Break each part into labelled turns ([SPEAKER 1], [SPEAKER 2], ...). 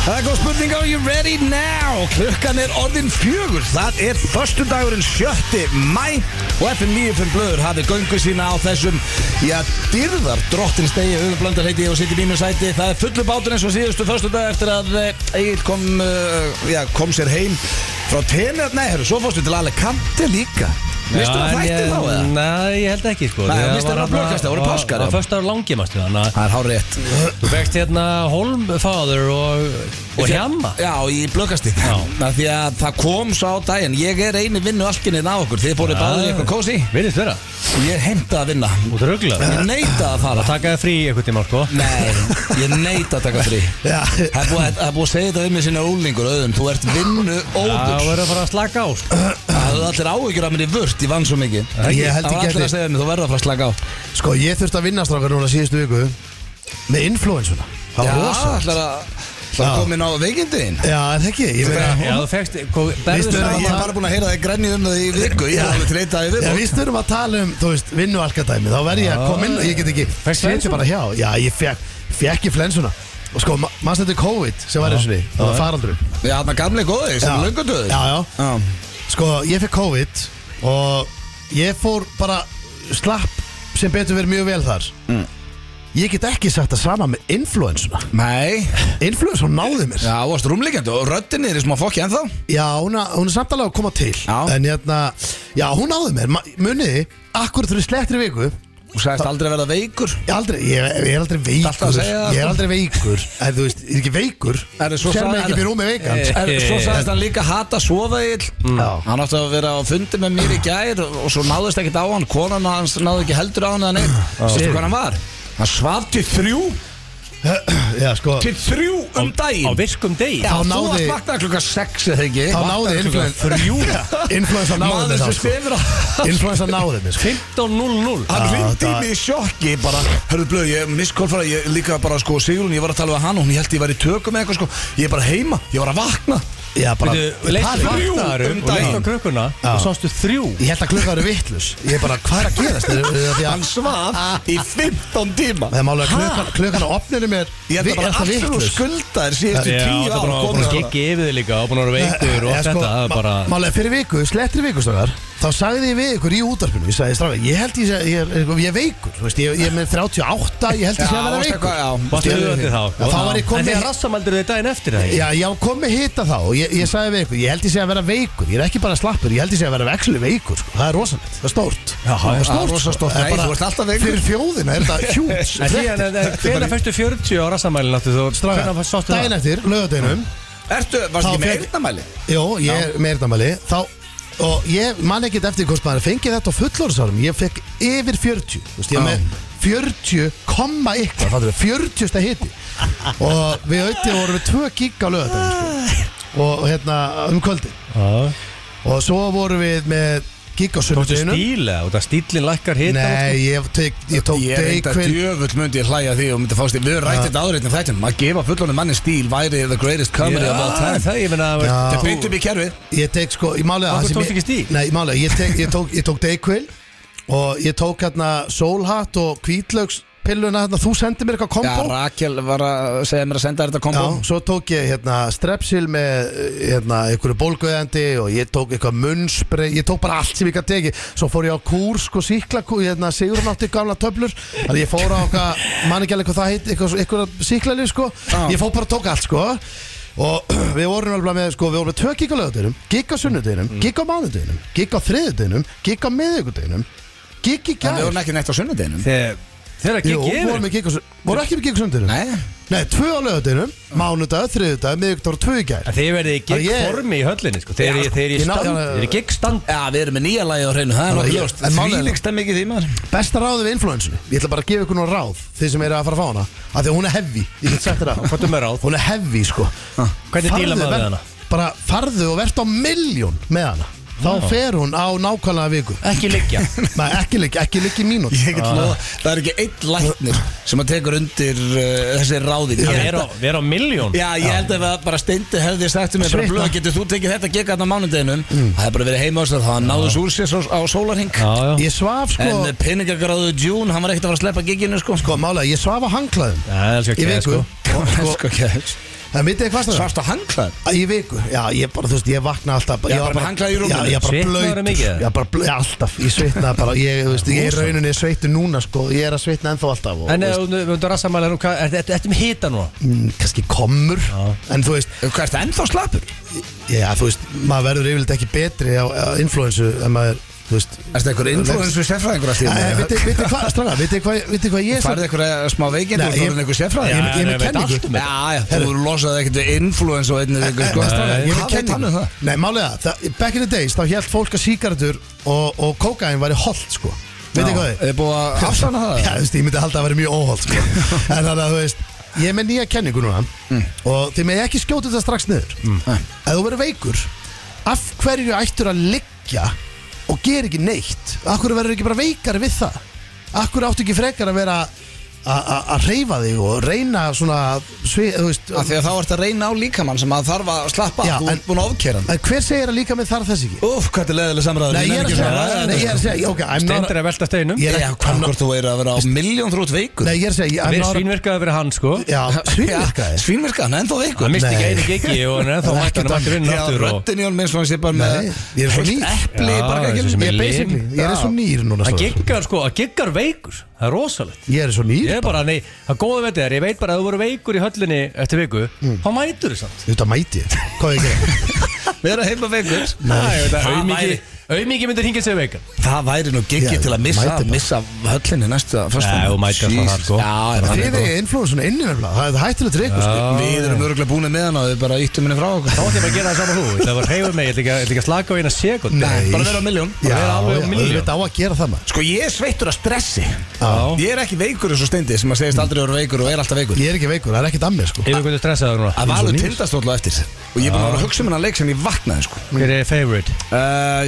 [SPEAKER 1] Það er góð spurning, are you ready now? Klukkan er orðin fjögur, það er förstu dagurinn 7. mæ og FM 95 blöður hafið göngu sína á þessum, já, dyrðar drottin stegi, auðvitað heiti ég og sitt í mínu sæti, það er fullu bátur eins og síðustu förstu dag eftir að Egil kom, uh, já, kom sér heim frá tenir, nei, herru, svo fórstu til Alicante líka, veistu
[SPEAKER 2] Já,
[SPEAKER 1] það
[SPEAKER 2] en
[SPEAKER 1] þætti
[SPEAKER 2] ég-
[SPEAKER 1] þá eða?
[SPEAKER 2] Nei, ég held ekki sko
[SPEAKER 1] Nei,
[SPEAKER 2] Ég
[SPEAKER 1] missti hann
[SPEAKER 2] var
[SPEAKER 1] á
[SPEAKER 2] þarna-
[SPEAKER 1] blöðkasti, það voru
[SPEAKER 2] var-
[SPEAKER 1] páskar,
[SPEAKER 2] Það var
[SPEAKER 1] já.
[SPEAKER 2] fyrsta ára langi, mástu Þannig að
[SPEAKER 1] Það er hár rétt.
[SPEAKER 2] þú vext hérna Holmfather og, og Hjamma
[SPEAKER 1] Já, í blökasti
[SPEAKER 2] Já.
[SPEAKER 1] Af Því að það kom sá daginn Ég er eini vinnu alkinnið á okkur Þið fóruð
[SPEAKER 2] Já.
[SPEAKER 1] báðið í eitthvað kósi
[SPEAKER 2] Vinist vera
[SPEAKER 1] Ég heimta að vinna
[SPEAKER 2] Út röggla
[SPEAKER 1] Ég neita að fara
[SPEAKER 2] Það takaði frí eitthvað tíma sko
[SPEAKER 1] Nei, ég neita að taka frí
[SPEAKER 3] Já.
[SPEAKER 1] Það er búið að- það er búið að segja þetta við mig sinna úlingur Öðum, þú ert vinnu
[SPEAKER 2] Það
[SPEAKER 1] óður
[SPEAKER 2] verður að fara að slaka á sko
[SPEAKER 1] Það höfðu allir áhyggjur af mér í vört Ég vann svo mikið
[SPEAKER 3] Ég held
[SPEAKER 1] Það var
[SPEAKER 3] ekki
[SPEAKER 1] allir
[SPEAKER 3] að
[SPEAKER 1] að segja mér, þú verður að fara að slaka á
[SPEAKER 3] Sko, ég þurfti að vinna strákar núna síðustu viku Með influensuna Það
[SPEAKER 1] Já,
[SPEAKER 3] var rosa
[SPEAKER 1] ætlar að Það
[SPEAKER 3] Já.
[SPEAKER 1] komin á veikindiðin
[SPEAKER 3] Já, er það ekki Ég
[SPEAKER 2] Já,
[SPEAKER 3] meina
[SPEAKER 2] þú fegst
[SPEAKER 3] Veistu
[SPEAKER 2] Berðu
[SPEAKER 3] það,
[SPEAKER 1] Ég
[SPEAKER 2] saman
[SPEAKER 1] er bara búin að heyra það grænni um það í viku Ég er alveg til eitt að
[SPEAKER 3] Já,
[SPEAKER 1] við
[SPEAKER 3] við störum að tala um, þú veist, vinnu alkadæmi Þá verð ég að koma inn og ég get ekki
[SPEAKER 2] Fékkstu
[SPEAKER 3] Sitja
[SPEAKER 2] flensuna?
[SPEAKER 3] bara hjá Já, ég fekk, fekk ég flensuna Og sko, ma- manstu þetta COVID sem var eins og því Það var faraldur
[SPEAKER 1] Já, þarna gamli góði, sem
[SPEAKER 3] Já.
[SPEAKER 1] löngutöður
[SPEAKER 3] Já, já
[SPEAKER 1] Já.
[SPEAKER 3] Sko, ég fekk COVID og ég fór bara slapp sem betur verið mjög vel þar
[SPEAKER 1] Mm.
[SPEAKER 3] Ég get ekki sagt það sama með influensuna
[SPEAKER 1] Nei
[SPEAKER 3] Influensun náði mér Já,
[SPEAKER 1] Já, þú varst rúmleikjandi og röddinn er í smá fokki ennþá
[SPEAKER 3] hún, er- hún er samt alveg að koma til
[SPEAKER 1] Já.
[SPEAKER 3] En hérna, já, hún náði mér Ma- Muniði, akkur þurfi slettri viku Ég
[SPEAKER 1] Þú sagðist aldrei verða veikur
[SPEAKER 3] er aldrei, ég, ég er aldrei
[SPEAKER 1] alltaf að
[SPEAKER 3] veikur
[SPEAKER 1] segja það,
[SPEAKER 3] Ég er
[SPEAKER 1] sko.
[SPEAKER 3] aldrei veikur En þú veist, ég er ekki veikur
[SPEAKER 1] Er þið svo
[SPEAKER 3] Sér mig
[SPEAKER 1] sagði-
[SPEAKER 3] ekki fyrir rúmi veikan
[SPEAKER 2] Eh,
[SPEAKER 1] En svo
[SPEAKER 2] Eh.
[SPEAKER 1] sagðist hann líka hata svoðaðil
[SPEAKER 3] Já.
[SPEAKER 1] Hann átti að vera á fundi með mér í gær og svo náðist ekkert á hann Konan hans náði ekki heldur á hann eða neitt Veistu hvað hann var? Hann svaf til þrjú
[SPEAKER 3] Já, sko
[SPEAKER 1] Til þrjú um
[SPEAKER 2] Á
[SPEAKER 1] daginn
[SPEAKER 2] virkum degi
[SPEAKER 1] Já,
[SPEAKER 3] Þá
[SPEAKER 1] þú
[SPEAKER 3] náði-
[SPEAKER 1] varst vaknað klukka sex eða ekki
[SPEAKER 3] Þá náði influen- Influensan náði mér
[SPEAKER 1] Maður
[SPEAKER 3] það,
[SPEAKER 1] sem
[SPEAKER 3] sko.
[SPEAKER 1] stefir á
[SPEAKER 3] Influensan náði mér sko.
[SPEAKER 2] 15.00
[SPEAKER 1] Hann
[SPEAKER 3] Já,
[SPEAKER 1] hringdi í
[SPEAKER 3] það-
[SPEAKER 1] mig í sjokki bara, hörðu blöð, ég miskólfara, ég líka bara sko Sigrun, ég var að tala við hann og hún ég held ég var í tökum eða eitthvað sko, ég er bara heima, ég var að vakna
[SPEAKER 3] Já, bara
[SPEAKER 2] Þú leist
[SPEAKER 1] Þrjú
[SPEAKER 2] vaknaður
[SPEAKER 1] um
[SPEAKER 2] og leist á
[SPEAKER 1] daginn.
[SPEAKER 2] krökkuna og sástu þrjú
[SPEAKER 3] Ég held að klukka eru vittlus Ég er bara, hvað er að gerast? Er, er, er,
[SPEAKER 1] Hann svaf í 15 tíma
[SPEAKER 3] Það er málega klukkan, klukkan á opninum er
[SPEAKER 1] Ég held að bara
[SPEAKER 3] alltaf
[SPEAKER 1] allt sem þú
[SPEAKER 3] vitlaus.
[SPEAKER 1] skuldaðir síðustu
[SPEAKER 2] Já,
[SPEAKER 1] tíu
[SPEAKER 2] það er
[SPEAKER 1] ár
[SPEAKER 2] búin að- búin
[SPEAKER 1] komið
[SPEAKER 2] að
[SPEAKER 1] þarna.
[SPEAKER 2] gigga yfir þig líka og búin að vera veikur og
[SPEAKER 3] Eh,
[SPEAKER 2] allt
[SPEAKER 3] sko,
[SPEAKER 2] þetta það er
[SPEAKER 3] ma-
[SPEAKER 2] bara
[SPEAKER 3] Málega fyrir viku, slettri vikustöngar Þá sagði ég við ykkur í útarpinu Ég sagði strafið, ég held ég sé, ég er, ég er, ég er veikur þú veist, ég, ég er með 38, ég held ég sé
[SPEAKER 1] Já,
[SPEAKER 3] að vera
[SPEAKER 1] varstu
[SPEAKER 3] veikur
[SPEAKER 1] eitthvað, já.
[SPEAKER 2] Varstu
[SPEAKER 3] Skilurðu?
[SPEAKER 2] auðvandi þá sko?
[SPEAKER 3] Já, Þá var ég
[SPEAKER 2] En
[SPEAKER 3] komið
[SPEAKER 2] þið rassamaldur þið daginn eftir það
[SPEAKER 3] Já, já, kom með hita þá og ég, ég sagði við ykkur, ég held ég sé að vera veikur Ég er ekki bara slappur, ég held ég sé að vera vexli veikur sko. Það er rosalegt, það er stórt
[SPEAKER 2] Já,
[SPEAKER 3] það
[SPEAKER 2] já,
[SPEAKER 3] er stórt,
[SPEAKER 1] rosa stórt.
[SPEAKER 3] Það er
[SPEAKER 1] Nei,
[SPEAKER 3] bara-
[SPEAKER 1] þú ert alltaf veikur.
[SPEAKER 3] Fyrir þjóðina er þetta hjúts
[SPEAKER 2] En síðan, hvernig fyrstu 40 á rassamælinn áttu þú? Hvernig sástu
[SPEAKER 3] Dæin
[SPEAKER 2] það?
[SPEAKER 3] eftir, lögadeinum
[SPEAKER 1] Ertu, varstu
[SPEAKER 3] Þá
[SPEAKER 1] ekki með
[SPEAKER 3] fekk-
[SPEAKER 1] einnamæli?
[SPEAKER 3] Jó, ég er meirðamæli Þá, og ég man ekkert eftir hvort maður fengið þetta á fullorðsárum Ég fekk yfir 40 Þú veist, ég
[SPEAKER 1] Já.
[SPEAKER 3] er með 40 komma ykkur 40 stað hiti Og við auðvitað vorum við 2 gig á lögadeinum sko. og, og hérna, um kvöldi Og svo vorum við með gig á
[SPEAKER 2] Tókstu
[SPEAKER 3] sunnudeinum
[SPEAKER 2] stíla og það stílinn lækkar hita
[SPEAKER 3] Nei, ég, tek, ég tók
[SPEAKER 1] Ég reynda
[SPEAKER 3] Dayquil
[SPEAKER 1] djöfull myndi ég hlæja því og myndi fást því, við rætti þetta áreitni þættum Að gefa fullonum manni stíl væri the greatest comedy of all
[SPEAKER 2] Já,
[SPEAKER 1] time
[SPEAKER 2] það ég meina
[SPEAKER 3] Já.
[SPEAKER 1] Það beinti upp í kerfið
[SPEAKER 3] Ég tek sko, ég málega
[SPEAKER 2] Af hverju tókstu ekki stíl?
[SPEAKER 3] Nei, ég málega, ég, tek, ég tók, ég tók Dayquil Og ég tók hérna Solhatt og Hvítlögspilluna hérna, Þú sendir mér
[SPEAKER 1] Já,
[SPEAKER 3] eitthvað kombo
[SPEAKER 1] Rakel var að segja mér að senda þér þetta kombo
[SPEAKER 3] Já, svo tók ég hérna strepsil með hérna einhverju bólguðandi og ég tók eitthvað munnsbrey, ég tók bara allt sem ég gæti ekki svo fór ég á kúr, sko síklakúr hérna Sigurinn átti gamla töflur þannig að ég fór á eitthvað, man ekki alveg hvað það heit eitthvað, eitthvað síklanir, sko
[SPEAKER 1] Já.
[SPEAKER 3] ég fór bara og tók allt, sko og við vorum alveg með, sko, við vorum með tvö gig á lögadeginum gig á sunnudeginum,
[SPEAKER 1] Mm.
[SPEAKER 3] gig á mánudeginum gig á þriðudeginum, gig á miðugudeginum gig í
[SPEAKER 1] En við
[SPEAKER 3] gær
[SPEAKER 1] vorum ekki neitt á sunnudinum
[SPEAKER 2] Þegar
[SPEAKER 3] Jú,
[SPEAKER 2] gigg
[SPEAKER 3] vorum
[SPEAKER 2] yfir
[SPEAKER 3] við gig á sunn- voru ekki með gig á sunnudeginum
[SPEAKER 1] Nei,
[SPEAKER 3] Nei, tvö á lögadeinum,
[SPEAKER 2] Ah.
[SPEAKER 3] mánudag, þriðudag, miðvíktar og tvö í gær
[SPEAKER 2] En Þið verðið í gigg
[SPEAKER 3] ég-
[SPEAKER 2] formi í höllinni sko Þeir
[SPEAKER 3] Já,
[SPEAKER 2] eru í
[SPEAKER 3] ég ná-
[SPEAKER 2] stand
[SPEAKER 3] já,
[SPEAKER 2] Þeir eru í gigg stand
[SPEAKER 1] já, við erum með nýja lagi á hreinu, það er
[SPEAKER 3] ég-
[SPEAKER 1] nokkuð ljóst
[SPEAKER 3] en málið er-
[SPEAKER 1] Þvílíksta mikið því maður
[SPEAKER 3] Besta ráðið við influensunni, ég ætla bara að gefa ykkur nú ráð Þið sem eru að fara að fá hana Af því að hún er heavy, ég get sagt þér það
[SPEAKER 2] Hvað er með ráð? Ah.
[SPEAKER 3] Hún er heavy, sko
[SPEAKER 2] Hvernig
[SPEAKER 3] Farðu
[SPEAKER 2] díla maður
[SPEAKER 3] ver-
[SPEAKER 2] við hana?
[SPEAKER 3] Bara farðu og verðt á miljón með hana Þá
[SPEAKER 2] Ah.
[SPEAKER 3] fer hún á nákvæmlega viku
[SPEAKER 2] Ekki liggja
[SPEAKER 3] Nei, ekki lík, ekki lík í mínút
[SPEAKER 1] Ég get lofa, það er ekki einn læknir sem að tekur undir uh, þessi ráðin
[SPEAKER 2] Við erum á- við erum á miljón
[SPEAKER 1] Já, ég held að við bara steindi hefði sagt um mig bara
[SPEAKER 3] Svitna.
[SPEAKER 1] blöð, getur þú tekið þetta gekk aðna á mánudeginum Það er bara verið heima á þess að það náðus úr sér svo- á sólarhing
[SPEAKER 2] Já, já
[SPEAKER 3] Ég svaf, sko,
[SPEAKER 1] En eh, peningagráðu June, hann var ekkert að fara að sleppa gigginu sko
[SPEAKER 3] sko málega, ég svaf á hanglaðum
[SPEAKER 2] Það er alveg
[SPEAKER 3] Í
[SPEAKER 2] ekki
[SPEAKER 3] viku
[SPEAKER 2] sko
[SPEAKER 3] Og, sko,
[SPEAKER 1] Sko, kæft.
[SPEAKER 3] En vitið þið hvað það
[SPEAKER 1] Svarta hangklæð
[SPEAKER 3] Í viku, já, ég bara, þú veist, ég vakna alltaf
[SPEAKER 1] Já, bara með hanglaði í rúminu.
[SPEAKER 3] Já, ég bara
[SPEAKER 2] Svitnaðurðu
[SPEAKER 3] blöytur
[SPEAKER 2] mikið?
[SPEAKER 3] Já, bara blöytur, alltaf, ég svitna bara Ég, þú veist, ég er rauninni sveitu núna, sko Ég er að svitna ennþá alltaf og,
[SPEAKER 2] En
[SPEAKER 3] þú
[SPEAKER 2] ef
[SPEAKER 3] veist,
[SPEAKER 2] þú myndur rassamæla nú, hvað, ertu- ertu ertu með hita nú?
[SPEAKER 3] mm, Kannski komur En þú veist,
[SPEAKER 1] Hvað er þetta ennþá slappur?
[SPEAKER 3] já, þú veist, maður verður yfirleitt ekki betri á, á influensu En maður, þú veist
[SPEAKER 1] Er þetta einhver influensu sérfræðingur að
[SPEAKER 3] Eh,
[SPEAKER 1] þér?
[SPEAKER 3] Vitið vitið hvað, stráka, vitið hvað, vitið hvað ég er
[SPEAKER 1] Farði einhver smá veikind og
[SPEAKER 3] Nei,
[SPEAKER 1] þú
[SPEAKER 3] ég-
[SPEAKER 1] erum einhver sérfræðingur?
[SPEAKER 3] Ég- ég- ég-
[SPEAKER 2] Nei, nei,
[SPEAKER 3] ég-
[SPEAKER 2] veit
[SPEAKER 3] kenningu.
[SPEAKER 2] allt um
[SPEAKER 1] Já,
[SPEAKER 2] þetta.
[SPEAKER 1] já, þú losaði ekkert við influensu og einnir einhver sko
[SPEAKER 2] Nei,
[SPEAKER 3] Ég
[SPEAKER 1] Hvað
[SPEAKER 3] er
[SPEAKER 1] veit hann um
[SPEAKER 3] kenningu
[SPEAKER 1] það?
[SPEAKER 3] Nei, málega, það, back in the days Þá held fólk að síkardur og, og kókain væri holdt, sko Vitið hvað þið?
[SPEAKER 1] Er búið að afsanna það?
[SPEAKER 3] Já, þú veist, ég myndi halda að vera mjög óholt sko. En þannig að þú veist Ég er með nýja kenningu núna Og þið með ekki skjóta þetta strax niður Ef þú verður veikur Af hverju ættur að liggja Og gera ekki neitt Af hverju verður ekki bara veikari við það Af hverju áttu ekki frekar að vera a- a- Að reyfa þig og reyna svona svi, Þú veist
[SPEAKER 1] Af því að þá ert að reyna á líkamann sem að þarf að slappa
[SPEAKER 3] Já,
[SPEAKER 1] af, þú
[SPEAKER 3] en-
[SPEAKER 1] ert búin að ofkera hann
[SPEAKER 3] En hver segir að líka með þarf þess ekki?
[SPEAKER 1] Úf, hvað er leðileg samræður
[SPEAKER 3] Nei, ég er að segja,
[SPEAKER 2] segja-
[SPEAKER 3] nei, ég er að segja okay, I'm not-
[SPEAKER 2] Stendur að velta steinum
[SPEAKER 3] Ég er
[SPEAKER 1] Ég
[SPEAKER 3] ekki-
[SPEAKER 1] er hvað hvort þú er að vera á miljón þrjótt veikur
[SPEAKER 3] Nei, ég er að segja I'm
[SPEAKER 2] Við
[SPEAKER 3] not-
[SPEAKER 2] svínverkaði fyrir hann sko
[SPEAKER 3] Já, svínvirkaði
[SPEAKER 1] Svínvirka, hann er ennþá
[SPEAKER 2] Hann
[SPEAKER 1] veikur
[SPEAKER 2] misti ekki
[SPEAKER 3] Nei.
[SPEAKER 2] einu gigi og hann er ennþá
[SPEAKER 3] Það er
[SPEAKER 2] mættur hann
[SPEAKER 3] ekkert
[SPEAKER 2] mættur inn
[SPEAKER 1] Já,
[SPEAKER 2] aftur og
[SPEAKER 1] röddin í honum eins og hann sé bara með
[SPEAKER 3] Nei, ég er svo
[SPEAKER 1] heilt
[SPEAKER 3] nýr.
[SPEAKER 1] Epli í
[SPEAKER 2] Já,
[SPEAKER 1] barkakilinu.
[SPEAKER 2] þessi sem
[SPEAKER 3] Ég er basically, ég er eins og nýr núna
[SPEAKER 2] hann
[SPEAKER 3] Snorri.
[SPEAKER 2] giggar sko, hann giggar veikur það er rosalegt
[SPEAKER 3] Ég er eins og nýr
[SPEAKER 2] Ég er bara, nei, það góða veit er, ég veit bara að þú voru veikur í höllinni eftir viku, þá mætur þið samt
[SPEAKER 3] Þetta mæti ég Hvað er ég að gera?
[SPEAKER 1] Við erum heima veikur
[SPEAKER 2] Auðmiki,
[SPEAKER 1] Nei,
[SPEAKER 2] auðmiki myndir hingja sig veikan
[SPEAKER 1] Það væri nú giggi
[SPEAKER 3] Já,
[SPEAKER 1] til að missa,
[SPEAKER 3] mætir bara.
[SPEAKER 1] missa höllinni næsta fyrstu
[SPEAKER 2] Nei, þú mætir alltaf þar, sko.
[SPEAKER 1] Já,
[SPEAKER 3] Þið
[SPEAKER 1] er
[SPEAKER 3] er influensuna inni nefnilega Það er hættilegt reyku sko
[SPEAKER 1] Við
[SPEAKER 2] Ah.
[SPEAKER 1] erum örgulega búin með hann og við bara íttum henni frá okkur
[SPEAKER 2] Þá ætlum ég bara að gera það saman þú, það var reyfum mig, ég ætla ekki að- ég ætla ekki að slaka á eina sekund
[SPEAKER 3] Nei.
[SPEAKER 1] Bara vera á miljón
[SPEAKER 3] Já,
[SPEAKER 2] vera alveg á
[SPEAKER 3] já,
[SPEAKER 2] milljón.
[SPEAKER 3] auðvitað á að gera það maður
[SPEAKER 1] Sko ég er sveittur af stressi
[SPEAKER 2] Já.
[SPEAKER 1] Ég er ekki veikur eins og steindi sem að segist aldrei að vera veikur og er alltaf veikur
[SPEAKER 3] Ég er ekki veikur, það er ekkert að mér sko
[SPEAKER 2] Yfir hvernig stressaður núna?
[SPEAKER 1] Að valur
[SPEAKER 3] nýr.
[SPEAKER 1] tindastóla eftir Og ég er búin að vera að hugsa um hennar leik sem ég vaknaði sko
[SPEAKER 2] Hver er favorite?
[SPEAKER 1] Uh,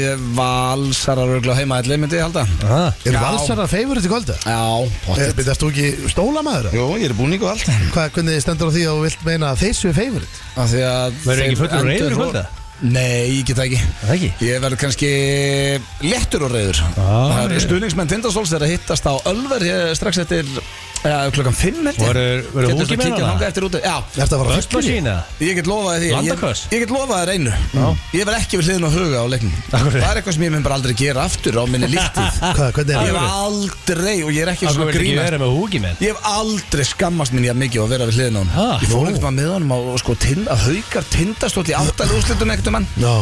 [SPEAKER 1] ég- Valsarar örgulega heima allir myndi ég halda
[SPEAKER 2] Aha.
[SPEAKER 3] Er
[SPEAKER 1] Já.
[SPEAKER 3] valsarar feyfurinn til kvölda?
[SPEAKER 1] Já, pottet
[SPEAKER 3] Býtast þú Eh, ekki stólamaður?
[SPEAKER 1] Jú, ég er búin ykkur allt
[SPEAKER 3] Hvað, hvernig stendur á því að þú vilt meina að þeir séu feyfurinn?
[SPEAKER 1] Af því að
[SPEAKER 2] Verður ekki
[SPEAKER 1] þeir
[SPEAKER 2] fullur og
[SPEAKER 1] endur
[SPEAKER 2] reiður í kvöld,
[SPEAKER 1] vor-
[SPEAKER 2] eða?
[SPEAKER 1] Nei, ég get það ekki
[SPEAKER 2] Það ekki?
[SPEAKER 1] Ég verður kannski léttur og reyður
[SPEAKER 2] Ah.
[SPEAKER 1] Það er stuðningsmenn Tindastóls er að hittast á Ölver ég, strax eftir ja, klokkan 5 held ég
[SPEAKER 2] Verður verður
[SPEAKER 1] Getur
[SPEAKER 2] húki
[SPEAKER 1] þú
[SPEAKER 2] með
[SPEAKER 1] kíkja þangað
[SPEAKER 2] hana?
[SPEAKER 1] eftir úti Já,
[SPEAKER 3] Ertu að fara
[SPEAKER 2] Vörsla
[SPEAKER 3] fullur í?
[SPEAKER 2] sína?
[SPEAKER 1] ég get lofaði því Ég,
[SPEAKER 2] Landaköss?
[SPEAKER 1] ég get lofaði þér einu Ég verð ekki við hliðin á huga á leiknum
[SPEAKER 2] Af hverju?
[SPEAKER 1] Það er eitthvað sem ég mun bara aldrei gera aftur á minni líftíð
[SPEAKER 3] Hvað, hvernig
[SPEAKER 1] Ég
[SPEAKER 3] er
[SPEAKER 1] hef
[SPEAKER 3] það?
[SPEAKER 1] aldrei, og ég er ekki
[SPEAKER 2] Akkur
[SPEAKER 1] svona
[SPEAKER 2] verður ekki
[SPEAKER 1] grínast
[SPEAKER 2] verið með húki með?
[SPEAKER 1] Ég hef aldrei skammast minn jafn mikið á að vera við hliðin á hann
[SPEAKER 2] Ha?
[SPEAKER 1] Ég fór ekkert maður með honum á sko, tind, að haukar tindastóll í áttalegu úrslitum ekkert um hann
[SPEAKER 3] Já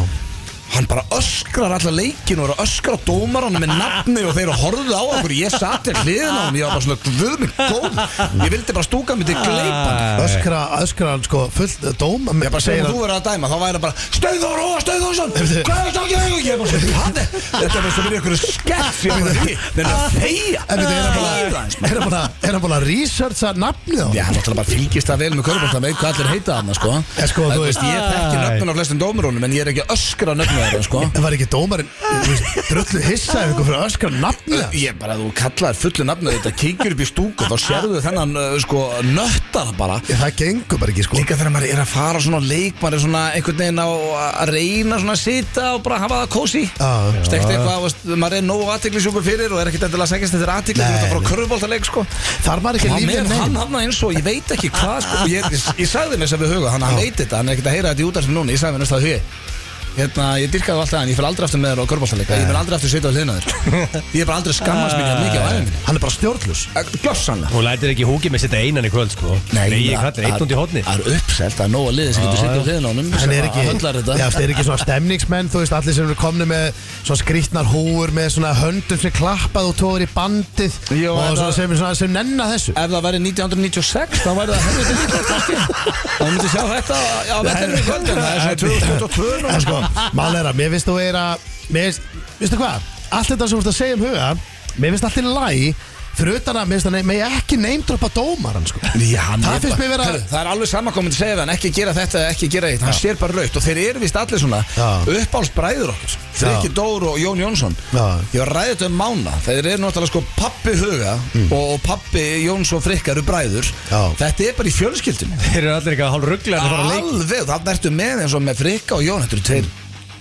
[SPEAKER 1] Hann bara öskrar alla leikin og er að öskra á dómaranum með nafni og þeir horfðu á okkur Ég satt við hliðin á hann, ég var bara svona guð mig góð Ég vildi bara stúka mig til gleipan
[SPEAKER 3] Öskra, öskra hann sko fullt dóm
[SPEAKER 1] Ég bara segir að þú verður að dæma, þá væri það bara Stauður og Stauðursson,
[SPEAKER 3] Heyrðu.
[SPEAKER 1] hvað er það ekki að ég er bara svona, hann er- Þetta er bara svo verið ykkur skemmt Ég var ekki, neina að þegja
[SPEAKER 3] En þetta er hann
[SPEAKER 1] Þegið aðeins,
[SPEAKER 3] bara Er hann bara, er hann bara að researcha nafnið á
[SPEAKER 1] Já, hann náttúrulega bara fylgist það vel með körfbólta með hvað allir heita þarna, sko
[SPEAKER 3] En sko,
[SPEAKER 1] En
[SPEAKER 3] þú veist,
[SPEAKER 1] Ég þekki nöfnun á flestum dómurunum en ég er ekki að öskra nöfnun þeirra, sko
[SPEAKER 3] En var ekki dómarinn, þú veist, drullu hissa ef ykkur fyrir að öskra nafnið hans?
[SPEAKER 1] Ég bara, þú kallar fullu nafnu þetta, kíkjur upp í stúku þá sérðu þennan, uh, sko, nöttar bara
[SPEAKER 3] Ég, Það gengur bara ekki sko
[SPEAKER 1] Líka þegar maður er að fara á svona leik maður er svona einhvern veginn á að reyna svona að sita og bara hafa það kósi
[SPEAKER 3] Já.
[SPEAKER 1] Stekt eitthvað, veist, maður er nógu aðtiklisjúkur fyrir og er ekkert endilega að segjast þetta er aðtiklis
[SPEAKER 3] Nei,
[SPEAKER 1] þetta er
[SPEAKER 3] nei.
[SPEAKER 1] bara körfbólta leik, sko
[SPEAKER 3] Þar maður ekki
[SPEAKER 1] Hann
[SPEAKER 3] að lífið
[SPEAKER 1] með hann
[SPEAKER 3] neinn
[SPEAKER 1] hafna eins og ég veit ekki hvað sko, og ég, ég, ég sagði mér sem við huga, hann, hann veit þetta hann er ekkert að heyra þetta í útarfinn núna, ég sagði mér næsta hugi hérna, ég dyrkaði alltaf hann, ég fyrir aldrei aftur með þér á körbáltalega, ég fyrir aldrei aftur setja á hliðina á þér ég er bara aldrei að skammast mér jafn mikið á aðeins
[SPEAKER 3] Hann er bara stjórnlus
[SPEAKER 1] minni glossanlega
[SPEAKER 2] Hún lætir ekki húki með sitt einan í kvöld sko Nei, ég kallir eitt hundi hótni
[SPEAKER 1] það er uppselt, það er nóga liðið sem getur setja á hliðina á honum
[SPEAKER 3] Hann er ekki,
[SPEAKER 1] höndlar
[SPEAKER 3] Já,
[SPEAKER 1] þetta
[SPEAKER 3] það er ekki svona stemningsmenn Þú veist, allir sem eru komni með svona skrýtnar húur Með svona höndum sem klappað og tóður í bandið
[SPEAKER 1] Jó,
[SPEAKER 3] Og
[SPEAKER 1] en
[SPEAKER 3] svona
[SPEAKER 1] það-
[SPEAKER 3] sem, svona, sem nenna þessu
[SPEAKER 1] Ef það væri 1996, þá væri það helviti líka kannski. Þá myndi sjá þetta á vettinu í kvöldin, það er svona 2022 núna,
[SPEAKER 3] En
[SPEAKER 1] sko.
[SPEAKER 3] sko, málera, mér finnst þú er að Mér finnst, veistu hvað Allt þetta sem þú ert að segja um huga Mér finnst allir læg Fyrir utan að, mér finnst að nei, megi ekki neymdropa dómaran sko.
[SPEAKER 1] Já, hann
[SPEAKER 3] Það
[SPEAKER 1] er
[SPEAKER 3] finnst
[SPEAKER 1] bara-
[SPEAKER 3] mér vera-
[SPEAKER 1] Hörru, Það er alveg samankomandi að segja við hann Ekki gera þetta, ekki gera eitt Hann sér bara raukt Og þeir eru vist allir svona
[SPEAKER 3] Já.
[SPEAKER 1] uppálsbræður okkur Freki Dór og Jón Jónsson
[SPEAKER 3] Já.
[SPEAKER 1] Ég var ræðið um mána Þeir eru náttúrulega sko pappi huga Og pappi Jóns og Frikka eru bræður
[SPEAKER 3] Mm. Já.
[SPEAKER 1] Þetta er bara í fjölskyldinu
[SPEAKER 2] Þeir eru allir eitthvað hálf rugglega að fara að leik
[SPEAKER 1] Alveg, þannig ertu með eins og með Frikka og Jón Þetta eru tveir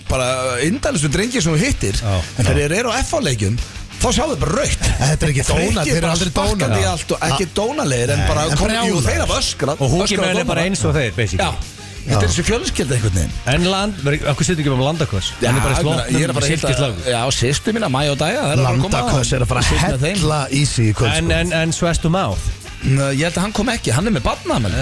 [SPEAKER 1] bara indælistu drengir sem þú hittir
[SPEAKER 2] Já.
[SPEAKER 1] En þegar þeir eru á F-leikjum þá sjáðu bara raukt
[SPEAKER 3] Þetta er ekki dónar, þeir eru aldrei dónar
[SPEAKER 1] Sparkandi í allt og ekki dónalegir en bara
[SPEAKER 3] en
[SPEAKER 1] kom, jú,
[SPEAKER 3] brjálar.
[SPEAKER 1] þeir hafa öskrað
[SPEAKER 2] Og húki
[SPEAKER 1] öskrað
[SPEAKER 2] menn er
[SPEAKER 1] dónalega.
[SPEAKER 2] bara eins og þeir, basically
[SPEAKER 1] Já, þetta er þessi fjölskylda einhvern veginn
[SPEAKER 2] En land, okkur sýttum ekki um landakvöss
[SPEAKER 1] Já,
[SPEAKER 2] Hann er bara í
[SPEAKER 1] ég meina, ég er að
[SPEAKER 2] slóknum,
[SPEAKER 1] fara að hitta-
[SPEAKER 2] silkislagur
[SPEAKER 1] Já, sýstu mína, mæ og dæja það er að fara að koma að-
[SPEAKER 3] Landakos er að fara að
[SPEAKER 1] Sitna þeim.
[SPEAKER 3] hella í sig í kvöld
[SPEAKER 2] En,
[SPEAKER 3] sko.
[SPEAKER 2] en, en um Svest og Máð
[SPEAKER 1] Nö, Ég held að hann kom ekki, hann er með badnamenn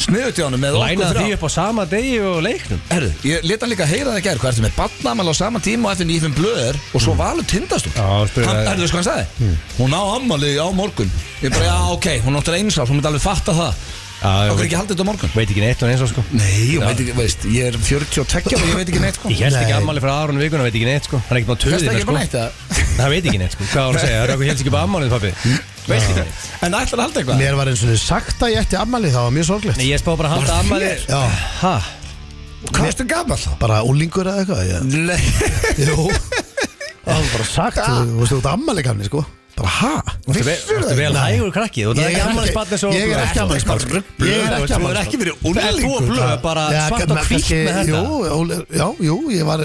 [SPEAKER 1] Sniðut í honum með okkur
[SPEAKER 2] Lænaði
[SPEAKER 1] þrjá
[SPEAKER 2] því upp á sama degi og leiknum
[SPEAKER 1] Herru, ég leta hann líka að heyra það í gær Hvað ertu með badnamenn á sama tíma og eftir nýfum blöður Og svo valur tindast út
[SPEAKER 2] Já, spurði það.
[SPEAKER 1] Herru, sko Mm. hann sagði Hún á ammali á morgun Ég bara, já, ok, hún áttur eins árs, hún myndi alveg fatta það
[SPEAKER 2] Já,
[SPEAKER 1] Okkur
[SPEAKER 2] veit-
[SPEAKER 1] ekki haldið þetta á morgun
[SPEAKER 2] Veit ekki neitt og eins og sko
[SPEAKER 1] Nei, ég veit ekki, veist, ég er 42 og ég veit ekki neitt sko
[SPEAKER 2] Ég held ekki
[SPEAKER 3] Nei.
[SPEAKER 2] ammali frá Aron vikuna, veit ekki neitt sko Hann er ekki maður
[SPEAKER 1] Veist
[SPEAKER 2] töðið
[SPEAKER 1] ekki
[SPEAKER 2] sko
[SPEAKER 1] bara neitt það
[SPEAKER 2] Það veit ekki neitt sko Hvað var að segja, það er okkur helst ekki bara ammalið pappi Veit ekki neitt
[SPEAKER 1] En ætlar að halda eitthvað
[SPEAKER 3] Mér var eins og þið sagt að ég ætti ammali Það var mjög sorglegt
[SPEAKER 2] Nei, ég spá bara að halda
[SPEAKER 1] Var
[SPEAKER 2] ammali
[SPEAKER 1] þér?
[SPEAKER 3] Já,
[SPEAKER 2] Ha?
[SPEAKER 1] Hvað ertu gammal þá?
[SPEAKER 3] bara úlingur eða eitthvað ég-
[SPEAKER 1] Nei
[SPEAKER 3] Jú Það var bara sagt Þú þú veist, þú ert ammali gamli sko Bara ha?
[SPEAKER 2] Þú ert vel
[SPEAKER 3] Nei.
[SPEAKER 2] hægur krakki Þú ert
[SPEAKER 3] Ég
[SPEAKER 2] ekki
[SPEAKER 3] er
[SPEAKER 2] ammali
[SPEAKER 3] ekki-
[SPEAKER 2] spann eins og
[SPEAKER 3] ég er ekki afmælisbarn. Ég er ekki
[SPEAKER 1] Þú er
[SPEAKER 3] afmælisbarn.
[SPEAKER 1] ekki verið
[SPEAKER 2] En þú og
[SPEAKER 1] úlingur
[SPEAKER 2] blöð bara
[SPEAKER 3] Já,
[SPEAKER 2] svart og
[SPEAKER 3] kannski-
[SPEAKER 2] hvítt með þetta
[SPEAKER 3] Jú, Óli- já, jú, ég var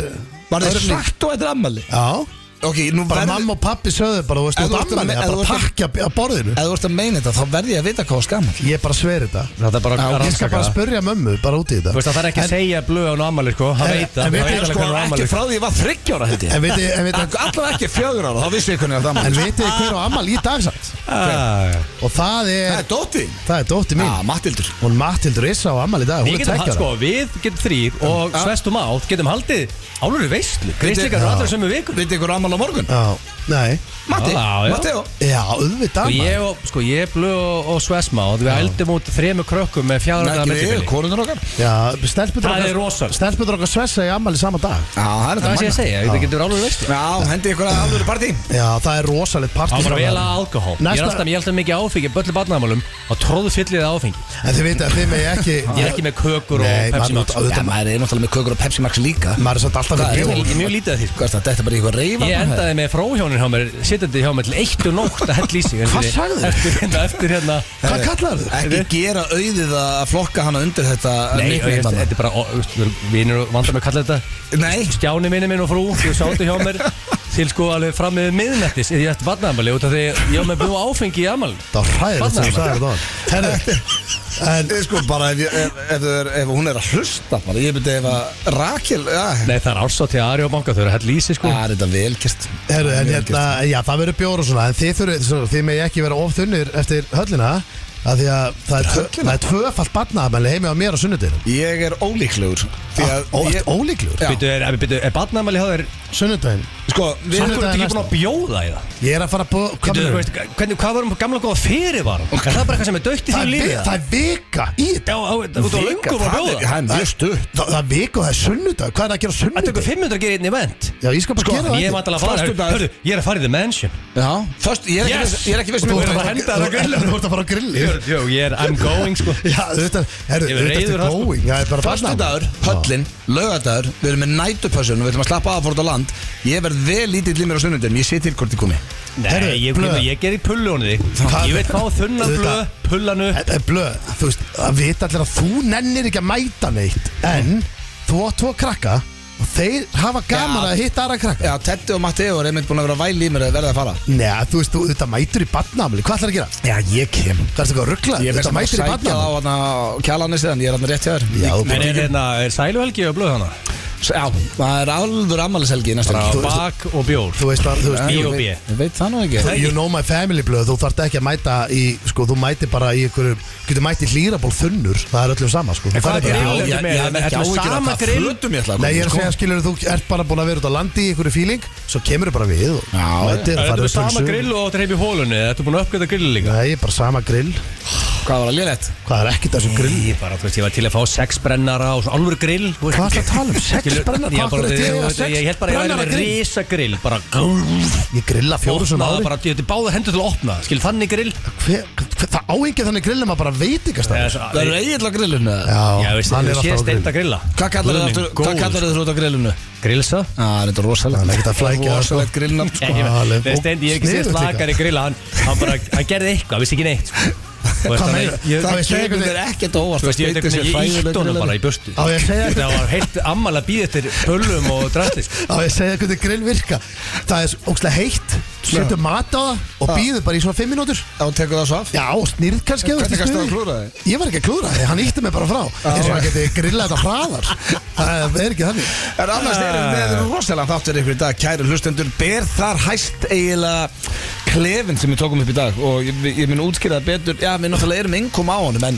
[SPEAKER 1] Var það
[SPEAKER 3] Örlík-
[SPEAKER 1] sagt og þetta er ammali?
[SPEAKER 3] Já,
[SPEAKER 1] Ok, nú
[SPEAKER 3] bara
[SPEAKER 1] verður
[SPEAKER 3] mamma og pappi sögðu bara, þú veist,
[SPEAKER 1] Ef
[SPEAKER 3] þú
[SPEAKER 1] þú
[SPEAKER 3] ert
[SPEAKER 1] ert að
[SPEAKER 3] ammali
[SPEAKER 1] me-
[SPEAKER 3] Það
[SPEAKER 1] ef
[SPEAKER 3] bara
[SPEAKER 1] þú ert
[SPEAKER 3] pakki að- að borðinu
[SPEAKER 1] Ef þú ert að meina þetta, þá verð ég að vita hvað var gammal
[SPEAKER 3] Ég bara sver þetta
[SPEAKER 2] Þetta er bara að
[SPEAKER 3] Ég skal
[SPEAKER 2] rannsaka
[SPEAKER 3] bara
[SPEAKER 2] það.
[SPEAKER 3] spurja mömmu bara út í
[SPEAKER 2] Þú
[SPEAKER 3] þetta
[SPEAKER 2] veist að það er ekki að segja blöð án ammali sko Hann
[SPEAKER 3] En-
[SPEAKER 2] veit
[SPEAKER 3] en
[SPEAKER 2] það
[SPEAKER 3] við
[SPEAKER 2] Hann
[SPEAKER 1] Ég er
[SPEAKER 2] veit
[SPEAKER 1] sko
[SPEAKER 2] alveg hvernig á
[SPEAKER 1] ekki
[SPEAKER 2] ammali
[SPEAKER 1] frá því ég var þryggjóra held ég
[SPEAKER 3] En veit þið- en veit þið-
[SPEAKER 1] Allavega ekki fjögur ára, þá vissi ég hvernig það var
[SPEAKER 3] en
[SPEAKER 1] ammali
[SPEAKER 3] vitið þið hver á ammali í dag samt
[SPEAKER 2] Ah.
[SPEAKER 3] Og það
[SPEAKER 1] Það
[SPEAKER 3] er,
[SPEAKER 1] er Dóti
[SPEAKER 3] það er dótti mín
[SPEAKER 1] Já, Mattildur
[SPEAKER 3] Hún Matildur Issa á ammali í dag,
[SPEAKER 2] Við
[SPEAKER 3] hún er
[SPEAKER 2] getum haldið,
[SPEAKER 3] tekjara
[SPEAKER 2] sko, við getum þrýr og
[SPEAKER 1] Ja.
[SPEAKER 2] Svest og Máð getum haldið álurri veistlu Kristlíkar
[SPEAKER 1] Já.
[SPEAKER 2] eru allir sömu vikur
[SPEAKER 1] Vitið ykkur ammali á morgun?
[SPEAKER 3] Já, nei
[SPEAKER 1] Matti,
[SPEAKER 2] Ah, Já, já.
[SPEAKER 1] Matteo
[SPEAKER 3] Já, auðvitað
[SPEAKER 2] Og
[SPEAKER 3] maður.
[SPEAKER 2] ég og, sko, ég blöð og, og Svest Máð Við ældum út þremur krökkum með
[SPEAKER 1] Nei,
[SPEAKER 2] fjárhundar
[SPEAKER 1] ekki við,
[SPEAKER 2] millibili
[SPEAKER 1] konundur okkar
[SPEAKER 3] Já, stelpundur
[SPEAKER 2] Það er
[SPEAKER 3] okkar
[SPEAKER 2] rosalegt.
[SPEAKER 3] Stelpundur okkar svessa í ammali sama dag
[SPEAKER 1] Já, það er
[SPEAKER 2] Það sé ég að segja, við getum álurri veistlu
[SPEAKER 1] Já, hendi ykkur að alvöru partí
[SPEAKER 3] Já, það er rosalegt
[SPEAKER 2] Það
[SPEAKER 3] partí
[SPEAKER 2] var
[SPEAKER 3] fram
[SPEAKER 2] vel að
[SPEAKER 3] að-
[SPEAKER 2] alkohól Ég er
[SPEAKER 3] Næsta-
[SPEAKER 2] alltaf, ég er alltaf mikið áfengi Böllu barnaðamálum og tróðu fyllið áfengi
[SPEAKER 3] En þið veit að þið með ekki
[SPEAKER 2] Ég er ekki með kökur og
[SPEAKER 3] Nei,
[SPEAKER 2] Pepsi
[SPEAKER 3] maður-
[SPEAKER 2] Max
[SPEAKER 3] auðvitað-
[SPEAKER 1] Já, maður er náttúrulega með kökur og Pepsi Max líka
[SPEAKER 3] Maður er samt alltaf
[SPEAKER 1] Það
[SPEAKER 3] með
[SPEAKER 1] er
[SPEAKER 2] Ég
[SPEAKER 3] bjór
[SPEAKER 2] er mjög lítið að því sko.
[SPEAKER 1] Hvað er það, þetta er bara eitthvað reyfa
[SPEAKER 2] Ég endaði með fróhjónin hjá mér, sitjandi hjá mér til eitt og nótt að hella í sig
[SPEAKER 3] Hvað sagðirðu?
[SPEAKER 2] Eftir hérna, eftir hérna
[SPEAKER 3] Hvað kallar þið?
[SPEAKER 1] Ekki gera auðið að flokka hana undir þetta
[SPEAKER 2] Nei,
[SPEAKER 1] nickname
[SPEAKER 2] ég veist,
[SPEAKER 1] þarna.
[SPEAKER 2] þetta er bara, ó, veist, vinur og vandar mig að kalla þetta
[SPEAKER 1] Nei,
[SPEAKER 2] Stjáni minni minn og frú, þau sáttu hjá mér til sko alveg fram með miðnættis eða ég ætti barnaðamali út af því að ég var með blú áfengi í amal
[SPEAKER 3] Það var hræðilegt sem þú
[SPEAKER 2] Barnaðarmaður.
[SPEAKER 3] sagði þetta Herri, en
[SPEAKER 1] Ég sko bara ef, ég- ef, ef, ef, ef hún er að hlusta bara, ég myndi ef að Rakel ah, ja,
[SPEAKER 2] Nei, það er ársátt til Ari og banka, þau eru að hella í sig sko
[SPEAKER 3] Ah,
[SPEAKER 1] það er þetta velkist
[SPEAKER 3] Herru, en hérna, já, það verður bjór og svona En þið þurfið, svo, þið með ekki vera of þunnir eftir höllina Af því að það er, tvö-
[SPEAKER 1] Höllina?
[SPEAKER 3] það er tvöfalt barnaðamæli heimi á mér á sunnudir
[SPEAKER 1] Ég er ólíklegur Því að
[SPEAKER 3] Ótt
[SPEAKER 1] ég,
[SPEAKER 3] ólíklur
[SPEAKER 1] Já.
[SPEAKER 2] Býtu, er, er, býtu, er barnaðamali hjá þér,
[SPEAKER 3] Sunnudaginn
[SPEAKER 1] Sko, við
[SPEAKER 2] þú
[SPEAKER 1] erum
[SPEAKER 3] Sunnudaginn
[SPEAKER 2] ert
[SPEAKER 3] er
[SPEAKER 2] ekki
[SPEAKER 3] næsta.
[SPEAKER 2] búin að bjóða í það
[SPEAKER 3] Ég er að fara að búa
[SPEAKER 2] Býtu,
[SPEAKER 3] hvað
[SPEAKER 2] veist, hvernig, hvað varum gamla góða fyrir varum? Er það bara eitthvað sem er dögt í því
[SPEAKER 3] Það er vi-
[SPEAKER 2] lífið?
[SPEAKER 3] það er vika í þetta
[SPEAKER 2] Já, á- þú ert á
[SPEAKER 1] Vika,
[SPEAKER 2] löngum að
[SPEAKER 1] það er-
[SPEAKER 2] bjóða
[SPEAKER 1] Það er mjög stutt
[SPEAKER 3] Það það er vika og það er sunnudag Hvað er að gera á
[SPEAKER 2] Það tekur
[SPEAKER 3] sunnudag?
[SPEAKER 2] 500 að gera einn event
[SPEAKER 3] Já, ég skal bara gera það
[SPEAKER 2] Sko, Ég er
[SPEAKER 3] ekki.
[SPEAKER 2] vantilega að fara
[SPEAKER 1] Föstudagur.
[SPEAKER 2] Hörru, ég er að fara í The Mansion
[SPEAKER 1] Já, först, ég er ekki
[SPEAKER 2] Yes!
[SPEAKER 1] viss- ég er ekki viss
[SPEAKER 2] Þú
[SPEAKER 1] um-
[SPEAKER 2] ert að fara að henda það á grillinu.
[SPEAKER 3] Þú ert að fara á grilli
[SPEAKER 2] Jó, ég er I'm going sko
[SPEAKER 3] Já, þetta er
[SPEAKER 2] Ég er reiður,
[SPEAKER 3] þetta
[SPEAKER 2] sko.
[SPEAKER 3] going Það er bara
[SPEAKER 1] Föstu dagur, höllin, laugadagur Við erum með nætupössun og við ætlum að slappa af að fórt á land Ég verð vel lítill í mér á sunnundum Ég sé til hvort ég komi
[SPEAKER 2] Nei,
[SPEAKER 3] Herru,
[SPEAKER 2] ég,
[SPEAKER 3] blöð.
[SPEAKER 2] ég, ég ger í pullunni
[SPEAKER 3] Það-
[SPEAKER 2] Ég veit fá þunna
[SPEAKER 3] Þetta-
[SPEAKER 2] blöð, pullanu
[SPEAKER 3] Þetta er blöð, þú veist, að vita allir að þú nennir ekki að mæta neitt En þú átt tvo krakka og þeir hafa gaman
[SPEAKER 1] Já.
[SPEAKER 3] að hitta aðra krakka
[SPEAKER 1] Já, Tetti og Matteo er einmitt búin að vera að væli í mér að verða að fara
[SPEAKER 3] Nei, þú veist, þú þetta mætur í badnamli, hvað ætlar að gera?
[SPEAKER 1] Já, ég kem
[SPEAKER 3] Hvað er þetta að ruggla?
[SPEAKER 1] Ég verð
[SPEAKER 3] Þetta
[SPEAKER 1] sem að
[SPEAKER 3] mætur í
[SPEAKER 1] sækja
[SPEAKER 3] badnamli
[SPEAKER 1] þá á kjalanissi En ég er hann rétt hjá þér
[SPEAKER 3] Já, þú
[SPEAKER 2] En
[SPEAKER 3] bara
[SPEAKER 2] er, hérna, er sælu helgi á blöð hana?
[SPEAKER 1] Já, það er alvöru ammælishelgi næstu
[SPEAKER 2] Bara
[SPEAKER 3] þú-
[SPEAKER 2] bak og bjór
[SPEAKER 3] Þú veist, að- þú veist
[SPEAKER 2] Í
[SPEAKER 1] Ég
[SPEAKER 2] og B.
[SPEAKER 1] veit- ég veit það nú ekki
[SPEAKER 3] þú- You know my family blöð, þú þarft ekki að mæta í, sko, þú mætir bara í ykkur, getur mæti hlýraból þunnur, það er öllum sama, sko
[SPEAKER 2] En hvað
[SPEAKER 3] Það
[SPEAKER 2] er
[SPEAKER 3] bara-
[SPEAKER 2] grill?
[SPEAKER 1] Ég- ég- ég hef ekki
[SPEAKER 2] Þetta er
[SPEAKER 1] áhyggjur af
[SPEAKER 2] sama
[SPEAKER 1] það
[SPEAKER 2] grill.
[SPEAKER 1] fötum ég ætla að
[SPEAKER 3] Nei, ég er
[SPEAKER 1] koma, sko.
[SPEAKER 3] að segja, skilur, þú ert bara búin að vera út á landi í ykkur fíling, svo kemur bara við og
[SPEAKER 1] Já,
[SPEAKER 2] Er
[SPEAKER 3] mætir og
[SPEAKER 2] þetta
[SPEAKER 3] farið
[SPEAKER 2] með sama
[SPEAKER 3] pulsu.
[SPEAKER 2] grill og áttir heim í hólunni? eða Ertu búin að uppgöta grill líka?
[SPEAKER 3] Nei, bara sama grill
[SPEAKER 1] Hvað var að lélætt?
[SPEAKER 3] Hvað er ekkert þessu grill?
[SPEAKER 2] Ég bara, þú veist, ég var til að fá sex brennara og svona alvöru grill þú veist.
[SPEAKER 3] Hvað ertu að tala um? Sex
[SPEAKER 2] Skilur-
[SPEAKER 3] brennar?
[SPEAKER 2] Ég
[SPEAKER 3] Hvað
[SPEAKER 2] bara,
[SPEAKER 3] er þetta
[SPEAKER 2] þú
[SPEAKER 3] að
[SPEAKER 2] veist,
[SPEAKER 3] sex
[SPEAKER 2] Ég held bara að ég væri
[SPEAKER 3] brennar
[SPEAKER 2] með
[SPEAKER 3] grill?
[SPEAKER 2] risa grill Bara grrrr
[SPEAKER 3] Ég grilla fjóru sem
[SPEAKER 2] Opnaða
[SPEAKER 3] ári
[SPEAKER 2] bara, ég hefði báða hendur til að opna það, Skil þannig grill
[SPEAKER 3] Hver- hver- Það áhengið þannig grill en maður bara veit ekki að staða
[SPEAKER 1] Það eru eiginlega á grillinu eða?
[SPEAKER 2] Já, veist,
[SPEAKER 3] hann
[SPEAKER 2] þú
[SPEAKER 3] er
[SPEAKER 2] sé
[SPEAKER 3] alltaf á grill
[SPEAKER 2] steint að grilla
[SPEAKER 1] Hvað kallar þið aftur? Hvað kallar þið út á grillinu?
[SPEAKER 2] Grillsa?
[SPEAKER 1] Á, það er þetta rosalegt
[SPEAKER 3] Það er ekkert að flækja það, sko.
[SPEAKER 1] Rosalegt grillnafn sko
[SPEAKER 3] Alveg
[SPEAKER 2] Steint, ég hef ekki séð
[SPEAKER 3] sniðugt líka.
[SPEAKER 2] slakari grilla Hann, hann bara, hann gerði eitthvað, vissi ekki neitt sko. Og veist,
[SPEAKER 3] Hvað
[SPEAKER 2] þannig-
[SPEAKER 3] meinarðu?
[SPEAKER 2] ég-
[SPEAKER 3] Það
[SPEAKER 1] Það
[SPEAKER 3] veist,
[SPEAKER 1] kemur
[SPEAKER 3] ég einhvern
[SPEAKER 1] þér ekkert á óvart
[SPEAKER 2] Þú
[SPEAKER 1] að
[SPEAKER 2] veist, ég
[SPEAKER 1] skeyti
[SPEAKER 2] veit
[SPEAKER 1] sér
[SPEAKER 2] ekki, ég
[SPEAKER 1] hræðilegur
[SPEAKER 2] ítt honum
[SPEAKER 1] grillveður.
[SPEAKER 2] bara í burtu
[SPEAKER 3] Á ég að segja
[SPEAKER 2] Þetta var heilt ammal að býða eftir pöllum og drasli sko.
[SPEAKER 3] Á ég að segja hvernig grill virka Það er ógstlega heitt Setur mat á það og býður bara í svona 5 minútur
[SPEAKER 1] Já, hún tekur það svo af
[SPEAKER 3] Já, og snýrð kannski ef þú ert í
[SPEAKER 1] Hvernig kannst
[SPEAKER 3] stuði.
[SPEAKER 1] það að klúra þig?
[SPEAKER 3] Ég var ekki að klúra þig, hann ítti mig bara frá Eins og hann geti grillað þetta hraðar Það er ekki þannig
[SPEAKER 1] En annars erum við rosalega þáttur ykkur í dag, kæru hlustendur, ber þar hæst eiginlega klefin sem við tókum upp í dag og ég, ég mun útskýra það betur, já við náttúrulega erum innkom á honum en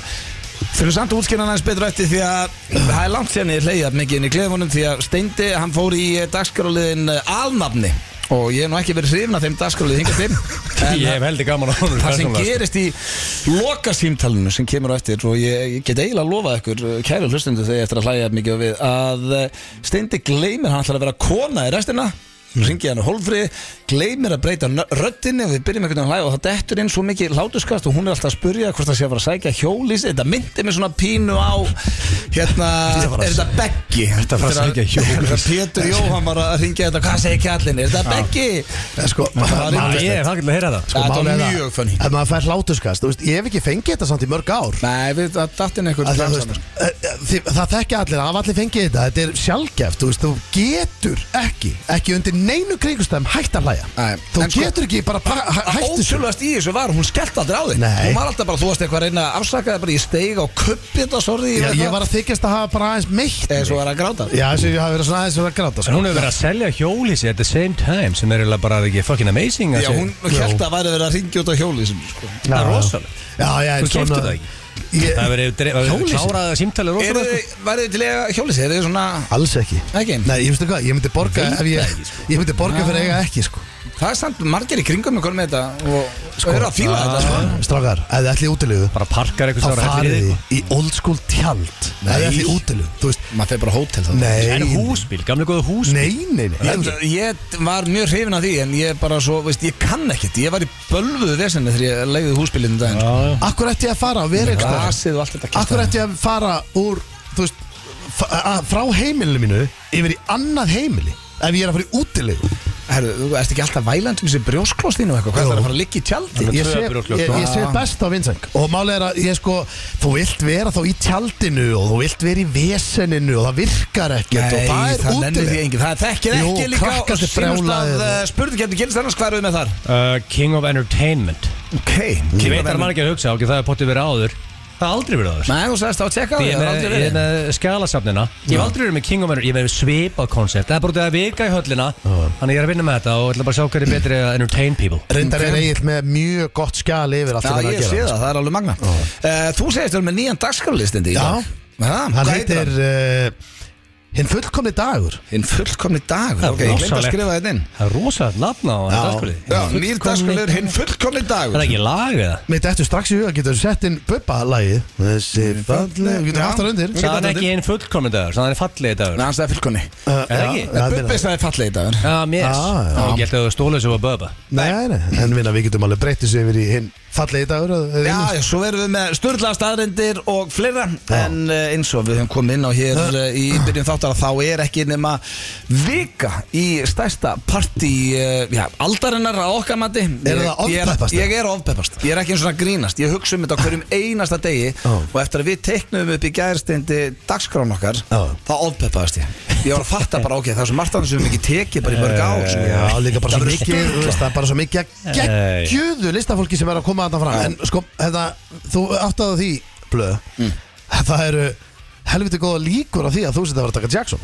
[SPEAKER 1] þurfum samt að útskýra hann aðeins betur eftir því að það er langt sérni hleyjað mikið inn í klefunum því að Steindi hann fór í dagskráliðin alnafni og ég hef nú ekki verið hrifin af þeim dagskráliðin hingað til en
[SPEAKER 2] Ég hef heldur gaman á honum
[SPEAKER 1] Það sem
[SPEAKER 2] persónulega, sko.
[SPEAKER 1] gerist í lokasímtalinu sem kemur á eftir og ég, ég get eiginlega að lofa ykkur uh, kæru hlustundu þegar ég eftir að hlæja jafn mikið og við að eh, Steindi gleymir hann ætlar að vera kona í restina
[SPEAKER 3] Mm.
[SPEAKER 1] ringi hann hólfri, gleymir að breyta nö- röddinni og við byrjum einhvern veginn að hlæja og það dettur inn svo mikið hlátuskast og hún er alltaf að spurja hvort það sé að fara að sækja hjólís þetta myndi mig svona pínu á hérna,
[SPEAKER 3] fara að-
[SPEAKER 1] er þetta beggi?
[SPEAKER 2] Þetta að fara að sækja hjólís.
[SPEAKER 1] Pétur Jóhann var að ringja þetta, hvað segir kjallin? Er þetta beggi?
[SPEAKER 3] En sko,
[SPEAKER 1] var
[SPEAKER 2] Já,
[SPEAKER 3] maður-
[SPEAKER 2] Ég hef hægt að heyra það sko.
[SPEAKER 1] Þetta var
[SPEAKER 3] málið er það-
[SPEAKER 1] mjög funny.
[SPEAKER 3] Ef maður fær hlátuskast, þú veist, ég hef ekki fengið þetta samt í mörg ár
[SPEAKER 1] Nei, við, það datt inn einhvern
[SPEAKER 3] Að Það, þú
[SPEAKER 1] glansann,
[SPEAKER 3] veist,
[SPEAKER 1] sko.
[SPEAKER 3] eh, þið- það þekkja allir, það hafa allir fengið þetta Þetta er sjálfgeft, þú veist, þú getur ekki Ekki undir neinu kringustæðum hægt að hlæja
[SPEAKER 1] Nei,
[SPEAKER 3] Þú
[SPEAKER 1] en sko-
[SPEAKER 3] getur ekki bara pa- hæ- hægt þessu
[SPEAKER 1] Ótrúlegast í þessu var, hún skellt aldrei á þig
[SPEAKER 3] Nei.
[SPEAKER 1] Hún var alltaf bara, þú varst eitthvað að reyna að afsaka það bara í steig á kuppita, sorry
[SPEAKER 3] Já, Ég var að þykjast að hafa bara aðeins meitt
[SPEAKER 1] Eða svo var að gráta
[SPEAKER 3] Já, þessi ég hafi verið svona aðeins að gráta sko.
[SPEAKER 2] En hún hefur verið að selja hjólísi at the same time sem er eiginlega bara ekki fucking amazing að
[SPEAKER 1] Já,
[SPEAKER 2] segja.
[SPEAKER 1] hún held að væri verið að ringja út á hjóli sem, sko.
[SPEAKER 2] Það er rosalegt.
[SPEAKER 3] Já, já,
[SPEAKER 2] Þú
[SPEAKER 3] en
[SPEAKER 2] keyptir
[SPEAKER 3] svona-
[SPEAKER 2] það ekki?
[SPEAKER 3] Ég-
[SPEAKER 2] Það hefur
[SPEAKER 3] Hjólhýsi?
[SPEAKER 2] klárað að símtalið
[SPEAKER 3] sko.
[SPEAKER 1] Eru
[SPEAKER 2] rosalega sko.
[SPEAKER 1] þið, værið þið til eiga hjóli Eru þið svona,
[SPEAKER 3] Alls ekki
[SPEAKER 1] Ekki?
[SPEAKER 3] Nei, ég veistu hvað, ég myndi borga ef ég
[SPEAKER 2] sko.
[SPEAKER 3] Ég myndi borga fyrir að eiga ekki, sko
[SPEAKER 1] það er samt margir í kringum með konum með þetta Og sko, eru að fíla þetta, sko
[SPEAKER 3] Strákar, ef þið ætlið útilegu
[SPEAKER 2] Bara parkar
[SPEAKER 3] Þá
[SPEAKER 2] eitthvað sem
[SPEAKER 3] farið
[SPEAKER 2] hellir í
[SPEAKER 3] þið í old school tjald Ef þið ætlið útilegu, þú veist
[SPEAKER 1] Maður fyrir bara hótel þá
[SPEAKER 3] Nei,
[SPEAKER 2] En húsbíl, gamlega góða húsbíl
[SPEAKER 3] nei, nei, nei
[SPEAKER 1] Ég,
[SPEAKER 3] Ég-
[SPEAKER 1] ég var mjög hrifin af því En ég bara svo, veist, ég kann ekkert Ég var í bölvuðu vesenni þegar ég leiði húsbílinn um daginn sko.
[SPEAKER 2] Já, já.
[SPEAKER 3] Akkur ætti ég að fara að vera eitthvað
[SPEAKER 1] Grasið og allt þetta kjaftæði.
[SPEAKER 3] Akkur ætti ég að fara úr Þú veist f- að- Frá heimilinu mínu Yfir í annað heimili Ef ég er að fara í útilegu
[SPEAKER 1] Herru, þú ert ekki alltaf vælandum sem brjósklós þín og eitthvað, hvað
[SPEAKER 3] Jó.
[SPEAKER 1] ætlar að fara að liggja í tjaldi?
[SPEAKER 3] Ég
[SPEAKER 2] tvö
[SPEAKER 3] sé,
[SPEAKER 2] brjósklögg,
[SPEAKER 3] ég,
[SPEAKER 2] sko.
[SPEAKER 3] ég
[SPEAKER 1] Ah.
[SPEAKER 3] sé best á vinseng Og málið er að ég sko Þú vilt vera þá í tjaldinu Og þú vilt vera í veseninu Og það virkar ekkert Og það er
[SPEAKER 1] nennir því
[SPEAKER 3] útileg
[SPEAKER 1] enginn, það þekkir
[SPEAKER 3] Jú,
[SPEAKER 1] ekki líka
[SPEAKER 3] krakkar
[SPEAKER 1] og
[SPEAKER 3] sem
[SPEAKER 1] sínust að
[SPEAKER 3] brjálaðir
[SPEAKER 1] uh,
[SPEAKER 3] og-
[SPEAKER 1] spurðu getur gilst annars hvað eruð með þar?
[SPEAKER 2] Uh, King of Entertainment
[SPEAKER 1] Ok,
[SPEAKER 2] Ég veit að maður ekki að hugsa á, það er potið verið áður Það er aldrei verið áður
[SPEAKER 1] Nei, þú sagðist á að tjekka á
[SPEAKER 2] Því
[SPEAKER 1] því,
[SPEAKER 2] Ég
[SPEAKER 1] það er
[SPEAKER 2] er með,
[SPEAKER 1] aldrei
[SPEAKER 2] ég er
[SPEAKER 1] verið
[SPEAKER 2] með skjálasafnina Ég hef aldrei verið með King of Entertainment Ég hef með svipað koncept Það er bara út að vika í höllina Þannig að ég er að vinna með þetta og ætla bara að sjá hverju betri að entertain people
[SPEAKER 3] Reyndar er eigill með mjög gott skjal yfir allt
[SPEAKER 1] Já,
[SPEAKER 3] sem hann er
[SPEAKER 1] ég
[SPEAKER 3] að
[SPEAKER 1] sé
[SPEAKER 3] gera
[SPEAKER 1] það, það er alveg magna uh, Þú segist þér með nýjan dagskrálistindi
[SPEAKER 3] Já.
[SPEAKER 1] Hann
[SPEAKER 3] Hann heitir uh, Hinn fullkomni dagur
[SPEAKER 1] Hinn fullkomni dagur,
[SPEAKER 2] Það er
[SPEAKER 1] ok, ég glemt að
[SPEAKER 2] rosalegt.
[SPEAKER 1] skrifa þetta inn
[SPEAKER 2] Það er rosalegt nafna á
[SPEAKER 3] Já.
[SPEAKER 2] hann dagskóli
[SPEAKER 1] Já, nýr dagskrálur, hinn fullkomni
[SPEAKER 2] Það
[SPEAKER 1] dagur
[SPEAKER 2] er ekki lag eða
[SPEAKER 3] Mitt eftir strax í huga getur sett inn Bubba-lagið Þessi falleg Getur
[SPEAKER 1] Já.
[SPEAKER 3] haft það undir
[SPEAKER 1] Ég
[SPEAKER 2] Það
[SPEAKER 1] get
[SPEAKER 2] er
[SPEAKER 1] aldrei-
[SPEAKER 2] ekki einn fullkomin dagur Það er fallið
[SPEAKER 1] Nei,
[SPEAKER 2] dagur
[SPEAKER 1] hann sagði fullkomni
[SPEAKER 2] Er það ekki?
[SPEAKER 3] Já, meina-
[SPEAKER 1] Bubbi sagði fallegi dagur
[SPEAKER 2] Já, mér
[SPEAKER 1] Ah,
[SPEAKER 3] Já, já.
[SPEAKER 2] Það er ekki alltaf að stóla þessu að böba
[SPEAKER 3] Nei, nei, en minna við getum alveg breytið sér yfir í hinn fallegi dagur eða- eða
[SPEAKER 1] Já,
[SPEAKER 3] hinn-
[SPEAKER 1] já, svo verðum við með störðlega staðrindir og fleira
[SPEAKER 3] Já.
[SPEAKER 1] En eh, eins og við höfum komið inn á hér eh, í byrjun þáttar að þá er ekki nema vika í stærsta partí eh, já, aldarinnar á okkar mati Ég-
[SPEAKER 3] Er
[SPEAKER 1] ég
[SPEAKER 3] það
[SPEAKER 1] er-
[SPEAKER 3] ofpeppast?
[SPEAKER 1] Ég er ofpeppast, ég er ekki eins og að grínast Ég hugsa um þetta á hverjum einasta degi
[SPEAKER 3] Já.
[SPEAKER 1] Og eftir að við teiknum upp í gærsteindi dagskrán okkar
[SPEAKER 3] Já.
[SPEAKER 1] Þá ofpeppast ég Ég var að fatta bara, ok, það er svo margt annars sem við ekki tekið bara í mörg ár sem ég-
[SPEAKER 3] Eh, Já, líka bara
[SPEAKER 1] Það
[SPEAKER 3] svo
[SPEAKER 1] verður
[SPEAKER 3] mikið
[SPEAKER 1] sturlað.
[SPEAKER 3] þú veist, Það er bara svo mikið að geggjöðu listafólki sem er að koma þarna fram En sko, þetta, þú áttaðu því Blöð Það eru helviti góða líkur á því að þú setja að vera að taka Jackson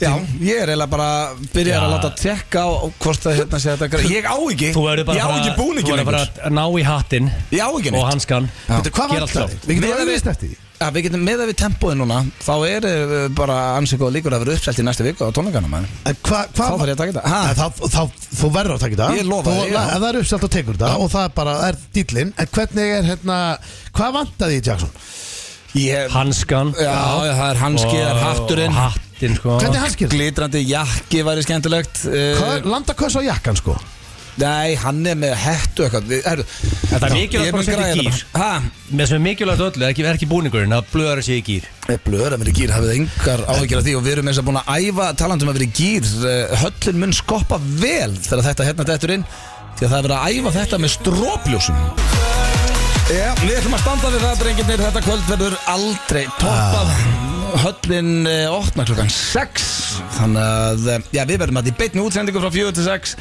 [SPEAKER 1] Já, ég er eiginlega bara byrjar
[SPEAKER 2] Já.
[SPEAKER 1] að láta tjekka á, á hvort það hérna sé þetta gra- Ég á ekki,
[SPEAKER 2] Þú verður
[SPEAKER 1] ég
[SPEAKER 2] bara
[SPEAKER 1] á
[SPEAKER 2] að
[SPEAKER 1] ekki
[SPEAKER 2] fara-
[SPEAKER 1] búningin
[SPEAKER 2] Þú verður bara
[SPEAKER 1] lengur
[SPEAKER 2] að ná í hattinn
[SPEAKER 1] Ég á ekki
[SPEAKER 2] og
[SPEAKER 1] neitt
[SPEAKER 2] hanskan
[SPEAKER 1] Já.
[SPEAKER 3] Veitu, hvað
[SPEAKER 2] Gera
[SPEAKER 3] vantar
[SPEAKER 2] allt
[SPEAKER 3] þig?
[SPEAKER 2] klárt.
[SPEAKER 3] Við getum
[SPEAKER 1] Miðað við-
[SPEAKER 3] auðvist eftir því
[SPEAKER 1] ja, Við getum meða við tempóið núna Þá er eh, bara ansið góð líkur að vera uppselt í næstu viku á tónleikana maður.
[SPEAKER 3] En hvað hva,
[SPEAKER 1] Þá þarf ég að taka þetta Ha?
[SPEAKER 3] Nei, þá, þá, þú verður að taka þetta
[SPEAKER 1] Ég lofa
[SPEAKER 3] Þú-
[SPEAKER 1] þér, já.
[SPEAKER 3] Ef það er uppselt og tekur þetta og það er bara, það er dýllinn En hvernig er hérna, hvað vantaði í Jackson?
[SPEAKER 1] Ég,
[SPEAKER 2] Hanskan
[SPEAKER 1] Já, það er hanski, það er
[SPEAKER 2] og-
[SPEAKER 1] hatturinn
[SPEAKER 2] og Hattinn sko
[SPEAKER 3] Hvernig er hanskir?
[SPEAKER 1] Glitrandi jakki væri skemmtilegt eh,
[SPEAKER 3] Landa kvöss á jakkan sko
[SPEAKER 1] Nei, hann er með hettu eitthvað Við- herru,
[SPEAKER 2] Þetta er
[SPEAKER 1] já,
[SPEAKER 2] mikilvægt
[SPEAKER 1] ég mun
[SPEAKER 2] bara að setja í
[SPEAKER 1] græja þetta
[SPEAKER 2] gír.
[SPEAKER 1] bara.
[SPEAKER 2] Mér sem er mikilvægt öllu er ekki, er ekki búningurinn að blöðara sig í gýr
[SPEAKER 1] Ha? Blöður að vera í gýr, hafið engar áhyggjur af því og við erum eins að búin að æfa talandum að vera í gýr Eh, höllin mun skoppa vel þegar þetta hérna dettur inn því að það er verið að æfa þetta með strópljósum Já, við ætlum að standa við það, drengirnir Þetta kvöld verður aldrei toppað Höllin eh, opna klukkan 6 Þannig að, eh, já, við verðum að í beinni útsendingu frá 4 til 6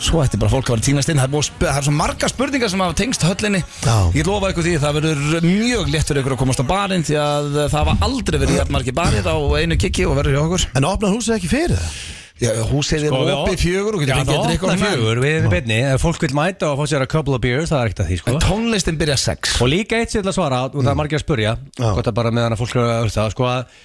[SPEAKER 1] Svo ætti bara fólk að vera að týnast inn Það er, búið, að sp- það er svo marga spurningar sem hafa tengst höllinni
[SPEAKER 3] Já.
[SPEAKER 1] Ég lofa ykkur því, það verður mjög létt fyrir ykkur að komast á barinn Því að eh, það hafa aldrei verið hjarn margi barinn á einu kikki og verður hjá okkur
[SPEAKER 3] En opnar húsið ekki fyrir það?
[SPEAKER 1] Sko, Já, húsið er opið fjögur og getur
[SPEAKER 2] Já, það
[SPEAKER 1] fengið að drikka
[SPEAKER 2] opnar
[SPEAKER 1] á fjögur
[SPEAKER 2] fjögur Við erum í beinni Ef fólk vil mæta og fá sér að couple of beers Það er ekkert að því sko
[SPEAKER 1] En tónlistin byrja 6
[SPEAKER 2] Og líka eitt sem ég ætla að svara Og
[SPEAKER 3] Mm.
[SPEAKER 2] það er margir að spurja Gott að bara meðan að fólk er að hlusta Sko að,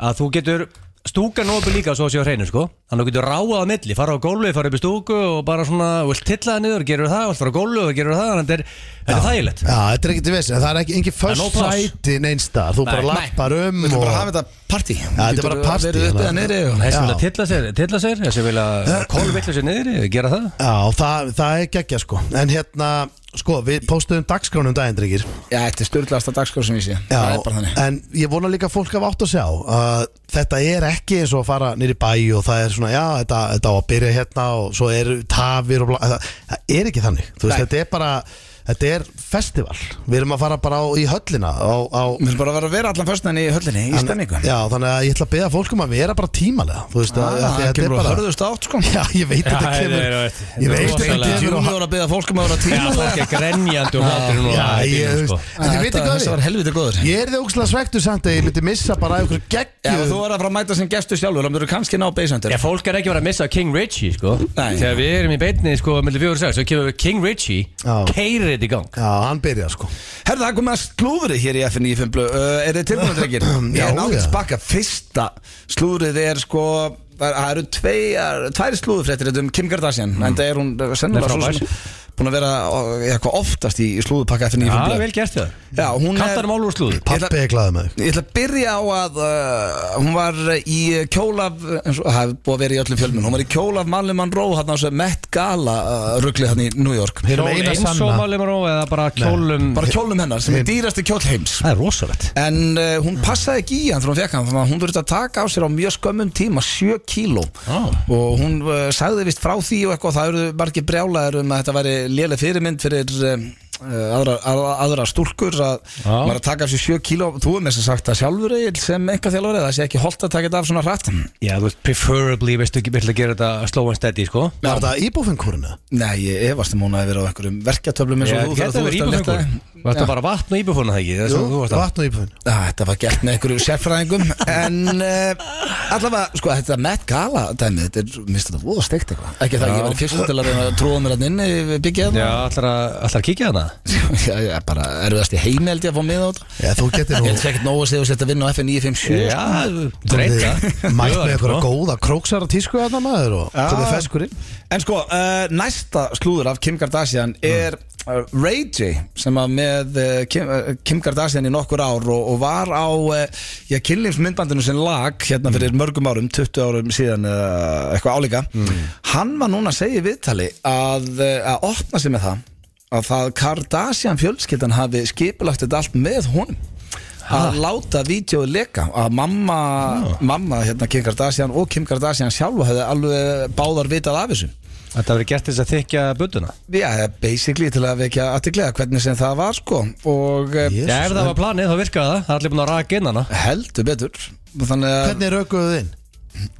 [SPEAKER 2] að þú getur Stúkan opið líka svo að séu á hreinu sko Þannig að þú getur ráað á milli Fara á gólfi, fara upp í stúku Og bara svona Þú vilt tilla það niður, gerur það Þú vilt fara á gólfi og gerur það Þannig að þetta er- þetta er þægilegt
[SPEAKER 3] Já, þetta er ekki til vesin, það er ekki engin
[SPEAKER 2] er nóg
[SPEAKER 3] först
[SPEAKER 2] pláss.
[SPEAKER 3] sæti neinstar, þú bara
[SPEAKER 2] nei.
[SPEAKER 3] lappar um
[SPEAKER 1] Við ætlum bara að hafa
[SPEAKER 3] og...
[SPEAKER 1] þetta partí Já,
[SPEAKER 3] þetta er bara partí,
[SPEAKER 1] Verður uppið að
[SPEAKER 3] þannig
[SPEAKER 1] niðri og
[SPEAKER 2] Þessi
[SPEAKER 3] Já.
[SPEAKER 2] vilja tilla sér, tilla sér Þessi vilja kólvillu sér niður Gera það
[SPEAKER 3] Já, það, það er geggja sko En hérna, sko, við postuðum dagskránum daginn, drengir
[SPEAKER 1] Já, þetta er styrlaðasta dagskóð sem ég sé Það
[SPEAKER 3] Já,
[SPEAKER 1] er bara þannig
[SPEAKER 3] en ég vona líka að fólk hafa átt að sjá að þetta er ekki eins og að fara nýri bæ og það er svona, já, þetta, þetta á að byrja hérna og svo eru tafir og bla það, það er ekki þannig, þú veist,
[SPEAKER 1] Nei.
[SPEAKER 3] þetta er bara þetta er festival, við erum að fara bara á, í höllina á, á
[SPEAKER 1] Við erum bara að vera að vera allan föstnæðin í höllinni í stemningu Ah,
[SPEAKER 3] Já, þannig að ég ætla að beða fólkum að vera bara tímalega, þú veist, að, að, að
[SPEAKER 1] Það
[SPEAKER 3] þetta er
[SPEAKER 1] kemur að
[SPEAKER 3] bara
[SPEAKER 1] hörðust átt sko
[SPEAKER 3] Já, ég veit þetta
[SPEAKER 2] Já,
[SPEAKER 3] kemur
[SPEAKER 2] ég veit,
[SPEAKER 3] Ég veit
[SPEAKER 2] þetta er
[SPEAKER 3] þetta
[SPEAKER 2] rosalega.
[SPEAKER 3] kemur og-
[SPEAKER 1] Junior að beða fólkum að vera
[SPEAKER 2] Já, fólk
[SPEAKER 1] tíma
[SPEAKER 2] er grenjandi og hlátur núna
[SPEAKER 3] Já,
[SPEAKER 2] í
[SPEAKER 3] ég,
[SPEAKER 2] bílnum,
[SPEAKER 3] þú
[SPEAKER 2] sko.
[SPEAKER 3] veist, en þið veitir hvað
[SPEAKER 1] Þessi var
[SPEAKER 3] við
[SPEAKER 1] helviti góður
[SPEAKER 3] Ég er þið ógslag svektur samt að ég myndi missa bara ykkur
[SPEAKER 1] Já,
[SPEAKER 3] geggju
[SPEAKER 1] þú er að fara að mæta sem gestur sjálfur Þannig að þú eru kannski ná beisendur
[SPEAKER 2] Já, fólk er ekki verið að missa King Richie, sko
[SPEAKER 1] Nei.
[SPEAKER 2] Þegar við erum í beinni, sko, mellum fjóður og sex Svo kemur King Richie,
[SPEAKER 3] Já.
[SPEAKER 2] keirir þetta í gang
[SPEAKER 3] Já, hann byrja sko
[SPEAKER 1] Herðu, það komið að slúðri hér í FN í Fimblu uh, Er þið tilbúinu, drengir? Ég
[SPEAKER 3] Já,
[SPEAKER 1] er náttúrulega
[SPEAKER 3] já.
[SPEAKER 1] spakka Fyrsta slúðrið er sko Það það eru tveiar, tvær slúðufréttir um Kim Kardashian
[SPEAKER 3] Mm.
[SPEAKER 1] En það er hún uh, sennilega
[SPEAKER 2] Nei,
[SPEAKER 1] svo
[SPEAKER 2] frábær.
[SPEAKER 1] sem Búin að vera uh, eitthvað oftast í, í slúðupakka FN í
[SPEAKER 2] Já,
[SPEAKER 1] Fimblu
[SPEAKER 2] Ah, vel gert þér
[SPEAKER 1] Já, hún er-
[SPEAKER 2] Kattar málur og slúður
[SPEAKER 1] Ég ætla-
[SPEAKER 3] Pappi er glaðið með þig
[SPEAKER 1] Ég ætla að byrja á að uh, hún var í kjólaf eins og það hefur búið að vera í öllum fjölmun hún var í kjólaf Malin Monroe hann á þessu Met Gala uh, ruggli hann í New York
[SPEAKER 3] Hinn
[SPEAKER 2] Kjól
[SPEAKER 3] eina
[SPEAKER 2] eins og
[SPEAKER 3] sanna
[SPEAKER 2] málum og eða bara kjólum
[SPEAKER 1] bara kjólum hennar sem er dýrasti kjól heims
[SPEAKER 2] Það er rosalegt
[SPEAKER 1] en uh, hún passaði ekki í hann þegar hún fekk hann þannig að hún þurfti að taka á sér á mjög skömmum tíma 7 kíló
[SPEAKER 2] Á.
[SPEAKER 1] og hún uh, sagði vist frá því og eitthvað það eru margir brjálæður um að þetta væri léleg fyrirmynd fyrir uh, aðra, aðra, aðra stúlkur að
[SPEAKER 2] Já.
[SPEAKER 1] maður er að taka af sér 7 kíló þú er með þess að sagt það sjálfur Egill, sem einhvað þjálfur það sé ekki holdt að taka þetta af svona hratt
[SPEAKER 2] Já, þú veist, preferably, veistu ekki, vill að gera þetta slow and steady, sko
[SPEAKER 3] Var þetta íbúfengurinu?
[SPEAKER 1] Nei, ég efast um hún að vera á einhverjum verkjatöflum eins
[SPEAKER 2] Já,
[SPEAKER 1] og þú
[SPEAKER 2] Þetta
[SPEAKER 1] þegar
[SPEAKER 2] verður
[SPEAKER 1] þú ert að
[SPEAKER 2] íbúfengur
[SPEAKER 1] leta-
[SPEAKER 2] Þetta bara vatn og íbúfuna, það ekki Það sem þú varst að-
[SPEAKER 3] Vatn og íbúfengur
[SPEAKER 1] Á, Ah, Þetta var gert með einhverju sérfræðingum En uh, allavega, sko, þetta Met Gala dæmi Þetta er, minnst þetta, voða steikt eitthvað Ekki það,
[SPEAKER 2] Já.
[SPEAKER 1] ég var fyrst til að reyna að tróða mér hann inn Við byggja
[SPEAKER 2] Já,
[SPEAKER 1] þetta
[SPEAKER 2] ætlar að ætlar að kíkja þarna
[SPEAKER 1] Já, ég er bara erfiðast í heimi held ég að fá miða á þetta
[SPEAKER 3] Já, þú getur
[SPEAKER 1] Ég
[SPEAKER 3] nú
[SPEAKER 1] held sér ekkert nógu að segja þú sért að vinna á FN 957
[SPEAKER 2] Já,
[SPEAKER 1] sko.
[SPEAKER 2] dreita
[SPEAKER 3] Mætt með einhverja
[SPEAKER 2] sko.
[SPEAKER 3] góða króksara tísku þarna maður og
[SPEAKER 1] Já.
[SPEAKER 3] komið feskur inn
[SPEAKER 1] En sko, uh, næsta slúður af Kim Kardashian er uh, Ray J sem að með uh, Kim, uh, Kim Kardashian í nokkur ár og, og var á uh, já, kynlífsmyndbandinu sem lag hérna fyrir mörgum árum, 20 árum síðan uh, eitthvað álíka hann var núna að segja í viðtali að, uh, að opna sig með það að það Kardashian fjölskyldan hafi skipulagt þetta allt með honum að láta vídeoið leka að mamma, mamma hérna, Kim Kardashian og Kim Kardashian sjálfa hefði alveg báðar vitað af þessu
[SPEAKER 2] Þetta verður gert til þess að þykja budduna
[SPEAKER 1] Já, basically til að vekja aðtiklega hvernig sem það var sko og yes.
[SPEAKER 2] Já, ef það var planið þá virkaði það Það er allir búin að raka inn hana
[SPEAKER 1] heldur betur þannig að
[SPEAKER 3] Hvernig raukuðu þið inn?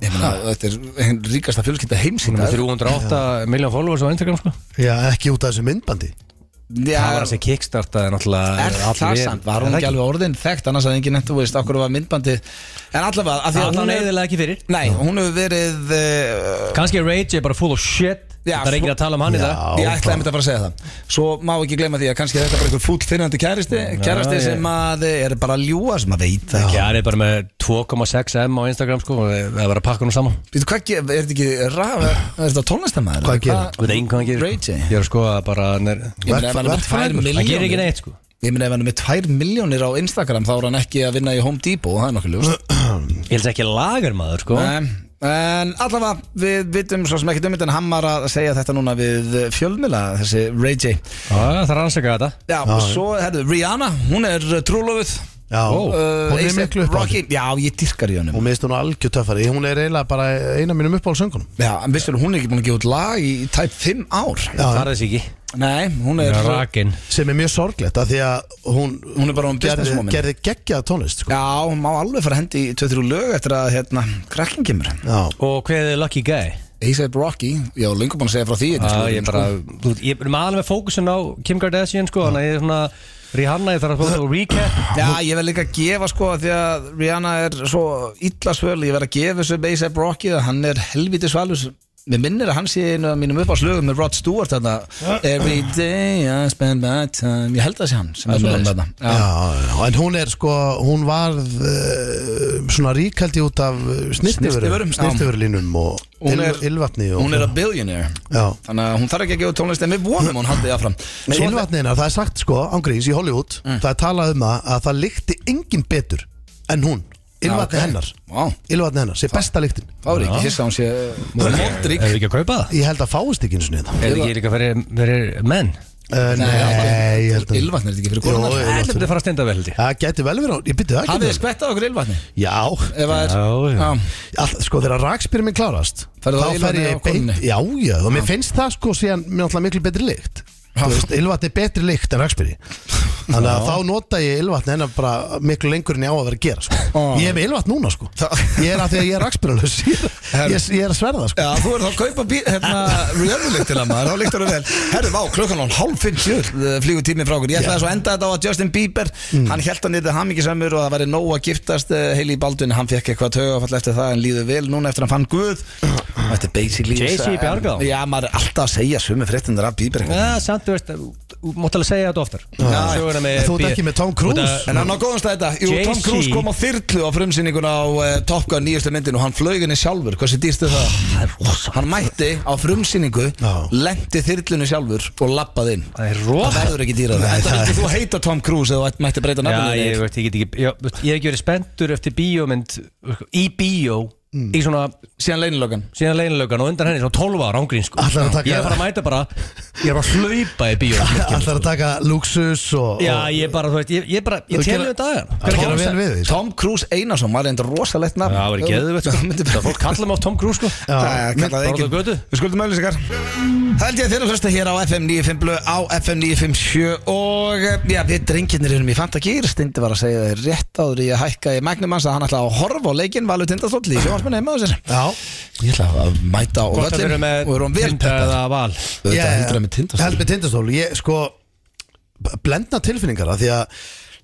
[SPEAKER 1] ég meina, þetta er einn ríkasta fjölskylda
[SPEAKER 2] Hún er með
[SPEAKER 1] heimsýndar
[SPEAKER 2] 308 miljón followers á Instagram sko
[SPEAKER 3] Já, ekki út af þessu myndbandi
[SPEAKER 2] Það var þessi kickstartaði náttúrulega
[SPEAKER 1] Er
[SPEAKER 2] allir
[SPEAKER 1] það
[SPEAKER 2] við-
[SPEAKER 1] samt, var hún
[SPEAKER 2] Er það
[SPEAKER 1] ekki alveg orðin þekkt annars að enginn eftir veist okkur var myndbandi en allavega, af því að hún
[SPEAKER 2] Allan
[SPEAKER 1] er
[SPEAKER 2] eðilega ekki fyrir
[SPEAKER 1] Nei, hún hefur verið uh,
[SPEAKER 2] Kanski er Ray J bara full of shit
[SPEAKER 1] Já,
[SPEAKER 2] Það er enginn
[SPEAKER 1] svo-
[SPEAKER 2] að tala um hann í dag
[SPEAKER 3] Já,
[SPEAKER 1] Ég ætlaði
[SPEAKER 3] bara.
[SPEAKER 1] einmitt að fara að segja það Svo má ekki gleyma því að kannski er þetta bara einhver fúll finnandi kæristi Kærasti
[SPEAKER 2] ég-
[SPEAKER 1] sem að er bara að ljúa sem að veit það ekki
[SPEAKER 2] Já, hann er bara með 2,6M á Instagram sko og Það er bara að pakka hún saman
[SPEAKER 1] Býtu, hvað ge- Er þetta ekki raf, er þetta tónlistamæður?
[SPEAKER 3] Hvað gerir hann?
[SPEAKER 2] Ég veit enginn hvað hann gerir
[SPEAKER 1] Ray J.
[SPEAKER 2] Ég er sko að bara hann er
[SPEAKER 1] Ég meina, ef hann er með
[SPEAKER 3] Verð-
[SPEAKER 1] tvær
[SPEAKER 3] verðfræðingur.
[SPEAKER 2] Hann gerir ekki
[SPEAKER 1] milljónir
[SPEAKER 2] neitt sko
[SPEAKER 1] Ég meina, ef hann er með tvær milljónir á Instagram þá er hann ekki að vinna í Home Depot, það er nokkuð ljóst
[SPEAKER 2] Ég held ekki lagar maður sko
[SPEAKER 1] En, en allavega, við vitum svo sem ekki dömynd en hann var að segja þetta núna við eh, fjölmiðla, þessi Ray J
[SPEAKER 2] Já, Það er að rannsaka þetta
[SPEAKER 1] Já, og svo, herðu, Rihanna, hún er trúlofuð
[SPEAKER 3] Já,
[SPEAKER 1] Uh,
[SPEAKER 3] hún er
[SPEAKER 1] A$AP
[SPEAKER 3] miklu upp á
[SPEAKER 1] Rocky, Já, ég dyrkar í honum
[SPEAKER 3] Hún minnst hún algjör töffari Hún er eiginlega bara eina mínum uppáhaldsöngunum
[SPEAKER 1] Já, en vissur, hún er ekki búin að gefa út lag í tæp 5 ár
[SPEAKER 2] Það er þess ekki
[SPEAKER 1] Nei, hún er
[SPEAKER 2] Rakin
[SPEAKER 3] Sem er mjög sorglegt af Því að hún,
[SPEAKER 1] Hún er bara um business
[SPEAKER 3] gerði,
[SPEAKER 1] woman.
[SPEAKER 3] gerði geggjað tónlist sko.
[SPEAKER 1] Já, hún má alveg fara að hendi í 2-3 lög eftir að hérna, krakkin kemur
[SPEAKER 3] Já.
[SPEAKER 2] Og hvað er Lucky Guy?
[SPEAKER 1] A$AP Rocky, ég var lengur búin að segja frá því
[SPEAKER 2] Já,
[SPEAKER 1] sko,
[SPEAKER 2] ég bara þú, veist, Ég er maður með fókusin á Kim Kardashian sko Þannig að ég er svona Rihanna, ég þarf að fóta og recap
[SPEAKER 1] Já, ég verð líka að gefa sko því að Rihanna er svo illa svöl ég verð að gefa þessu A$AP Rocky að hann er helviti svalus Mér minnir að hann sé einu af mínum uppáðslögum með Rod Stewart þarna Every day I spend my time Ég held að það sé hann sem er
[SPEAKER 2] svoleiðis.
[SPEAKER 1] svolítið með
[SPEAKER 3] Já,
[SPEAKER 1] það
[SPEAKER 3] já, en hún er sko, hún varð uh, svona ríkaldi út af snirtiförum,
[SPEAKER 1] Snyrtivörum, já.
[SPEAKER 3] snirtiförlínum og
[SPEAKER 1] Hún er-
[SPEAKER 3] ylv- ylvatni og
[SPEAKER 1] Hún er a billionaire
[SPEAKER 3] Já.
[SPEAKER 1] Þannig að hún þarf ekki að gefa tónlist en við vonum að hún haldið áfram
[SPEAKER 3] Nei,
[SPEAKER 1] Svo-
[SPEAKER 3] ylvatnina, það er sagt sko, ángríns í Hollywood
[SPEAKER 1] Mm.
[SPEAKER 3] það er talað um það að það lykti engin betur en hún, ylvatni
[SPEAKER 1] Já, ok.
[SPEAKER 3] hennar
[SPEAKER 1] Vá,
[SPEAKER 3] ylvatni hennar, sé besta lyktin
[SPEAKER 1] þá er ég ekki hissa að hún sé Moldrik
[SPEAKER 2] Erum við ekki að kaupa það?
[SPEAKER 3] ég held að fáist ekki eins og niður
[SPEAKER 2] Er ekki líka fyrir, fyrir menn?
[SPEAKER 3] Eh, nei, ég held að
[SPEAKER 1] Ylvatn er þetta ekki fyrir
[SPEAKER 3] Jó,
[SPEAKER 1] konar
[SPEAKER 3] ylvatn.
[SPEAKER 2] Það er að fara að stenda vel held ég
[SPEAKER 3] það geti vel verið, hún- ég byrju það
[SPEAKER 1] Hafið
[SPEAKER 3] ekki
[SPEAKER 1] þið
[SPEAKER 3] verið.
[SPEAKER 1] skvettað okkur ylvatni?
[SPEAKER 3] já,
[SPEAKER 1] Ef að
[SPEAKER 2] Já, já.
[SPEAKER 3] all, sko þegar rakspyrir minn klárast
[SPEAKER 1] Ferðu þá
[SPEAKER 3] þá fer
[SPEAKER 1] ylvatni
[SPEAKER 3] ég
[SPEAKER 1] á konunni?
[SPEAKER 3] beint, já, já, og mér finnst það sko síðan mér náttúrulega miklu betri lykt Þú veist, ylvatni er betri lykt en rakspyrir þannig að þá nota ég ylvatni hennar bara miklu lengur en ég á að vera að gera sko.
[SPEAKER 1] Já.
[SPEAKER 3] ég er með ylvatn núna sko ég er að því að ég er rakspyrirlaus ég, er- ég, ég er að sverða sko
[SPEAKER 1] Já, þú er þá að kaupa bí- hérna, rjörnuliktina maður, þá líktur það vel Herðu, vá, klukkan án hálf fimm sjöld flýgur tími frá okkur Ég ætlaði svo að enda þetta á að Justin Bieber hann held hann eitthvað hamingisamur og það væri nóg að giftast heil í baldun, hann fekk eitthvað taugafall eftir það en líður vel núna eftir hann fann Guð Þetta er basically
[SPEAKER 2] Jay-Z bjargað honum.
[SPEAKER 1] Já, maður er alltaf að segja sumi fréttindur af Bieber eitthvað.
[SPEAKER 2] Já, samt, þú veist, þú mátt alveg segja þetta oftar Söguna með
[SPEAKER 3] Þú ert
[SPEAKER 2] B-
[SPEAKER 3] ekki með Tom Cruise?
[SPEAKER 2] Út af-
[SPEAKER 1] En hann á góðan stað þetta Jú, Tom
[SPEAKER 2] Jay-Z.
[SPEAKER 1] Cruise kom á þyrlu á frumsýninguna á uh, Top Gun nýjustu myndinu og hann flög henni sjálfur, hversu dýrstu það?
[SPEAKER 2] Ah,
[SPEAKER 1] Hann mætti á frumsýningu
[SPEAKER 3] Já.
[SPEAKER 1] lendi þyrlunni sjálfur og lappað inn
[SPEAKER 2] Það er
[SPEAKER 1] Það
[SPEAKER 2] rosa
[SPEAKER 1] verður ekki dýrar
[SPEAKER 3] Nei,
[SPEAKER 1] Enda
[SPEAKER 3] það-
[SPEAKER 1] vildi þú heita Tom Cruise eða þú mætti breyta
[SPEAKER 2] Já,
[SPEAKER 1] nafninu
[SPEAKER 2] ég
[SPEAKER 1] þínu.
[SPEAKER 2] veit, ég get ekki já, veist, Ég hef ekki verið spenntur eftir bíómynd sko, Í bíó
[SPEAKER 3] Mm.
[SPEAKER 2] Í svona,
[SPEAKER 1] Síðan leinilögan
[SPEAKER 2] síðan leinilögan og undan henni Svona 12 ára ángrín sko
[SPEAKER 3] Ætlar að taka-
[SPEAKER 2] Ég er bara að mæta bara Ég er bara að hlaupa í bíó sko.
[SPEAKER 3] alltaf að taka luxus og,
[SPEAKER 2] Já,
[SPEAKER 3] og
[SPEAKER 2] ég bara, þú veist, ég, ég bara Ég
[SPEAKER 3] Þú
[SPEAKER 2] tel
[SPEAKER 3] gera-
[SPEAKER 2] við dagar
[SPEAKER 3] að gera vel við því sko.
[SPEAKER 1] Tom Cruise Einarsson var reynda rosalegt nafn
[SPEAKER 2] Já, það verður geðvett sko Það fólk kallar mig á Tom Cruise sko
[SPEAKER 3] Já.
[SPEAKER 1] Það er kallað
[SPEAKER 2] Bara
[SPEAKER 1] enginn
[SPEAKER 2] út á götu.
[SPEAKER 1] Við skuldum auðlýsingar Það held ég að þeirra hlusta hér á FM 95 blöð á FM 957 og eh, já, við drengirnir erum í fantagýr Stindi var að segja þeir rétt áður í að hækka í magnum hans að hann ætla að horfa á leikinn Valur Tindastóll í sjóhansmenni heima á sér
[SPEAKER 3] Já,
[SPEAKER 1] Ég ætla að mæta á
[SPEAKER 2] Gott að vera
[SPEAKER 1] völlin
[SPEAKER 2] með
[SPEAKER 1] og erum vel
[SPEAKER 2] Tinda
[SPEAKER 1] peppað
[SPEAKER 2] eða val
[SPEAKER 1] Þetta
[SPEAKER 3] Ég-
[SPEAKER 1] heldur að með Tindastóll
[SPEAKER 3] Heldur með tindastól Ég sko b- Blendna tilfinningar af Því að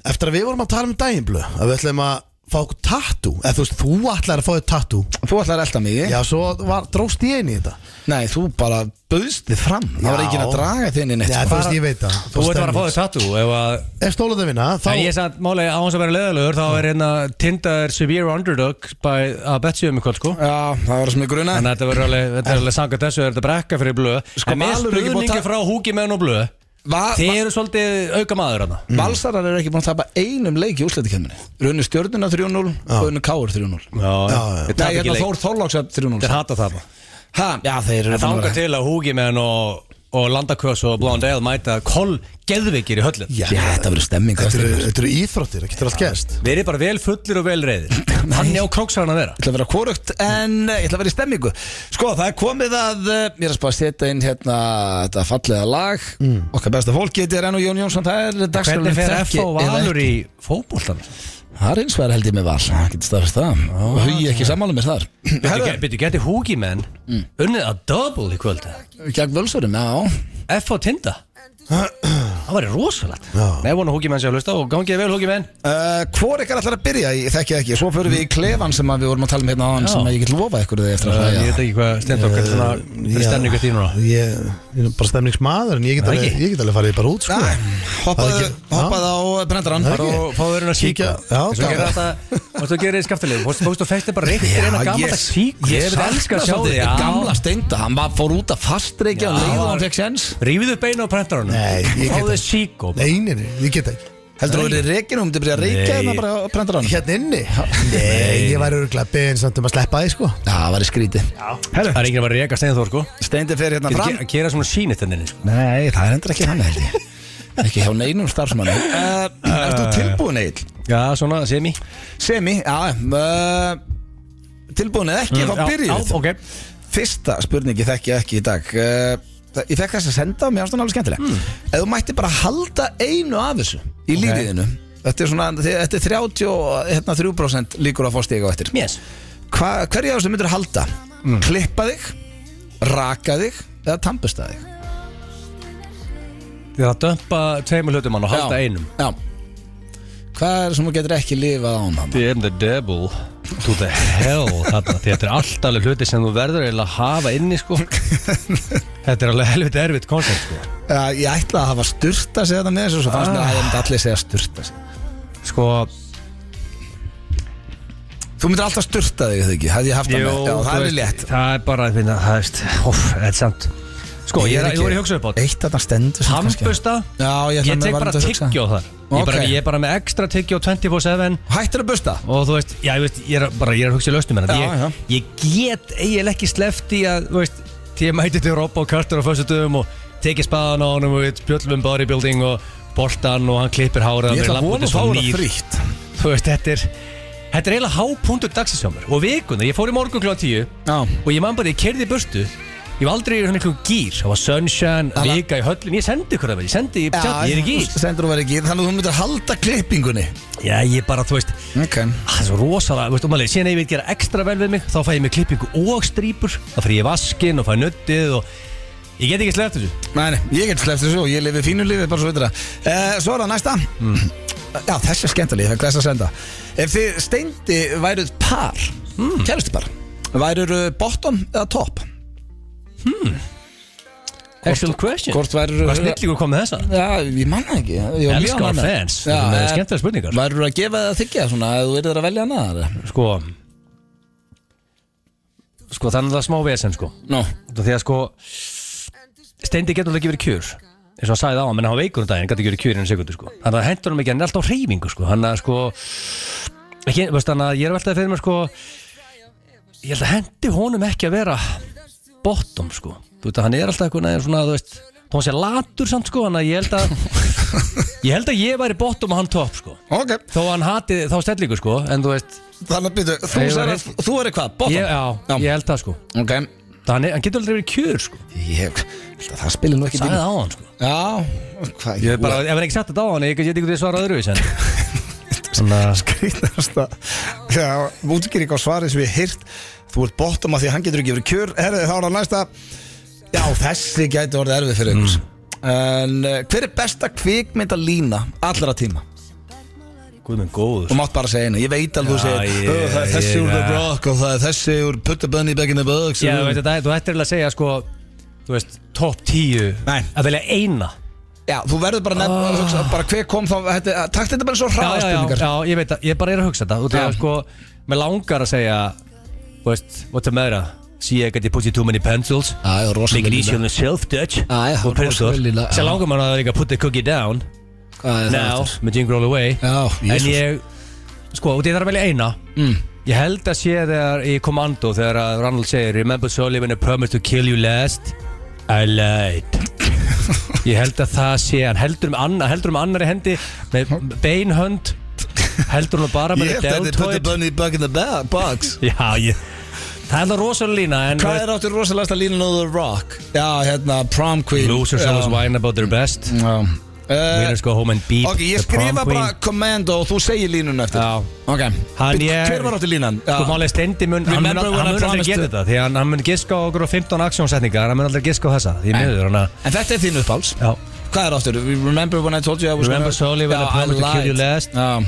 [SPEAKER 3] Eftir að við vorum að tala um dæginblö Að við ætlum að Fá okkur tattoo Eða þú veist Þú ætlar að fá þér tattoo
[SPEAKER 1] Þú ætlar að elda mig
[SPEAKER 3] Já svo var, dróst ég inn í þetta
[SPEAKER 1] Nei, þú bara bauðst þið fram Það var
[SPEAKER 3] Já.
[SPEAKER 1] ekki að draga þið inn í neitt
[SPEAKER 3] Já þú
[SPEAKER 1] sko.
[SPEAKER 3] veist ég veit það
[SPEAKER 2] Þú veit bara að fá þér tattoo ef að
[SPEAKER 3] Ef stólaðu að vinna Þá
[SPEAKER 2] En ég sagði málega á hans að vera leðalögur þá er hérna Tinder severe underdog by, að betsi um ykkur sko
[SPEAKER 1] Já, það var sem ég gruna
[SPEAKER 2] Þannig að þetta verður alveg, þetta er alveg sangað þessu, þetta er brekka fyrir blöð
[SPEAKER 1] Sko,
[SPEAKER 2] En með
[SPEAKER 1] Valur er ekki búin að Ah,
[SPEAKER 2] stuðningi
[SPEAKER 1] ta-
[SPEAKER 2] frá húki menn og blöð Þið eru svolítið auka maður hana
[SPEAKER 1] Mm. Valsarar eru ekki búin að tapa einum leik í úsleitikefninu Runnu stjörnuna 3-0 og runnu Káur 3-0
[SPEAKER 2] Já,
[SPEAKER 3] já.
[SPEAKER 1] Nei,
[SPEAKER 2] Þeir tapa ekki
[SPEAKER 1] hérna
[SPEAKER 2] leik,
[SPEAKER 1] Þór Þorláksöp 3-0
[SPEAKER 2] þeir hata það bara
[SPEAKER 1] Ha, já, þeir eru búin að
[SPEAKER 2] Þangað
[SPEAKER 1] vera-
[SPEAKER 2] til að húki menn og, og landakös og blóðan deil mæta koll geðveikir í höllin
[SPEAKER 1] Já, þetta verður stemming
[SPEAKER 3] Þetta
[SPEAKER 1] Þetta
[SPEAKER 3] eru-
[SPEAKER 1] verður
[SPEAKER 3] þetta eru íþróttir Það getur allt gerst
[SPEAKER 2] Við erum bara vel fullir og vel reyðir Þannig á króksarinn að vera
[SPEAKER 1] Ég ætla að vera kórugt en eh, ég ætla að vera í stemmingu Sko það er komið að eh, Ég er að spá að setja inn hérna Þetta fallega lag
[SPEAKER 3] Mm.
[SPEAKER 1] Okkar besta fólk getur enn og Jón Jónsson Það er
[SPEAKER 2] Hvernig
[SPEAKER 1] dagskráin
[SPEAKER 2] fer
[SPEAKER 1] þekki
[SPEAKER 2] F.O.
[SPEAKER 1] eða
[SPEAKER 2] Valur
[SPEAKER 1] ekki.
[SPEAKER 2] í fótboltan?
[SPEAKER 1] Það er eins verið held ég með val Það getur staðfist það Og hugi ekki sammála mér þar Herðu,
[SPEAKER 2] Býttu, geti húki menn
[SPEAKER 3] Mm.
[SPEAKER 2] unnið að double í kvöldu
[SPEAKER 1] Gegn völsurum, já
[SPEAKER 2] F.O. Tinda Það væri rosalegt
[SPEAKER 3] Já.
[SPEAKER 2] Nei, vona húki menn sé að hlusta og gangið vel húki menn
[SPEAKER 1] Uh, hvor ykkar ætlar að byrja, ég þekki það ekki Svo fyrir við í klefan sem að við vorum að tala um hérna á hann
[SPEAKER 2] Já.
[SPEAKER 1] sem að ég get lofa ykkur þið eftir að
[SPEAKER 2] Ég
[SPEAKER 1] hlæja
[SPEAKER 2] veit ekki hvað stendur okkar svona fyrir
[SPEAKER 3] Eh, Já,
[SPEAKER 2] stemningu þín núna
[SPEAKER 3] Ég ég er bara stemningsmaður En ég get
[SPEAKER 2] Það
[SPEAKER 3] alveg
[SPEAKER 2] ekki.
[SPEAKER 3] Ég get alveg farið bara út sko
[SPEAKER 1] Nei,
[SPEAKER 3] Það
[SPEAKER 1] Hoppaðu
[SPEAKER 3] er ekki-
[SPEAKER 1] hoppaðu á brendarann
[SPEAKER 3] Það er
[SPEAKER 2] Bara
[SPEAKER 3] ekki.
[SPEAKER 2] og fáðu verið að síka
[SPEAKER 3] hérna Kíkja- já,
[SPEAKER 2] Svo gerir
[SPEAKER 3] gaman.
[SPEAKER 2] þetta Þú veist að gera þið skaftalegu Þú veist að festi bara reykt
[SPEAKER 1] Já,
[SPEAKER 2] reyna gammal að
[SPEAKER 1] yes.
[SPEAKER 2] síka
[SPEAKER 1] Ég
[SPEAKER 2] Ég vil elska að sjá
[SPEAKER 1] svolítið
[SPEAKER 2] þig já.
[SPEAKER 1] Gamla steinda, hann var, fór út að fastreikja
[SPEAKER 2] Já.
[SPEAKER 1] og leið og hann fekk sens
[SPEAKER 2] Rífið upp beina á prentarunum
[SPEAKER 3] Nei, ég get
[SPEAKER 2] Fáðu
[SPEAKER 3] það.
[SPEAKER 2] þið síko
[SPEAKER 3] Nei, nei, nei, ég get ekki
[SPEAKER 1] Heldur þú að verið reikin og þú myndir byrja að reika
[SPEAKER 2] Nei.
[SPEAKER 1] hérna bara á prendarann Já,
[SPEAKER 3] Hérna inni Nei, ég væri örgulega beðin samt um að sleppa því sko
[SPEAKER 1] það var í skríti
[SPEAKER 2] Það er enginn að bara reyka steinþór sko
[SPEAKER 1] Steindi fer hérna fram
[SPEAKER 2] Að gera svona sínit henni sko
[SPEAKER 1] Nei, það er endur ekki hann held ég Ekki hjá neinum starfsmanni uh, Erst þú tilbúin tilbúin eill
[SPEAKER 2] Já, svona, semi
[SPEAKER 1] Semi, já uh, Tilbúin eða ekki, þá byrjum við
[SPEAKER 2] Mm, Já, ok
[SPEAKER 1] Fyrsta spurningi þekki ég ekki í dag uh, það- Ég fekk þess að senda og mér ástæðan alveg skemmtileg
[SPEAKER 2] Mm.
[SPEAKER 1] Ef þú mætti bara halda einu af þessu Í okay. lífiðinu Þetta er, svona, þi- þetta er 33% líkur að fá stiga á eftir
[SPEAKER 2] Yes
[SPEAKER 1] Hva, Hverja af þessu myndir halda?
[SPEAKER 2] Mm.
[SPEAKER 1] Klippa þig, raka þig Eða tampusta þig
[SPEAKER 2] Þið er að dömpa tveimur hlutum hann og halda
[SPEAKER 1] Já,
[SPEAKER 2] einum
[SPEAKER 1] Já Hvað er sem þú getur ekki lifað án hann?
[SPEAKER 2] I am the devil To the hell þarna Því Þetta er allt alveg hluti sem þú verður eiginlega að hafa inni sko Þetta er alveg helviti erfitt koncept sko
[SPEAKER 1] Uh, ég ætlaði að hafa styrta sig þetta með þessu Svo fannst mér
[SPEAKER 2] Ah.
[SPEAKER 1] að ég myndi allir segja styrta sig
[SPEAKER 2] Sko,
[SPEAKER 1] Þú myndir alltaf styrta þig, þau ekki? Hefði ég haft það með? Já,
[SPEAKER 2] þú
[SPEAKER 1] það er
[SPEAKER 2] veist,
[SPEAKER 1] létt
[SPEAKER 2] Það er bara, ég finna, það veist, óf, þetta er samt Sko, ég er
[SPEAKER 1] ekki-
[SPEAKER 2] ég voru að hugsa upp á þetta
[SPEAKER 1] Eitt að það stendur samt kannski.
[SPEAKER 2] Hambusta,
[SPEAKER 1] Já, ég ætla
[SPEAKER 2] ég
[SPEAKER 1] með
[SPEAKER 2] tek
[SPEAKER 1] varandi
[SPEAKER 2] bara
[SPEAKER 1] að hugsa.
[SPEAKER 2] tyggjó þar Ég er bara-
[SPEAKER 1] Ok.
[SPEAKER 2] Ég er bara með ekstra tyggjó 24x7
[SPEAKER 1] Hættir að busta?
[SPEAKER 2] og þú veist, já, ég, veist, ég er bara ég er að hugsa í lausnum hérna
[SPEAKER 1] Já, já.
[SPEAKER 2] ég, ég get eiginlega ekki sleft í að þú veist, því ég mæti til Robbo Carter á föstudöfum og tekið spaðan á honum og við spjöllum um bodybuilding og boltan og hann klippir hárið
[SPEAKER 1] Ég ætla að vona að fá hana
[SPEAKER 2] það
[SPEAKER 1] frítt
[SPEAKER 2] þú veist, þetta er þetta er eiginlega hápunktur dagsinsjómur og vikuna, ég fór í morgun klá 10
[SPEAKER 1] Já
[SPEAKER 2] og ég man bara, ég kerði í burtu ég var aldrei í svona einhverjum gýr það var sunshine,
[SPEAKER 1] Alla-
[SPEAKER 2] vika í höllin ég sendi ykkur það með, ég sendi, ég, ég er í gýr
[SPEAKER 1] Sendur þú verið gýr Þannig að þú myndir halda klippingunni
[SPEAKER 2] já, ég bara, þú veist,
[SPEAKER 1] Ok
[SPEAKER 2] Ah, Það er svo rosalega, veist, umalega, síðan ef ég vil gera ekstra vel við mig þá fæ ég mig klippingu og strýpur þá fæ ég vaskin og fæ nuttið og ég get ekki sleppt þessu
[SPEAKER 1] Nei, nei, ég get sleppt þessu og ég lifi fínu lífi bara svo veitur það uh, Svo er það næsta
[SPEAKER 2] Mm.
[SPEAKER 1] Já, þessi er skemmtileg, ég fekk þess að senda Ef þið steindi væruð par mm. Kælustu par Værur bottom eða top?
[SPEAKER 2] Excellent question
[SPEAKER 1] Hvort værur
[SPEAKER 2] Hvað snillíkur kom með þessa?
[SPEAKER 1] Já, ég manna ekki Ég var mjög
[SPEAKER 2] Elskar
[SPEAKER 1] ánægður.
[SPEAKER 2] fans, þú erum með
[SPEAKER 1] eh,
[SPEAKER 2] skemmtilega spurningar
[SPEAKER 1] Værur að gefa það þykja svona Ef þú verður að velja hana eða?
[SPEAKER 2] Sko Sko þannig að það er smá vesen sko
[SPEAKER 1] Nó
[SPEAKER 2] Út af Því að sko Steindi getur alveg ekki verið kjur eins og hann sagði á hann, menn hann var veikur um daginn, gæti ekki verið kjur í enn sekundu sko Þannig að hendur hann ekki, hann er alltaf á reyfingu sko Þannig að sko ekki, veist, Þannig að ég er veltaði fyrir mér sko Ég held að hendi honum ekki að vera bottom sko Þú veit að hann er alltaf eitthvað neginn svona, þú veist Þó hann sé latur samt sko, þannig að ég held að Ég held að ég væri bottom og hann top sko
[SPEAKER 1] Ok,
[SPEAKER 2] Þó að hann hati þá stellingu sko, en þú veist
[SPEAKER 1] þannig að byrju Þú
[SPEAKER 2] Ég var
[SPEAKER 1] sagði
[SPEAKER 2] heill.
[SPEAKER 1] að þú verður hvað? Bottom?
[SPEAKER 2] ég, já, ég held það sko
[SPEAKER 1] Ok
[SPEAKER 2] Þannig, hann getur aldrei verið kjur sko
[SPEAKER 1] Ég held að það spilir nú ekki
[SPEAKER 2] Sagði það á hann sko
[SPEAKER 1] Já, hvað
[SPEAKER 2] Ég hef bara, ef hann ekki sett þetta á hann, ég get ekki til að svara öðru en Þannig að
[SPEAKER 1] skrítasta Já, útskýring á svari sem ég hef heyrt Þú ert bottom að því að hann getur ekki verið kjör Herðið þá er það næsta Já, þessi gæti orðið erfið fyrir ykkur En uh, hver er besta kvikmynda lína allra tíma?
[SPEAKER 2] Guð minn góður
[SPEAKER 1] Þú mátt bara segja einu, ég veit alveg þú
[SPEAKER 2] Já,
[SPEAKER 1] segir
[SPEAKER 2] ég-
[SPEAKER 1] "Ö, Það er þessi
[SPEAKER 2] ég-
[SPEAKER 1] úr The Rock og það er þessi úr Put a Bunny back in the box
[SPEAKER 2] Já, þú veit þetta, þú ættir eiginlega að segja sko Þú veist, top 10
[SPEAKER 1] Nei.
[SPEAKER 2] Að velja eina
[SPEAKER 1] Já, þú verður bara nefn oh. hugsa, bara hver kom þá, þetta, takt þetta bara svo
[SPEAKER 2] Ah. já, já, já,
[SPEAKER 1] hraðspurningar
[SPEAKER 2] já, ég veit það, ég bara er að hugsa þetta Þú
[SPEAKER 1] Já.
[SPEAKER 2] veist, sko, mér langar að segja Þú veist, what's the matter? See, I got you put you too many pencils
[SPEAKER 1] Já, já,
[SPEAKER 2] Make
[SPEAKER 1] rosalega
[SPEAKER 2] it easy
[SPEAKER 1] lína.
[SPEAKER 2] on yourself, Dutch
[SPEAKER 1] Já, já,
[SPEAKER 2] Og pencil
[SPEAKER 1] rosalega lína, já.
[SPEAKER 2] Sér langar maður að líka put the cookie down
[SPEAKER 1] Hvað er það
[SPEAKER 2] Now,
[SPEAKER 1] aftur?
[SPEAKER 2] með Jingle All The Way
[SPEAKER 1] Já,
[SPEAKER 2] En
[SPEAKER 1] Jesus.
[SPEAKER 2] ég, sko, út í það er að velja eina
[SPEAKER 1] Mm.
[SPEAKER 2] Ég held að sé þegar í Commando þegar að Ronald segir Remember Sullivan I promised to kill you last I lied Ég held að það sé hann heldur um, anna, heldur um annari hendi með beinhönd heldur hún bara
[SPEAKER 1] Ég
[SPEAKER 2] með
[SPEAKER 1] held að þetta er Put a
[SPEAKER 2] deltoid
[SPEAKER 1] Bunny back in the ba- box
[SPEAKER 2] Já, ég Það er það rosalega lína en
[SPEAKER 1] Hvað er áttur rosalegasta línan á The Rock? Já, hérna, prom queen
[SPEAKER 2] Losers
[SPEAKER 1] Já.
[SPEAKER 2] always whine about their best
[SPEAKER 1] Já. Eh,
[SPEAKER 2] Winners go home and beat
[SPEAKER 1] Ok, ég
[SPEAKER 2] the prom
[SPEAKER 1] skrifa
[SPEAKER 2] queen.
[SPEAKER 1] bara Commando og þú segir línun eftir
[SPEAKER 2] Já.
[SPEAKER 1] Ok,
[SPEAKER 2] Hann
[SPEAKER 1] Bíddu,
[SPEAKER 2] er-
[SPEAKER 1] hver var áttur línan? Já.
[SPEAKER 2] Sko málega stendi mun, hann mun,
[SPEAKER 1] Remember when
[SPEAKER 2] hann
[SPEAKER 1] I
[SPEAKER 2] mun aldrei
[SPEAKER 1] promised
[SPEAKER 2] geta
[SPEAKER 1] to-
[SPEAKER 2] þetta Því hann, hann mun giska á okkur á 15 aksjónsetningar Hann mun aldrei giska á þessa Því
[SPEAKER 1] Nei.
[SPEAKER 2] miður hann að
[SPEAKER 1] En þetta er þín uppháls
[SPEAKER 2] Já,
[SPEAKER 1] Hvað er áttur? Remember when I told you I was
[SPEAKER 2] Remember Sully when I
[SPEAKER 1] Já,
[SPEAKER 2] promised to kill
[SPEAKER 1] lied.
[SPEAKER 2] you last?
[SPEAKER 1] Já.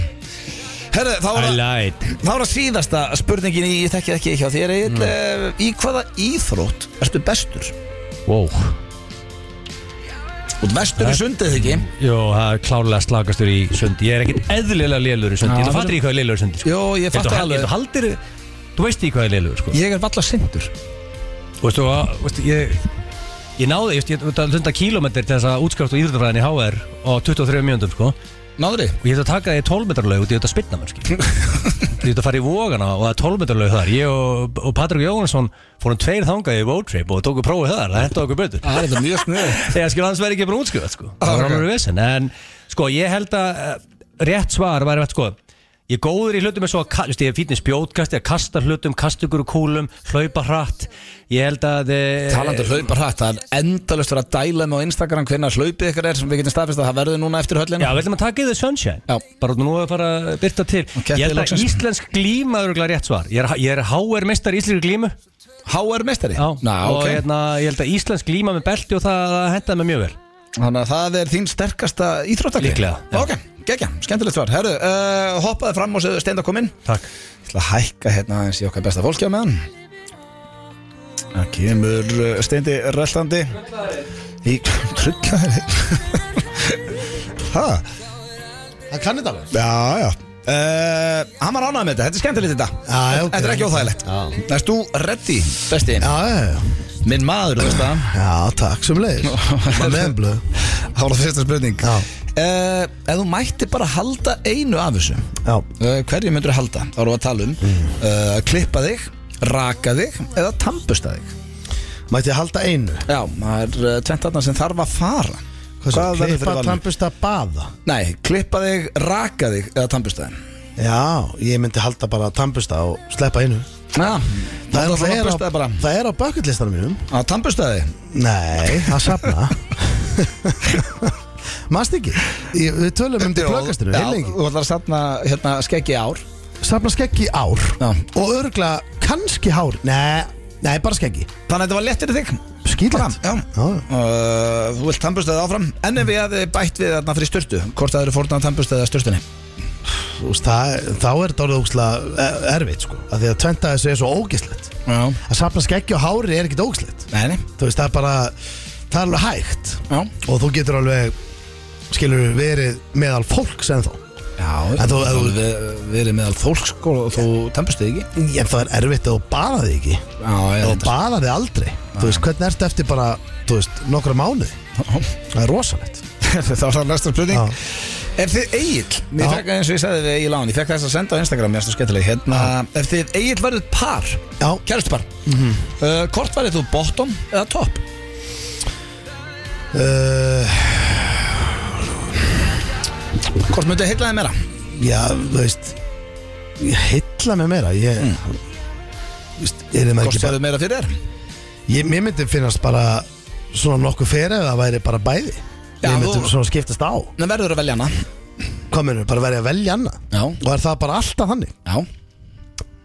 [SPEAKER 1] Herðu, þá var
[SPEAKER 2] I
[SPEAKER 1] það
[SPEAKER 2] lied
[SPEAKER 1] Þá er það síðasta spurningin í Ég þekki það ekki hjá þér Egill. Eh, Í hvaða íþrótt ertu bestur?
[SPEAKER 2] Wow
[SPEAKER 1] Út vestur í sundið ekki
[SPEAKER 2] Jó, það er klárlega slagastur í sundi Ég er ekkert eðlilega lélur í sundi
[SPEAKER 1] Já,
[SPEAKER 2] Þú fattir í hvað er lélur í sundi sko.
[SPEAKER 1] Jó, ég fatt
[SPEAKER 2] Þú-
[SPEAKER 1] alveg
[SPEAKER 2] Þú haldir Þú veist í hvað er lélur sko.
[SPEAKER 1] Ég er valla sindur
[SPEAKER 2] Þú veist þú að veist, Ég Ég náði, ég veist, að lunda kílómetri til þess að útskrátt og íþróttafræðin í HR á 23 mínúndum, sko og
[SPEAKER 1] Náðri?
[SPEAKER 2] ég hefði að taka því 12 metrar laug og ég hefði að spinna mér, skil ég hefði að fara í vogana og það er 12 metrar laug þar ég og, og Patrik Jóhannesson fórum tveir þangað í road trip og tóku prófið þar, það hendur okkur betur
[SPEAKER 1] Það er þetta mjög snöð
[SPEAKER 2] Þegar skil hans verði ekki bara útskjöfað sko Það var
[SPEAKER 1] ok.
[SPEAKER 2] alveg vesen En sko ég held að eh, rétt svar væri vett sko Ég er góður í hlutum eins og að ka- veist, ég er fítnins spjótkast, ég kastar hlutum, kasta ykkur úr kúlum, hlaupa hratt, ég held að... eh,
[SPEAKER 1] Talandi um hlaupar hratt, það er endalust verið að dæla með á Instagram hvernig hlaupið ykkar er sem við getum staðfist að það verður núna eftir höllina
[SPEAKER 2] Já, við ætlum að taka í þau Sunshine
[SPEAKER 1] Já.
[SPEAKER 2] Bara nú að fara að byrta til
[SPEAKER 1] Kettir
[SPEAKER 2] Ég held að
[SPEAKER 1] loksins.
[SPEAKER 2] íslensk glíma er örugglega rétt svar Ég er, ég er HR meistar í íslensk glímu
[SPEAKER 1] HR meistari? Ná,
[SPEAKER 2] Og
[SPEAKER 1] ok
[SPEAKER 2] hérna, ég held að íslensk glíma með belti og það, það hendaði mig mjög vel
[SPEAKER 1] Þannig að það er þín sterkasta íþróttakli
[SPEAKER 2] Líklega, já.
[SPEAKER 1] Ok, geggja, skemmtilegt svar Herru, uh, hoppaði fram og segðu steind að koma inn
[SPEAKER 2] Takk
[SPEAKER 1] Ég ætla að hækka hérna eins í okkar besta fólki á meðan Það kemur uh, steindi rellandi Í trullar Hæ?
[SPEAKER 3] Hann kann þetta alveg
[SPEAKER 1] Já, já Uh, hann var ánægð með þetta, þetta er skemmtilegt þetta
[SPEAKER 3] Já, já, ok.
[SPEAKER 1] Þetta er ekki óþægilegt
[SPEAKER 3] Já.
[SPEAKER 1] Næst þú ready, besti
[SPEAKER 3] Já, já, já
[SPEAKER 1] Minn maður, þú veist það
[SPEAKER 3] Já, takk sem leiðis Maður með blöð
[SPEAKER 1] Það var það fyrsta spurning
[SPEAKER 3] Já.
[SPEAKER 1] uh, Ef þú mætti bara halda einu af þessu
[SPEAKER 3] Já,
[SPEAKER 1] uh, Hverju myndur þú halda? Þá erum við að tala um uh, Klippa þig, raka þig Eða tampusta þig
[SPEAKER 3] mætti ég halda einu
[SPEAKER 1] Já, maður er uh, tvent þarna sem þarf að fara
[SPEAKER 3] Hvað sem,
[SPEAKER 1] verður
[SPEAKER 3] klippa,
[SPEAKER 1] valinu?
[SPEAKER 3] trampust að baða
[SPEAKER 1] Nei, klippa þig, raka þig Eða tampusta þig
[SPEAKER 3] Já, ég myndi halda bara að tampusta og sleppa einu
[SPEAKER 1] Já, Ah, það er alltaf
[SPEAKER 3] er
[SPEAKER 1] tampusta þig bara
[SPEAKER 3] á, það er á bucketlistanum mínum
[SPEAKER 1] Á tampusta þig
[SPEAKER 3] Nei, að safna Manst ekki Ég- Við tölum um þetta í plöggastinu,
[SPEAKER 1] Já,
[SPEAKER 3] heil lengi
[SPEAKER 1] Þú ætlar að satna hérna, skeggi í ár
[SPEAKER 3] Safna skeggi í ár
[SPEAKER 1] Já.
[SPEAKER 3] Og örgla kannski hár Nei, nei, bara skeggi
[SPEAKER 1] Þannig að þetta var léttir í þig
[SPEAKER 3] Skýtlegt
[SPEAKER 1] Já,
[SPEAKER 3] Já.
[SPEAKER 1] Uh, Þú vilt tannbustæði áfram En ef við hefði bætt við þarna fyrir styrtu Hvort það eru fórnað tannbustæði að styrtunni
[SPEAKER 3] Þú veist, það, þá er þetta orðið ógslag erfitt sko, af því að tventa þessu er svo ógislegt
[SPEAKER 1] Já
[SPEAKER 3] að safna skeggja og hári er ekkit ógislegt
[SPEAKER 1] Nei, nei
[SPEAKER 3] þú veist, það er bara, það er alveg hægt
[SPEAKER 1] Já
[SPEAKER 3] og þú getur alveg skilur verið meðal fólks en þá
[SPEAKER 1] Já,
[SPEAKER 3] En
[SPEAKER 1] þú,
[SPEAKER 3] þú- en þú-
[SPEAKER 1] við, við erum meðal fólk sko og þú tannbustið ekki
[SPEAKER 3] en það er erfitt að þú baða þig ekki
[SPEAKER 1] Já, ég
[SPEAKER 3] og baða þig aldrei þú veist, hvernig ertu eftir bara, þú veist, nokkra mánuði það er rosalegt
[SPEAKER 1] Það var það næsta spurning
[SPEAKER 3] Já.
[SPEAKER 1] Ef þið Egil, ég
[SPEAKER 3] Já.
[SPEAKER 1] fekk eins og ég sagði við Egil án Ég fekk þess að senda á Instagram, mér er það skemmtileg hérna, Ef þið Egil verður par,
[SPEAKER 3] já,
[SPEAKER 1] kærustupar uh, Hvort verður þú bottom eða top?
[SPEAKER 3] uh,
[SPEAKER 1] Hvort myndið heilla þið meira?
[SPEAKER 3] já, þú veist ég heilla mig meira ég, þú veist, er það
[SPEAKER 1] Hvort
[SPEAKER 3] ekki bara
[SPEAKER 1] verður meira fyrir þér?
[SPEAKER 3] Ég, mér myndi finnast bara svona nokkuð fyrir ef það væri bara bæði
[SPEAKER 1] Já,
[SPEAKER 3] Ég myndi
[SPEAKER 1] þú-
[SPEAKER 3] svona skiptast á
[SPEAKER 1] Nei, verður að velja hana
[SPEAKER 3] Hvað mennur, bara verið að velja annað
[SPEAKER 1] Já.
[SPEAKER 3] Og er það bara alltaf þannig
[SPEAKER 1] Já,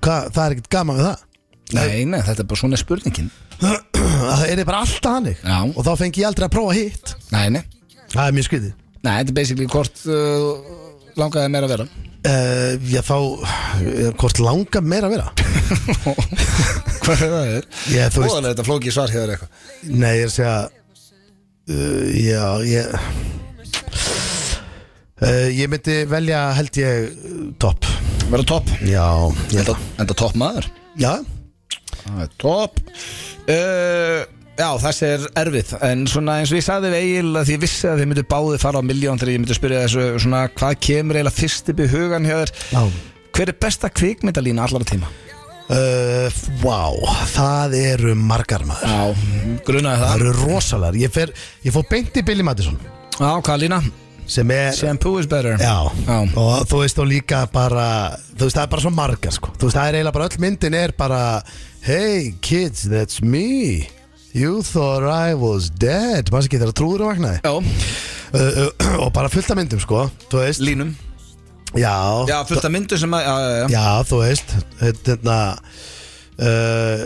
[SPEAKER 3] Hva, Það er ekkert gaman við það
[SPEAKER 1] nei, nei, þetta er bara svona spurningin
[SPEAKER 3] Að Það er bara alltaf þannig
[SPEAKER 1] Já.
[SPEAKER 3] Og þá fengi ég aldrei að prófa hitt
[SPEAKER 1] Nei, nei,
[SPEAKER 3] Það er mjög skriði
[SPEAKER 1] nei, þetta er basically hvort uh, langaði meira að vera
[SPEAKER 3] uh, Já þá, eh, hvort langar meira að vera
[SPEAKER 1] Hvað er það?
[SPEAKER 3] Ég, þú veist,
[SPEAKER 1] Óðan er þetta flókið svar hér eitthvað
[SPEAKER 3] nei ég er að segja uh, Já, ég uh, Ég myndi velja held ég eh, topp
[SPEAKER 1] Verða topp
[SPEAKER 3] Já, ég held
[SPEAKER 1] Enda,
[SPEAKER 3] að
[SPEAKER 1] enda topp maður
[SPEAKER 3] Já,
[SPEAKER 1] Það er topp uh, Já, þessi er erfið En svona eins og ég sagði við Egil að því ég vissi að þið myndu báði fara á miljón þegar ég myndi spyrja þessu svona hvað kemur eiginlega fyrst upp í hugan hjá þér
[SPEAKER 3] já
[SPEAKER 1] Hver er besta kvikmyndalína allara tíma?
[SPEAKER 3] Uh, wow, það eru margar maður
[SPEAKER 1] Já, grunaði
[SPEAKER 3] Það
[SPEAKER 1] það
[SPEAKER 3] eru rosalegar Ég, fer, ég fór beint í Billy Madison
[SPEAKER 1] Já, hvað lína?
[SPEAKER 3] Sem er
[SPEAKER 1] Shampoo is better
[SPEAKER 3] Já,
[SPEAKER 1] Já.
[SPEAKER 3] og þú veist þú líka bara Þú veist það er bara svo margar sko Þú veist það er eiginlega bara öll myndin er bara Hey kids, that's me You thought I was dead Maður ekki þegar trúður og vaknaði
[SPEAKER 1] Já,
[SPEAKER 3] uh, uh, Og bara fullt af myndum sko Þú veist,
[SPEAKER 1] línum
[SPEAKER 3] já
[SPEAKER 1] Já, fullt af myndu sem að Já, já, já
[SPEAKER 3] Já, þú veist hérna uh,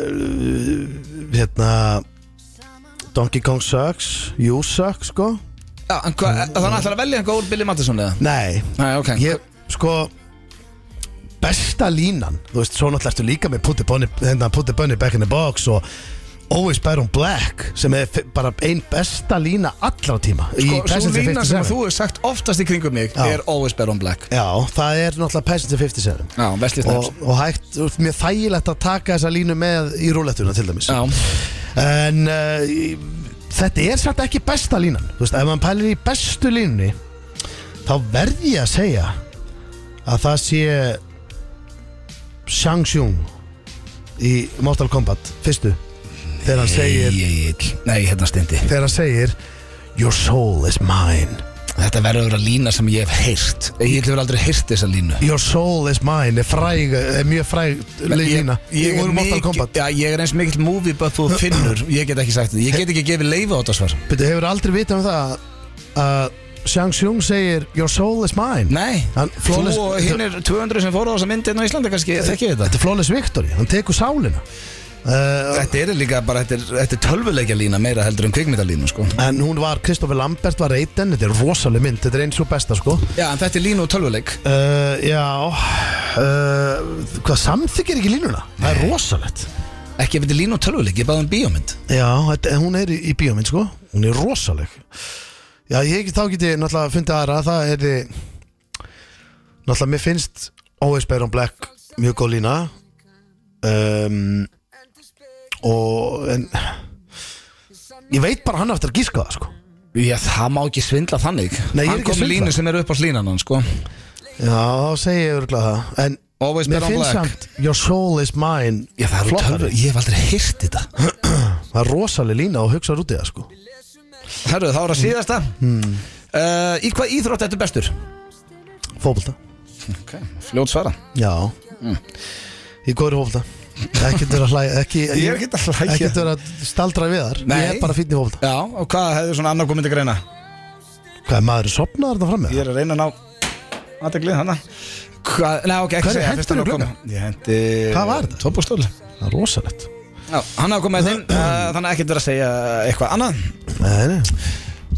[SPEAKER 3] hérna Donkey Kong sucks You suck, sko
[SPEAKER 1] Já, en hva, þannig ætlar að velja einhver úr Billy Mattisson eða?
[SPEAKER 3] Nei,
[SPEAKER 1] Nei, ok
[SPEAKER 3] ég, sko besta línan, þú veist, svo náttúrulega ertu líka með Put the Bunny, hérna, put the bunny back in the box og Always Byron Black sem er fi- bara ein besta lína allra tíma
[SPEAKER 1] Sko, svo
[SPEAKER 3] Passenger
[SPEAKER 1] lína sem
[SPEAKER 3] 57.
[SPEAKER 1] þú hefur sagt oftast í kringum mig
[SPEAKER 3] Já.
[SPEAKER 1] er Always Bear on Black
[SPEAKER 3] Já, það er náttúrulega Passenger 57
[SPEAKER 1] Já, Wesley
[SPEAKER 3] og,
[SPEAKER 1] Snipes
[SPEAKER 3] og hægt, þú veist, mér þægilegt að taka þessa línu með í rúlettuna til dæmis
[SPEAKER 1] Já,
[SPEAKER 3] En uh, í- þetta er satt ekki besta línan Þú veist, ef maður pælir í bestu línunni Þá verð ég að segja Að það sé Shang Tsung Í Mortal Kombat Fyrstu Þegar hann segir
[SPEAKER 1] Egil Nei, hérna stendi
[SPEAKER 3] Þegar hann segir Your soul is mine
[SPEAKER 1] Þetta verður að vera lína sem ég hef heyrt Ég hefur aldrei heyrt þessa línu
[SPEAKER 3] Your soul is mine er, fræg, er mjög fræg lína
[SPEAKER 1] ég, ég,
[SPEAKER 3] Úr
[SPEAKER 1] er
[SPEAKER 3] Mortal
[SPEAKER 1] mikil,
[SPEAKER 3] Kombat
[SPEAKER 1] já, ég er eins mikill movie buff og finnur Ég get ekki sagt þetta Ég get ekki gefið leifa á þetta svar
[SPEAKER 3] Byrju, hefur aldrei vitað um það að Shang Tsung segir Your soul is mine
[SPEAKER 1] Nei,
[SPEAKER 3] Hann-
[SPEAKER 1] þú
[SPEAKER 3] flawless-
[SPEAKER 1] og hinn er 200 sem fóru á þessa myndi Enn á Íslandi kannski, þekki þetta
[SPEAKER 3] Þetta er Flawless Victory, hann tekur sálina uh,
[SPEAKER 1] Þetta er líka bara, þetta er, þetta er tölvuleikja lína meira heldur en kvikmyndalínu sko
[SPEAKER 3] En hún var, Kristoffer Lambert var reytin Þetta er rosaleg mynd, þetta er eins og besta sko
[SPEAKER 1] Já, en þetta er línu og tölvuleik
[SPEAKER 3] uh, Já uh, Hvað samþykir ekki línuna? Það er rosalegt
[SPEAKER 1] Ekki ef þetta er línu og tölvuleik, ég baði um bíómynd
[SPEAKER 3] Já, þetta, hún er í, í bíómynd sko Hún er rosaleg Já, ég, þá get ég náttúrulega fundið aðra Það er þið Náttúrulega, mér finnst Always Bear on Black mjög góð lína um, Og en, Ég veit bara hann á eftir að gíska það sko
[SPEAKER 1] Já, það má ekki svindla þannig
[SPEAKER 3] Nei, ég er
[SPEAKER 1] Hann
[SPEAKER 3] ekki að
[SPEAKER 1] kom með
[SPEAKER 3] svindla.
[SPEAKER 1] línu sem er upp á slínan hann sko
[SPEAKER 3] Já, þá segi ég örgulega það En
[SPEAKER 1] Always bear
[SPEAKER 3] mér
[SPEAKER 1] on
[SPEAKER 3] finnst
[SPEAKER 1] black.
[SPEAKER 3] samt Your soul is mine
[SPEAKER 1] Já, það er
[SPEAKER 3] flottari.
[SPEAKER 1] tölvu, ég hef aldrei hýrt þetta
[SPEAKER 3] Það er rosaleg lína og hugsaður út í það sko
[SPEAKER 1] Herru, þá er það síðasta uh, Í hvað íþrótt þetta er bestur?
[SPEAKER 3] Fóbolta
[SPEAKER 1] Okay. Fljót svara
[SPEAKER 3] Já Ég góður í fóbolta Ekkert verið að hlæja Ekki,
[SPEAKER 1] Ég er ekkert að hlæja.
[SPEAKER 3] Ekkert verið að staldra við þar
[SPEAKER 1] Nei.
[SPEAKER 3] Ég er bara fínn í fóbolta
[SPEAKER 1] Já, og hvað hefur svona annar komið til greina?
[SPEAKER 3] Hvað er maður sopnaður þarna fram með
[SPEAKER 1] Ég
[SPEAKER 3] það?
[SPEAKER 1] er að reyna að ná aðeglið hana Hvað, nei ok, ekki
[SPEAKER 3] Hverju
[SPEAKER 1] segja
[SPEAKER 3] hentirðu
[SPEAKER 1] fyrst hann var
[SPEAKER 3] glugga?
[SPEAKER 1] kominn. Ég hendi
[SPEAKER 3] Hvað var þetta?
[SPEAKER 1] Tópustól
[SPEAKER 3] Það er rosalegt
[SPEAKER 1] Já, hann hafa komið þinn uh, Þannig að ekkert verið að segja eh, eitthvað annað
[SPEAKER 3] Nei, nei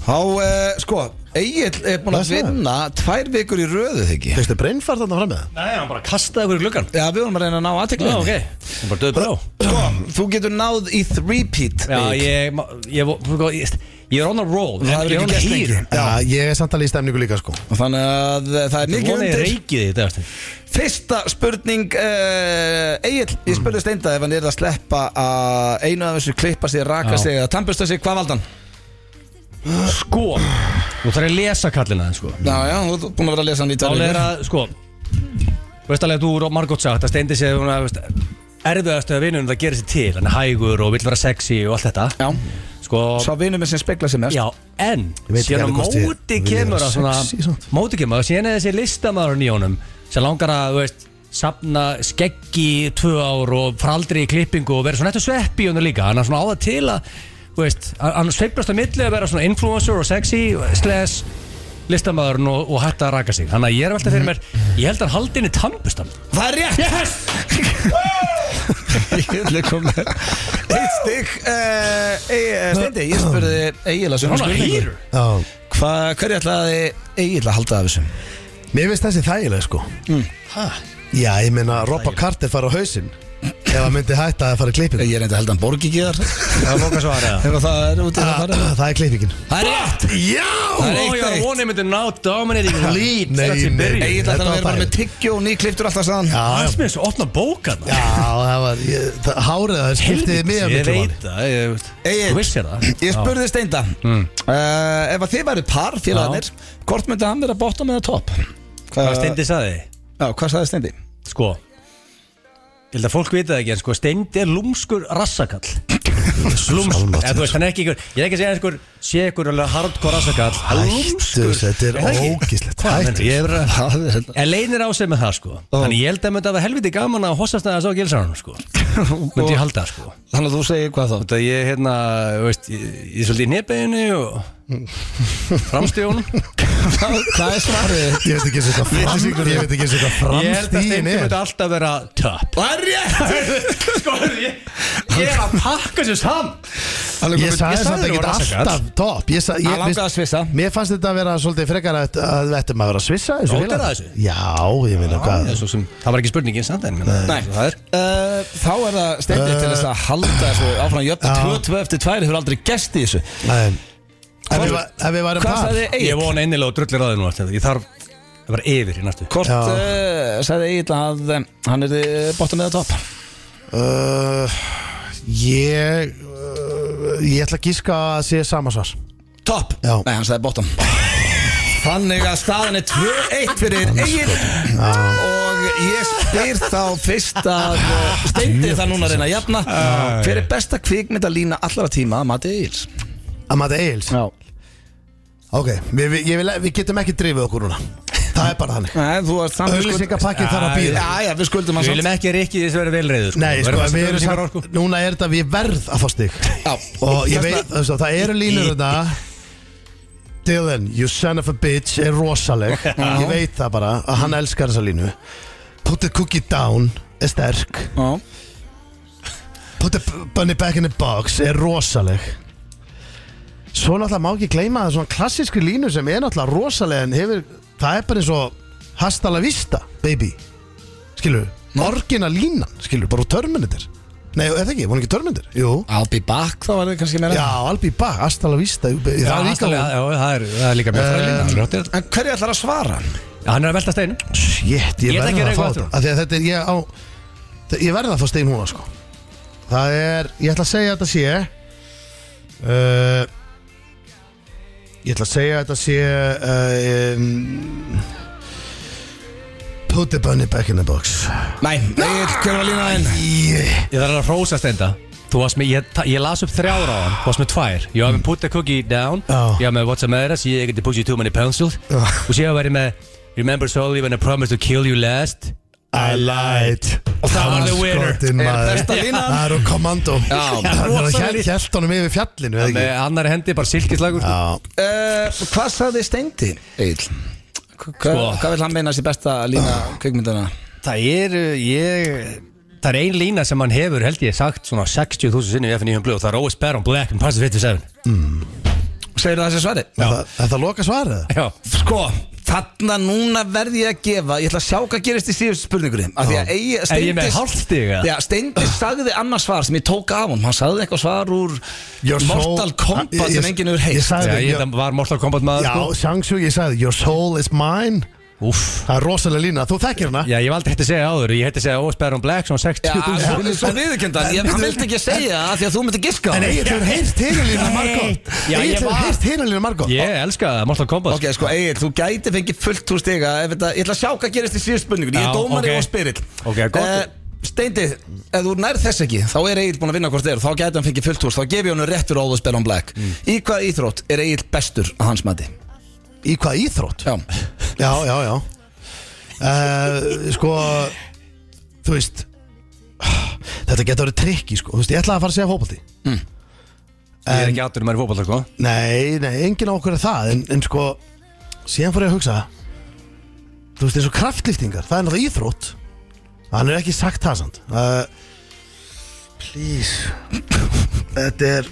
[SPEAKER 1] Há, uh, sko, Egil er búin að
[SPEAKER 3] Blessaður.
[SPEAKER 1] vinna tvær vikur í röðu þegi
[SPEAKER 3] Fyrstu breinfært þarna fram með það?
[SPEAKER 2] Nei, hann bara kastaði ykkur í gluggan
[SPEAKER 1] Já, við vorum að reyna að ná aðeglið
[SPEAKER 2] Já, ok Hún bara döð brá
[SPEAKER 1] Sko, þú getur náð í threepeat
[SPEAKER 2] Já,
[SPEAKER 1] Egill.
[SPEAKER 2] ég, ma- ég, vo- sko, ég, ég er on a roll
[SPEAKER 1] Það hefur
[SPEAKER 2] Ég er
[SPEAKER 1] ekki
[SPEAKER 2] on a
[SPEAKER 1] gerst
[SPEAKER 2] heat.
[SPEAKER 1] lengi.
[SPEAKER 3] Já, ég er samt alveg í stemningu líka sko
[SPEAKER 1] Og Þannig að uh, það er
[SPEAKER 2] Ég
[SPEAKER 1] mikið
[SPEAKER 2] vona ég
[SPEAKER 1] undir
[SPEAKER 2] reykið því þetta eftir
[SPEAKER 1] Fyrsta spurning uh, Egil, ég spurði Steinda ef hann er að sleppa að einu af þessu klippa sig, raka
[SPEAKER 2] Já.
[SPEAKER 1] sig eða tannbusta sig, hvað valdan?
[SPEAKER 2] Sko Þú þarf að lesa kallina þinn, sko
[SPEAKER 1] Já, já, þú ert búin að vera að lesa hann í
[SPEAKER 2] Mál er
[SPEAKER 1] tölvur
[SPEAKER 2] að, sko Þú veist alveg að þú eru margótt sagt að steindi sér hún að, veist, erfiðastu að vinnunum það gerir sér til hann er hægur og vill vera sexy og allt þetta
[SPEAKER 1] Já,
[SPEAKER 2] sko,
[SPEAKER 1] sá vinur minn sem spekla sem mest
[SPEAKER 2] já, en
[SPEAKER 3] Ég veit ekki
[SPEAKER 2] síðan á
[SPEAKER 3] alveg hvort ég
[SPEAKER 2] móti
[SPEAKER 3] vil vera
[SPEAKER 2] kemur að svona
[SPEAKER 3] sexy samt.
[SPEAKER 2] móti kemur að síðan er þessi listamaður í honum sem langar að, þú veist safna skeggi í tvö ár og fraldri í klippingu og vera svona eftir sveppi hún líka, hann er svona á það til að þú veist, hann- hann sveiflast á milli að vera svona influencer og sexy, slash listamaðurinn og, og hætta að raka sig þannig að ég er velta fyrir mér, ég held að hann haldi inn í tannbustan
[SPEAKER 1] Það er rétt!
[SPEAKER 2] Yes!
[SPEAKER 1] Egil er komið Eitt stygg uh, Steindi, ég spurði Egil að
[SPEAKER 2] Svona hýr
[SPEAKER 3] Já
[SPEAKER 1] Hvað, hverju ætlaði Egil að halda af þessu?
[SPEAKER 3] Mér finnst þessi þægileg sko mm. Já, ég meina Robba Carter fara á hausinn Ef hann myndi hætta að fara í klippingu
[SPEAKER 1] Ég er enda held að hann borgi ekki þar
[SPEAKER 2] Það var loka svara
[SPEAKER 1] Ef það er út í það
[SPEAKER 3] Ah,
[SPEAKER 1] farið
[SPEAKER 3] Það er klippingin
[SPEAKER 1] Það er rétt!
[SPEAKER 3] Já
[SPEAKER 1] Það er
[SPEAKER 2] Oh,
[SPEAKER 1] eitt
[SPEAKER 2] ég
[SPEAKER 1] eitt
[SPEAKER 2] vonið myndi ná dominating lead
[SPEAKER 3] Nei,
[SPEAKER 2] strax í
[SPEAKER 3] nei.
[SPEAKER 2] byrjun.
[SPEAKER 1] Egil ætlaði
[SPEAKER 3] Þetta
[SPEAKER 1] að
[SPEAKER 3] var
[SPEAKER 1] vera bara
[SPEAKER 3] fæl.
[SPEAKER 1] með tyggju og nýkliftur alltaf saðan
[SPEAKER 3] Já,
[SPEAKER 2] Aðeins með þessu opna bókan
[SPEAKER 3] já, það var ég, það, Hárið það skiptiði mig að
[SPEAKER 2] Ég
[SPEAKER 3] miklu
[SPEAKER 2] veit
[SPEAKER 3] máli
[SPEAKER 2] það ég veist.
[SPEAKER 1] Egill.
[SPEAKER 2] Þú vissir það
[SPEAKER 1] Ég spurði Steinda mm. Ef að þið væri par félagarnir Hvort myndi hann vera bottom eða top? Eh,
[SPEAKER 2] Hvað Steindi saði
[SPEAKER 1] Já, hvað sagði Steindi?
[SPEAKER 2] Sko Ég held að fólk vita það ekki en sko Steindi er lúmskur rassakall Lúmskur
[SPEAKER 3] almáttugur.
[SPEAKER 2] Eða þú veist hann er ekki ykkur Ég er ekki að segja einhver Sé ykkur alveg hardcore rassakall hann er
[SPEAKER 3] Hættu
[SPEAKER 2] Lúmskur
[SPEAKER 3] þessu, þetta er
[SPEAKER 2] það ekki?
[SPEAKER 3] ógíslegt
[SPEAKER 2] Hvað meinarðu? Ég er að
[SPEAKER 1] Það er hérna
[SPEAKER 2] En leinir á sig með það sko Þannig ég held að myndi að helviti gaman að hossast aðeins á gilsarunum sko Myndi ég halda sko
[SPEAKER 1] Þannig að þú segir hvað þá?
[SPEAKER 2] Þetta ég, hérna, þú veist, ég, ég er svolítið í nefnbeginu og framstíðunum
[SPEAKER 1] Hvað er svarið?
[SPEAKER 3] Ég veit ekki eins og þetta fram Ég veit ekki eins og
[SPEAKER 2] Ég held
[SPEAKER 3] þetta
[SPEAKER 2] að
[SPEAKER 3] framstíðin
[SPEAKER 2] Steindi
[SPEAKER 3] er
[SPEAKER 2] myndi alltaf vera top
[SPEAKER 1] Það er rétt!
[SPEAKER 2] Sko, ég, ég er að pakka sér saman
[SPEAKER 3] Ég sagði samt
[SPEAKER 2] þér
[SPEAKER 3] ekki
[SPEAKER 2] voru rassakall.
[SPEAKER 3] alltaf top Ég sa- ég-
[SPEAKER 1] Hann langaði
[SPEAKER 3] veist-
[SPEAKER 1] að svissa
[SPEAKER 3] Mér fannst þetta að vera svolítið frekar að að þetta maður vera að svissa þessu
[SPEAKER 2] Rótar
[SPEAKER 3] félag.
[SPEAKER 2] það þessu?
[SPEAKER 3] Já, ég meina hvað
[SPEAKER 2] Það er svo sem- það var ekki spurningin samt en menn,
[SPEAKER 1] Nei,
[SPEAKER 2] það er
[SPEAKER 1] Uh, þá er það Steindi til þess að halda þessu áfram jöfn 2-2 eftir 2 hefur aldrei gæst í þessu
[SPEAKER 3] Nei. Ef við
[SPEAKER 1] Hvort-
[SPEAKER 3] va- ef við værum
[SPEAKER 1] Hvað
[SPEAKER 3] par
[SPEAKER 1] sagði
[SPEAKER 2] Ég
[SPEAKER 1] Egil?
[SPEAKER 2] vona innilega og drullir að þið nú allt þetta. Ég þarf að vera yfir í næstu
[SPEAKER 1] Hvort
[SPEAKER 3] Já.
[SPEAKER 1] uh, sagði Egil að um, hann er bottom eða top?
[SPEAKER 3] Uh, ég uh, Ég ætla að gíska að sé sama svar
[SPEAKER 1] Top?
[SPEAKER 3] Já.
[SPEAKER 1] Nei, hann sagði bottom Þannig að staðan er 2-1 fyrir Egil og ég spyr þá fyrst að eh, steindi það núna að reyna að jafna Hver er besta kvikmyndalína allara tíma að mati Egils?
[SPEAKER 3] Amanda Eils
[SPEAKER 1] Já
[SPEAKER 3] Á Ok, við, við, ég vil, við getum ekki drifið okkur núna Það er bara þannig
[SPEAKER 1] Nei, þú varst samt
[SPEAKER 3] Auglýsingapakkin þarf að býða
[SPEAKER 1] Já, já, við skuldum
[SPEAKER 2] Við
[SPEAKER 1] hann
[SPEAKER 2] viljum
[SPEAKER 1] samt
[SPEAKER 2] ekki rikki þess að vera velreiður sko.
[SPEAKER 3] Nei, sko,
[SPEAKER 2] Verðum að
[SPEAKER 3] við
[SPEAKER 2] setja
[SPEAKER 3] erum
[SPEAKER 2] auglýsingar á,
[SPEAKER 3] samt, núna er þetta við verð að fá stig
[SPEAKER 1] Já.
[SPEAKER 3] Og
[SPEAKER 1] Þess
[SPEAKER 3] ég veit,
[SPEAKER 1] vegna-
[SPEAKER 3] þess að það eru línur þetta Dylan, you son of a bitch er rosaleg Ég veit það bara að hann elskar þessa línu Put the cookie down er sterk
[SPEAKER 1] Já.
[SPEAKER 3] Put the bunny back in the box er rosaleg Svo náttúrulega má ekki gleyma það svona klassísku línu sem er náttúrulega rosaleg en hefur, það er bara eins og hasta la vista, baby skilur, orginal línan skilur, bara úr törmyndir Nei, er það ekki, hún ekki törmyndir? Jú
[SPEAKER 1] I'll be back, þá var það kannski meira
[SPEAKER 3] Já, albi ba, hasta la vista baby.
[SPEAKER 2] Já,
[SPEAKER 3] það er líka
[SPEAKER 2] aðstæðlega- já, það er- það er líka mjög fræðilína
[SPEAKER 1] En hverju ætlar að svara?
[SPEAKER 2] Hann er að velta steinu
[SPEAKER 3] Shit,
[SPEAKER 2] Ég
[SPEAKER 3] ég
[SPEAKER 2] ætla ekki að
[SPEAKER 3] verða að
[SPEAKER 2] reyka
[SPEAKER 3] fá
[SPEAKER 2] aftur.
[SPEAKER 3] þetta Af því að þetta er, ég á þe- Ég verða að fá stein húna, sko Það er, ég ætla að segja að þetta sé uh, Ég ætla að segja að þetta sé uh, um, Put the bunny back in the box
[SPEAKER 1] Nei, nei, hverju var lína þinn?
[SPEAKER 3] yeah.
[SPEAKER 2] Ég þarf að rósa steinda Þú varst með, ég, ta- ég las upp þrjára á hann Þú varst með tvær Ég var með put the cookie down
[SPEAKER 3] Já.
[SPEAKER 2] Ég var með what's the matter See I get to push you too many pencils
[SPEAKER 3] Já.
[SPEAKER 2] Og séu að verið með Remember solely when I promised to kill you last
[SPEAKER 3] I lied
[SPEAKER 2] Og það var the winner.
[SPEAKER 1] Er
[SPEAKER 3] Skotin, maður.
[SPEAKER 1] besta línan?
[SPEAKER 3] Það eru kommando
[SPEAKER 1] Já.
[SPEAKER 3] Það hjælt honum yfir fjallinu eða
[SPEAKER 2] Með
[SPEAKER 3] ekki?
[SPEAKER 2] annar hendi bara silkislagur sko.
[SPEAKER 3] Já
[SPEAKER 1] Uh, hvað sagði Steindi? Egil
[SPEAKER 2] Sko.
[SPEAKER 1] Hvað vil hann meina sér besta lína kvikmyndana?
[SPEAKER 2] Það er uh, ég Það er ein lína sem hann hefur held ég sagt Svona 60.000 sinni í FNÍ blöð Og það er always better on black and passive 57
[SPEAKER 1] Segir það þessi svari?
[SPEAKER 3] Þetta þetta loka svarið
[SPEAKER 2] Já
[SPEAKER 1] Sko, þarna núna verð ég að gefa Ég ætla að sjá hvað gerist í síðustu spurningunni Af því að eigi,
[SPEAKER 2] Er ég með hálft stig, eða?
[SPEAKER 1] Já, Steindi sagði annars svar sem ég tók af hann Hann sagði eitthvað svar úr
[SPEAKER 3] Your soul-
[SPEAKER 1] Mortal Kombat
[SPEAKER 3] Ég- ég-
[SPEAKER 1] sem enginn hefur heilt
[SPEAKER 3] ég sagði-
[SPEAKER 2] Þegar ég
[SPEAKER 3] Já.
[SPEAKER 2] það var Mortal Kombat maður
[SPEAKER 3] Já,
[SPEAKER 2] sko.
[SPEAKER 3] sjangsug, ég sagði Your soul is mine
[SPEAKER 2] Úff
[SPEAKER 3] Það er rosalega lína, þú þekkir hana
[SPEAKER 2] Já, ég hef aldrei hægt að segja áður Ég hægt að segja always better on black Svona
[SPEAKER 1] Já, svo-
[SPEAKER 2] 60.000 sinnum,
[SPEAKER 1] svo viðurkendan Hann vildi ekki að segja það af því að þú myndi giska á
[SPEAKER 3] En
[SPEAKER 1] það.
[SPEAKER 3] Egil, þú hefur heyrt hina lína
[SPEAKER 2] Nei.
[SPEAKER 3] margótt
[SPEAKER 2] Já, ég
[SPEAKER 3] Egil, þú
[SPEAKER 2] var-
[SPEAKER 3] hefur heyrt hina lína margótt
[SPEAKER 2] Ég elska það, Mortal Kombat
[SPEAKER 1] Ok, sko, Egil, þú gæti fengið fullt úr stiga ef þetta, Ég ætla að sjá hvað gerist í síðustu spurningunni Ég
[SPEAKER 2] Já,
[SPEAKER 1] er dómari
[SPEAKER 2] ok.
[SPEAKER 1] og spyrill Eh,
[SPEAKER 2] Ok, gott.
[SPEAKER 1] Steindi, ef þú nærð þess ekki Þá er Egil búin að vinna hvort þér Þá gæti hann fengið fullt úr Þá gef ég hann réttur áður spil on black
[SPEAKER 2] Mm.
[SPEAKER 1] Í hvað íþrótt er Egil bestur að hans mati?
[SPEAKER 3] Í hvað íþrótt?
[SPEAKER 1] Já,
[SPEAKER 3] Já, já, já uh, Sko, þú veist Þetta getur verið trikki, sko Þú veist, ég ætlaði að fara að segja fótbolti
[SPEAKER 2] Ég er ekki áttur um að er fótballa sko
[SPEAKER 3] Nei, nei, enginn á okkur er það En, en sko, síðan fór ég að hugsa Þú veist, eins og kraftlýftingar Það er náttúrulega íþrótt Hann er ekki sagt það samt uh, Please Þetta er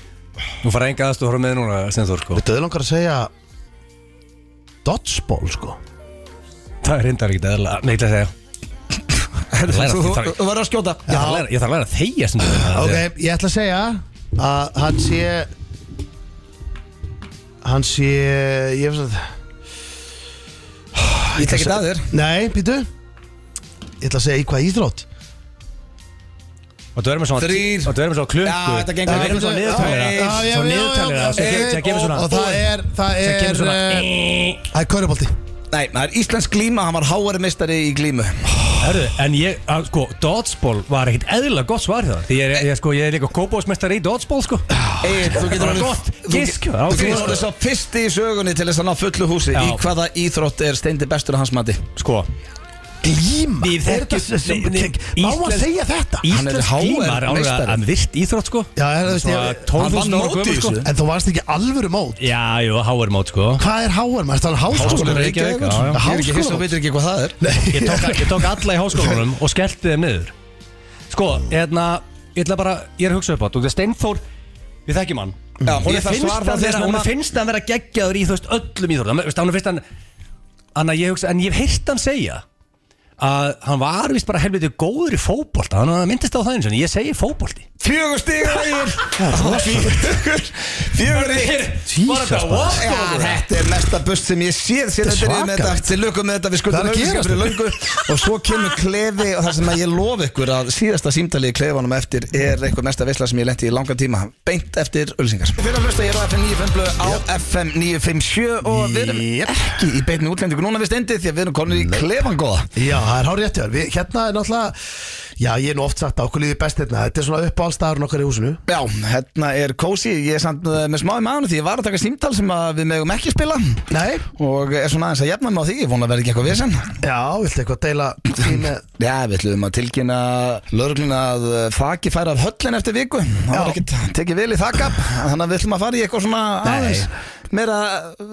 [SPEAKER 2] Nú fara enga aðstu að horfa með núna Stenþór sko
[SPEAKER 3] Þetta er langar að segja Dodgeball sko
[SPEAKER 2] Það er reyndar ekkert eðla Nei, ég ætla að segja Læra,
[SPEAKER 1] þú
[SPEAKER 2] þú þarf-
[SPEAKER 1] þú verður að skjóta
[SPEAKER 2] Ég þarf að læra, ég þarf að læra að þegja sem
[SPEAKER 3] Ok,
[SPEAKER 2] þetta
[SPEAKER 3] ég ætla að segja að hann sé Hann sé Ég veist að
[SPEAKER 1] Ég tek ekki að þér
[SPEAKER 3] Nei, býtu Ég ætla að segja í hvað íþrótt
[SPEAKER 2] Og þú erum með svona
[SPEAKER 1] Þrír.
[SPEAKER 2] Og þú erum með svona
[SPEAKER 1] Já,
[SPEAKER 2] klukku
[SPEAKER 1] þetta gengur
[SPEAKER 2] Við erum
[SPEAKER 1] ekki.
[SPEAKER 2] svona niðurtalera
[SPEAKER 1] Já,
[SPEAKER 3] já, já,
[SPEAKER 2] Svona
[SPEAKER 3] já, já,
[SPEAKER 2] niðurtalera
[SPEAKER 3] já,
[SPEAKER 2] sem
[SPEAKER 3] já,
[SPEAKER 2] ge- sem gefur svona
[SPEAKER 3] Og það er Það
[SPEAKER 2] sem
[SPEAKER 3] er
[SPEAKER 2] kemur svona
[SPEAKER 3] eh, Það er körubolti
[SPEAKER 1] Nei, það er Íslensk glíma Hann var háari mistari í glímu
[SPEAKER 2] Herðu, en ég, að, sko, dodgeball var ekkert eðlilega gott svar það Því ég er, ég, sko, ég er líka kópásmestari í dodgeball, sko
[SPEAKER 1] Egil, þú getur
[SPEAKER 2] Bara
[SPEAKER 1] orðið-
[SPEAKER 2] gott.
[SPEAKER 1] þú-
[SPEAKER 2] Gisk, já,
[SPEAKER 1] Þú
[SPEAKER 2] gisk.
[SPEAKER 1] getur orðið sá fyrsti í sögunni til þess að ná fullu húsi
[SPEAKER 2] Já.
[SPEAKER 1] Í hvaða íþrótt er Steindi bestur að hans mati?
[SPEAKER 2] Sko,
[SPEAKER 3] Glíma
[SPEAKER 2] Við
[SPEAKER 3] Er
[SPEAKER 2] þekkjum-
[SPEAKER 3] þetta sem-
[SPEAKER 2] Nei, nei,
[SPEAKER 3] Má að
[SPEAKER 2] Íslensk-
[SPEAKER 3] segja þetta
[SPEAKER 1] Hann er
[SPEAKER 2] Íslensk
[SPEAKER 1] HR
[SPEAKER 2] tíma er
[SPEAKER 1] meistari.
[SPEAKER 2] ánlega en virt íþrótt, sko
[SPEAKER 3] Já, er, þú veist,
[SPEAKER 2] Svona
[SPEAKER 3] ég,
[SPEAKER 2] 12.000 ára
[SPEAKER 1] hann vann mótið
[SPEAKER 2] gömur, sko
[SPEAKER 1] þessu.
[SPEAKER 3] En þú varst ekki alvöru mót
[SPEAKER 2] Já, jú, HR mót, sko
[SPEAKER 3] Hvað er háar? Maður er
[SPEAKER 2] Háskóli
[SPEAKER 3] háskóla
[SPEAKER 2] Reykjavík, já, já.
[SPEAKER 1] Ég er ekki hiss
[SPEAKER 3] Háskóla-
[SPEAKER 1] og veitur ekki hvað það er
[SPEAKER 2] Ég tók, ég tók alla í háskólanum og skellti þeim niður Sko, hérna Ég ætla bara, ég er að hugsa upp á þetta og Það Steinfór, við þekkjum hann
[SPEAKER 1] Já,
[SPEAKER 2] Hún
[SPEAKER 1] ég þarf
[SPEAKER 2] finnst
[SPEAKER 1] svar frá
[SPEAKER 2] hann
[SPEAKER 1] þér
[SPEAKER 2] vera,
[SPEAKER 1] sem
[SPEAKER 2] hún
[SPEAKER 1] að-
[SPEAKER 2] finnst hann vera geggjaður í þú veist öllum í þú veist, hann finnst hann Anna, ég hugsa, en ég hef heyrt hann segja að hann var vist bara helviti góður í fótbolta hann myndist á það eins og ég segi fótbolti
[SPEAKER 1] Fjögur stigur Egil Fjögur Egil
[SPEAKER 3] Jesus, maður.
[SPEAKER 1] Já, þetta er mesta bust sem ég séð síðan
[SPEAKER 3] Þetta er
[SPEAKER 1] þetta er með
[SPEAKER 3] svakalegt.
[SPEAKER 1] þetta Til lukum með þetta við
[SPEAKER 3] Hvað
[SPEAKER 1] skuldum
[SPEAKER 3] er að gerast
[SPEAKER 1] fyrir löngu Og svo kemur klefi og það sem að ég lof ykkur að síðasta símtalið í klefanum eftir er eitthvað mesta veisla sem ég lenti í langan tíma Beint eftir ölsingar Við erum að hlusta hér á FM 957 á FM 957 og við erum
[SPEAKER 3] Jep.
[SPEAKER 1] ekki í beinni útlendingu núna við steindi því að við erum konur í klefan góða
[SPEAKER 3] Já, það er hár rétt hjá þér. Við- Hérna er náttúrulega, já ég er nú oft sagt að okkur líði best hérna Þetta er svona upp á allstaðarinn okkar í húsinu
[SPEAKER 1] Já, hérna er Kósi, ég er samt uh, með smáði maður því ég var að taka símtal sem að við megum ekki spila
[SPEAKER 3] Nei,
[SPEAKER 1] og er svona aðeins að jafna mig á því, ég vona að verði ekki eitthvað vesen
[SPEAKER 3] já, viltu eitthvað deila því með
[SPEAKER 1] Já, við ætlum að tilkynna lögregluna að uh, þaki færi af höllin eftir viku Það var
[SPEAKER 3] Já.
[SPEAKER 1] ekkert tekið vel í þakap Þannig að við ætlum að fara í eitthvað svona aðeins Meira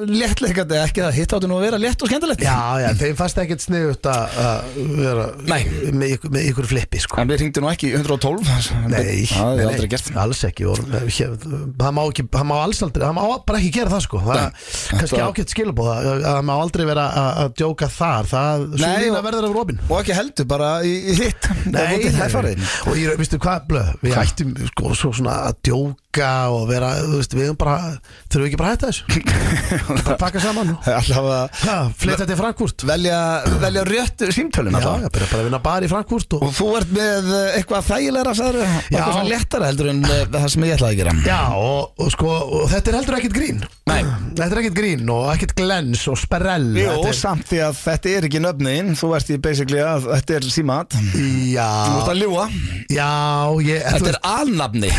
[SPEAKER 1] léttleikandi, ekki að hitt áttu nú að vera létt og skemmtilegt
[SPEAKER 3] Já, já, þeim fannst ekkert sniðut að að vera
[SPEAKER 1] Nei.
[SPEAKER 3] með, ykkur- með ykkur flippi sko
[SPEAKER 1] En við hringdum nú ekki í 112
[SPEAKER 3] Nei,
[SPEAKER 1] Það
[SPEAKER 3] nei,
[SPEAKER 1] er
[SPEAKER 3] nei,
[SPEAKER 1] aldrei gert
[SPEAKER 3] Alls ekki, voru, hér, það má ekki Það má alls aldrei, það má bara ekki gera það sko Það
[SPEAKER 1] Nei.
[SPEAKER 3] er kannski
[SPEAKER 1] Þetta-
[SPEAKER 3] ágætt skilabóð að að það má aldrei vera að að djóka þar Það, svo
[SPEAKER 1] Nei,
[SPEAKER 3] lína
[SPEAKER 1] og-
[SPEAKER 3] verður af Robin
[SPEAKER 1] Og ekki heldur bara í, í hitt
[SPEAKER 3] Nei,
[SPEAKER 1] það er farið
[SPEAKER 3] Og ég, veistu hvað, blöð, við
[SPEAKER 1] Hvað?
[SPEAKER 3] hættum sko, svo svona að djóka og vera, þú veist, við erum bara þurfum við ekki bara að hætta þessu bara að pakka saman og
[SPEAKER 1] Alltaf að
[SPEAKER 3] ha, flytja til Frankfurt
[SPEAKER 1] velja, velja rétt símtölum
[SPEAKER 3] Já,
[SPEAKER 1] allavega.
[SPEAKER 3] ég byrja bara að vinna bar í Frankfurt og,
[SPEAKER 1] Og þú ert með uh, eitthvað þægilegra sagður,
[SPEAKER 3] Já.
[SPEAKER 1] eitthvað svona léttara heldur en uh, það sem ég ætlaði að gera
[SPEAKER 3] Já, og, og sko, og þetta er heldur ekkert grín
[SPEAKER 1] Nei.
[SPEAKER 3] Þetta er ekkert grín og ekkert glens og sperrell
[SPEAKER 1] Jú,
[SPEAKER 3] Þetta er-
[SPEAKER 1] samt því að þetta er ekki nöfnin Þú ert í basically að þetta er símat Þú ert
[SPEAKER 3] Já,
[SPEAKER 1] að ljúa
[SPEAKER 3] já, ég, þú
[SPEAKER 1] Þetta er alnafni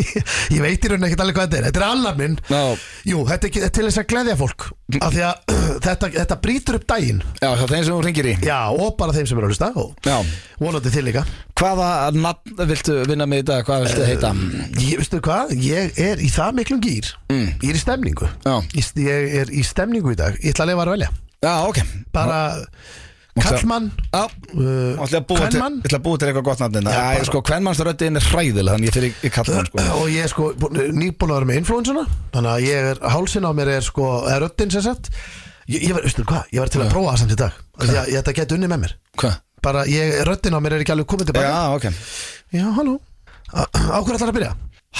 [SPEAKER 3] ég veit í rauninni ekkert alveg hvað þetta er Þetta er alnafnin
[SPEAKER 1] Já.
[SPEAKER 3] Jú, þetta er, ekki- þetta er til þess að gleðja fólk Af því að þetta, þetta brýtur upp daginn
[SPEAKER 1] Já, hjá þeim sem þú ringir í
[SPEAKER 3] Já, og bara þeim sem eru að hlusta og
[SPEAKER 1] Já.
[SPEAKER 3] vonandi þið líka
[SPEAKER 1] Hvaða nafn viltu vinna með í dag? Hvað viltu heita?
[SPEAKER 3] Ég, veistu hvað, ég er í það miklum gýr Ég er í stemningu
[SPEAKER 1] Mm. Já.
[SPEAKER 3] ég, ég er í stemningu í dag, ég ætla að lifa að velja
[SPEAKER 1] Já, ok
[SPEAKER 3] Bara kallmann
[SPEAKER 1] Já,
[SPEAKER 3] uh,
[SPEAKER 1] og ætla að búa til,
[SPEAKER 3] kvenmann?
[SPEAKER 1] ætla að búa til eitthvað gott nafnina
[SPEAKER 3] Já,
[SPEAKER 1] Já,
[SPEAKER 3] bara-
[SPEAKER 1] ég sko, kvennmannsröddin er hræðileg Þannig ég fyrir í kallmann sko
[SPEAKER 3] Og ég er sko nýbúin að vera með influensuna Þannig að ég er, hálsin á mér er sko Er röddinn sem sagt Ég, ég var, veistu hvað, ég var til að prófa það samt í dag Því að ég- þetta geti unni með mér
[SPEAKER 1] Hvað?
[SPEAKER 3] Bara ég, röddinn á mér er ekki alveg komið
[SPEAKER 1] Já,
[SPEAKER 3] tilbaka
[SPEAKER 1] ok
[SPEAKER 3] Já, halló Á á hverju ætlar að byrja?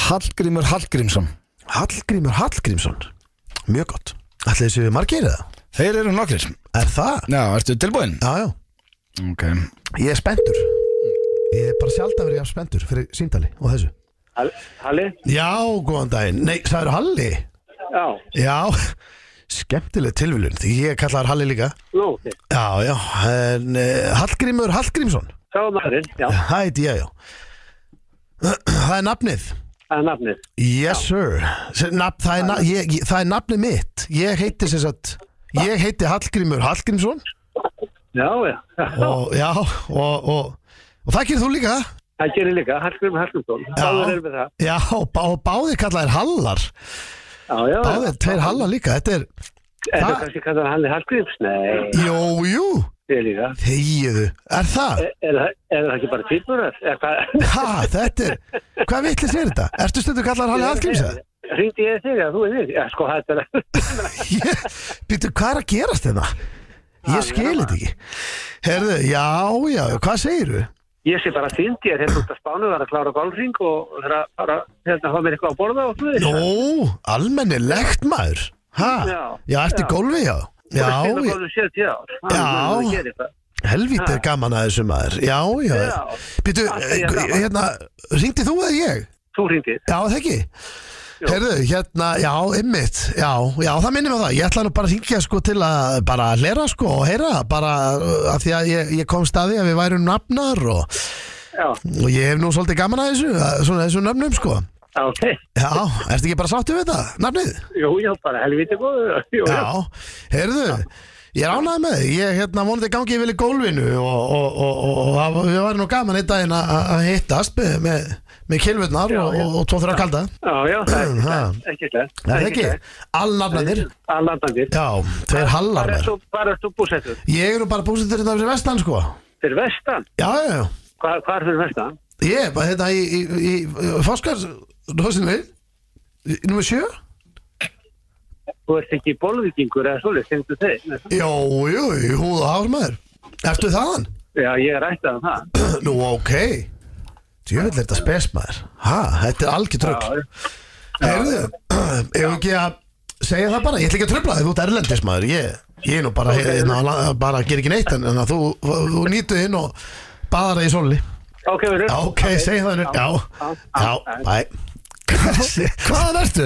[SPEAKER 1] Hallgrímur Hallgrímsson
[SPEAKER 3] Hallgrímur Hallgrímsson Mjög gott Ætli þessu margir eða?
[SPEAKER 1] Þeir eru nokkrir Já,
[SPEAKER 3] Er það?
[SPEAKER 1] ertu tilbúin?
[SPEAKER 3] Já, já
[SPEAKER 1] Ok
[SPEAKER 3] Ég er spenntur Ég er bara sjálf að vera spenntur fyrir síndali og þessu
[SPEAKER 4] Hall- Halli?
[SPEAKER 3] Já, góðan daginn Nei, sagður Halli?
[SPEAKER 4] Já,
[SPEAKER 3] Já Skemmtileg tilvílun Því ég kallar Halli líka
[SPEAKER 4] nú, ok.
[SPEAKER 3] Já, já en, uh, Hallgrímur Hallgrímsson
[SPEAKER 4] það var maðurinn, já,
[SPEAKER 3] Það heiti ég, já Það er nafnið
[SPEAKER 4] það er nafnið.
[SPEAKER 3] Yes, sir Se- nafn, það, er na ég, ég, það er nafnið mitt Ég heiti sem sagt Ég heiti Hallgrímur Hallgrímsson
[SPEAKER 4] Já, já,
[SPEAKER 3] og, Já, og, og, og það gerir þú líka
[SPEAKER 4] það gerir líka, Hallgrim Hallgrimsson, báður erum við það.
[SPEAKER 3] Já, og bá, og báðir kallaðir Hallar
[SPEAKER 4] Já, já, já.
[SPEAKER 3] Báðir, tveir Hallar líka Þetta er,
[SPEAKER 4] Er það
[SPEAKER 3] það-
[SPEAKER 4] kannski kallar Halli Hallgrims? Nei,
[SPEAKER 3] jú, jú
[SPEAKER 4] það er líka.
[SPEAKER 3] Þegiðu, er það?
[SPEAKER 4] Er, er, það- er það ekki bara týpurar? Er hvað?
[SPEAKER 3] Ha, þetta er, hvað vitlis er þetta? Ertu stundu kallaðir Halli Hallgrímsa?
[SPEAKER 4] Eh, Hringdi ég þig að þú er þig? Já, sko, þetta er...
[SPEAKER 3] Ég- Býtu, hvað er að gerast þetta? Ég skil
[SPEAKER 4] hérna
[SPEAKER 3] þetta ekki Herðu, já, já, hvað segiru?
[SPEAKER 4] Ég sé bara týndi ég þegar þú ert að spánu var að klára golfring og þegar að fara, hérna, fá mér eitthvað að borða og þú veist.
[SPEAKER 3] Nó, almennilegt maður Ha,
[SPEAKER 4] Já,
[SPEAKER 3] já, ertu
[SPEAKER 4] já.
[SPEAKER 3] í gólfi, já Já,
[SPEAKER 4] Ég...
[SPEAKER 3] ég- Já.
[SPEAKER 4] Já.
[SPEAKER 3] helvítið er gaman að þessu maður Já, já,
[SPEAKER 4] Já.
[SPEAKER 3] býtu,
[SPEAKER 4] Alltaf ég er gaman.
[SPEAKER 3] hérna, ringdi þú eða ég?
[SPEAKER 4] Þú hringdir.
[SPEAKER 3] Já, það ekki Herðu, hérna, já, ymmit Já, já, það minnir mig á það Ég ætla nú bara að hringja sko til að bara hlera sko og heyra, bara uh, af því að ég, ég kom staði að við værum nafnar og,
[SPEAKER 4] Já,
[SPEAKER 3] og ég hef nú svolítið gaman að þessu að, svona þessu nöfnum sko
[SPEAKER 4] já, ok.
[SPEAKER 3] Já, ertu ekki bara sáttu við það, nafnið?
[SPEAKER 4] Jú, já, bara helviti góður. Jú, já.
[SPEAKER 3] Já, heyrðu Ég er ánægð með þig, ég hérna vonandi gangi yfir í gólfinu og, og, og, og, og það- við varum nú gaman einn daginn að- að að hittast með, með, með kilvurnar og, og, og tvo þrjá kalda
[SPEAKER 4] Já, já, það er ekki
[SPEAKER 3] Ha.
[SPEAKER 4] slæmt, ekki slæmt.
[SPEAKER 3] Er það ekki? Allnafnanir
[SPEAKER 4] Allandandir.
[SPEAKER 3] Já, þeir hallar
[SPEAKER 4] Hvar ert
[SPEAKER 3] mér
[SPEAKER 4] þú, hvar ert þú búsettur?
[SPEAKER 3] Ég er nú bara búsettur hérna fyrir vestan sko
[SPEAKER 4] Fyrir vestan?
[SPEAKER 3] Já, já, já
[SPEAKER 4] Hvar, hvar fyrir vestan?
[SPEAKER 3] Ég er bara hérna í, í, í, í Foskars Rósinni Númer sjö
[SPEAKER 4] Þú ert ekki bólvíkingur eða svolítið, finnstu þeir? Nei.
[SPEAKER 3] Jó, jú, í húð og hár maður Ertu þaðan?
[SPEAKER 4] Já, ég er ættað um það.
[SPEAKER 3] Nú, ok Djöfell er þetta spes maður Ha, þetta er algjör
[SPEAKER 4] Já,
[SPEAKER 3] trögg Heyrðu, ef ekki að segja það bara, ég ætla ekki að tröfla þig, þú ert erlendis maður, ég, ég er nú bara, okay. na, bara ger ekki neitt en, en að þú, þú nýtu inn og baðar það í sóli.
[SPEAKER 4] ok, verður.
[SPEAKER 3] Já, ok, okay. segja það nú, já,
[SPEAKER 4] já,
[SPEAKER 3] já,
[SPEAKER 4] já.
[SPEAKER 3] bæ, Hvaðan ertu?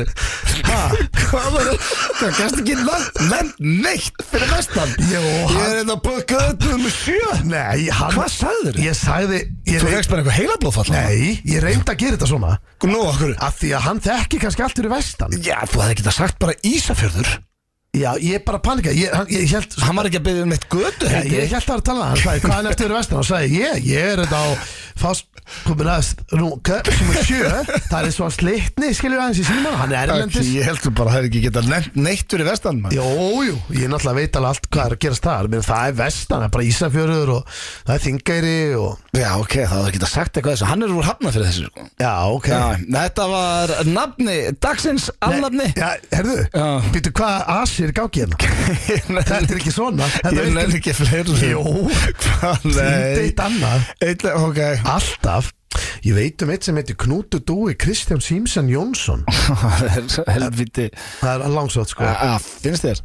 [SPEAKER 3] Ha?
[SPEAKER 1] Hvað var það? Gæst ekki land, land neitt fyrir vestan
[SPEAKER 3] Jó,
[SPEAKER 1] Ég
[SPEAKER 3] hann-
[SPEAKER 1] er hérna að bökka þetta um sjö
[SPEAKER 3] Nei, hann
[SPEAKER 1] Hvað sagðir
[SPEAKER 3] Ég sagði ég
[SPEAKER 1] Þú veikst bara eitthvað heilablóðfall
[SPEAKER 3] Nei, ég reyndi að gera þetta svona
[SPEAKER 1] Nú, okkur
[SPEAKER 3] Af því að hann þekki kannski allt fyrir vestan
[SPEAKER 1] Já, þú hefði ekki það sagt bara Ísafjörður
[SPEAKER 3] Já, ég bara panika Ég, hann- ég held
[SPEAKER 1] Hann var ekki að byggja um eitt götu
[SPEAKER 3] Já, ég held að það var að tala hann sagði, hvað er næstu fyrir vestan? Hann sagði, ég, ég er þetta á fast komin að rúka sem er sjö, það er eins og hann slitni skilur aðeins í síman, hann er erlendis
[SPEAKER 1] Ég held þú bara hefði ekki getað land neitt fyrir vestan man.
[SPEAKER 3] Jó, jú, ég náttúrulega veit alveg allt hvað er að gerast þar menn það er vestan, það er bara Ísafjörður og það er Þingæri og
[SPEAKER 1] Já, ok, það hefði ekki það sagt eitthvað þessu Hann er úr hafna fyrir þessu sko.
[SPEAKER 3] Já, ok
[SPEAKER 1] Já, þetta var nafni, dagsins alnafni
[SPEAKER 3] Já, herðu,
[SPEAKER 1] Já.
[SPEAKER 3] býttu hvað asir gáki hérna Þetta er ekki svona Þetta
[SPEAKER 1] Ég nefn
[SPEAKER 3] er
[SPEAKER 1] ekki fleiri
[SPEAKER 3] Jó.
[SPEAKER 1] Hvað,
[SPEAKER 3] ekki
[SPEAKER 1] nei
[SPEAKER 3] eitt annað
[SPEAKER 1] Eitt, ok
[SPEAKER 3] Alltaf, ég veit um eitt sem heitir Knútu Dúi Kristján Símsen Jónsson
[SPEAKER 1] Helviti
[SPEAKER 3] Það er langsótt sko
[SPEAKER 1] Já, Ah, finnst þér?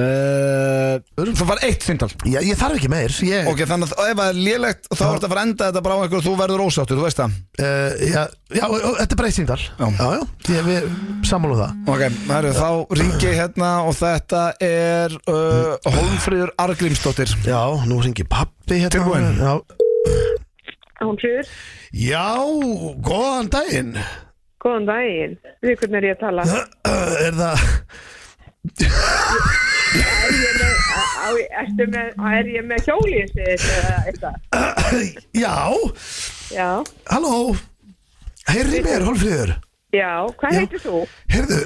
[SPEAKER 1] Uh, það var eitt síndal
[SPEAKER 3] Já, ég þarf ekki meir ég,
[SPEAKER 1] Ok, þannig að ef það er lélegt þá ertu að fara að enda þetta bara á einhverju og þú verður ósáttur, þú veist það
[SPEAKER 3] uh, já, já, og- og þetta er breytingdal Já, já, já ég, við sammálum það
[SPEAKER 1] Ok, herru, þá ringi ég hérna og þetta er uh, Holmfríður Argrímsdóttir
[SPEAKER 3] Já, nú ringi pappi hérna
[SPEAKER 1] Tilbúin.
[SPEAKER 3] Já,
[SPEAKER 5] Hún fyrir,
[SPEAKER 3] já góðan daginn uh,
[SPEAKER 5] góðan daginn, við hvernig er ég að tala?
[SPEAKER 3] Er það
[SPEAKER 5] Er ég með, á- á, ertu með, er ég með hjólið eða eitthvað?
[SPEAKER 3] Já,
[SPEAKER 5] Já,
[SPEAKER 3] halló Heyrðu í mér, Hólfríður
[SPEAKER 5] já, hvað
[SPEAKER 3] Já.
[SPEAKER 5] heitir þú?
[SPEAKER 3] Heyrðu,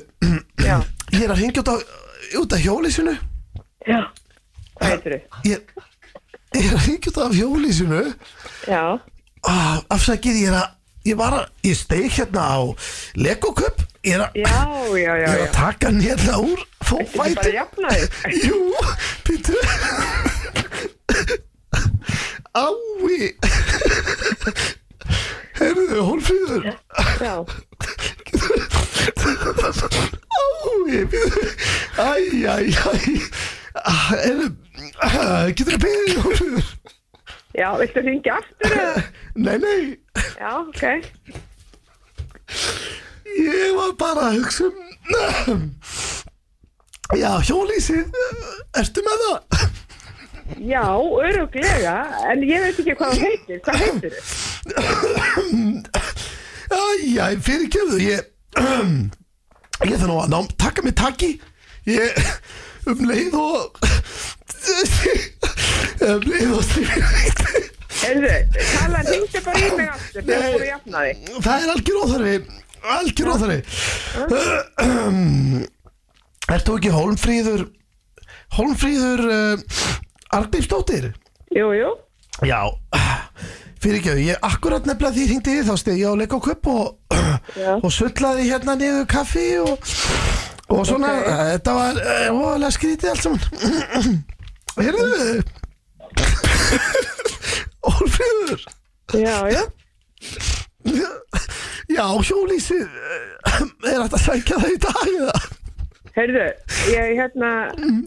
[SPEAKER 5] Já,
[SPEAKER 3] ég er að ringja út á, út af hjólísinu
[SPEAKER 5] já, hvað heitir þú?
[SPEAKER 3] Ég, ég er að ringja út af hjólísinu
[SPEAKER 5] Já,
[SPEAKER 3] ah, Afsakið, ég er að Ég var að, ég steik hérna á Lego Cup Ég er að
[SPEAKER 5] já, já, já,
[SPEAKER 3] Ég er
[SPEAKER 5] já.
[SPEAKER 3] að taka hann hérna úr
[SPEAKER 5] Þetta er bara
[SPEAKER 3] fófæti
[SPEAKER 5] að jafna þig.
[SPEAKER 3] Jú, pítu Ái Heyrðu, Hólfríður
[SPEAKER 5] Já,
[SPEAKER 3] Ái, pítu Æ, æ, æ Heyrðu, ah, getur þú beðið, Hólfríður
[SPEAKER 5] já, viltu hringja aftur eða?
[SPEAKER 3] Nei, nei,
[SPEAKER 5] Já, ok,
[SPEAKER 3] ég var bara að hugsa um Já, hjólísið Ertu með það?
[SPEAKER 5] já, öruglega, en ég veit ekki hvað hún heitir, hvað heitir þú?
[SPEAKER 3] Æ, æ, fyrirgefðu, ég Ég þarf nú að ná, taka mér taki Ég, um leið og Um leið og
[SPEAKER 5] Heyrðu, tala, hringdu bara í mig aftur,
[SPEAKER 3] Nei.
[SPEAKER 5] þegar þú er að jafna þig.
[SPEAKER 3] Það er algjör óþarfi Algjör óþarfi Ert þú ekki Hólmfríður Hólmfríður uh, Arnbífsdóttir?
[SPEAKER 5] Jú, jú,
[SPEAKER 3] Já Fyrirgefðu, ég akkurat nefnilega því hringdi ég þá stegi á leik á köp og,
[SPEAKER 5] Já.
[SPEAKER 3] og sullaði hérna niður kaffi og, og svona,
[SPEAKER 5] Ok.
[SPEAKER 3] þetta var eh, óalega skrítið allt saman Heyrðu Orfriður
[SPEAKER 5] já, já,
[SPEAKER 3] Já, hjólísið eh, er hægt að sækja það í dag eða?
[SPEAKER 5] heyrðu, ég, hérna,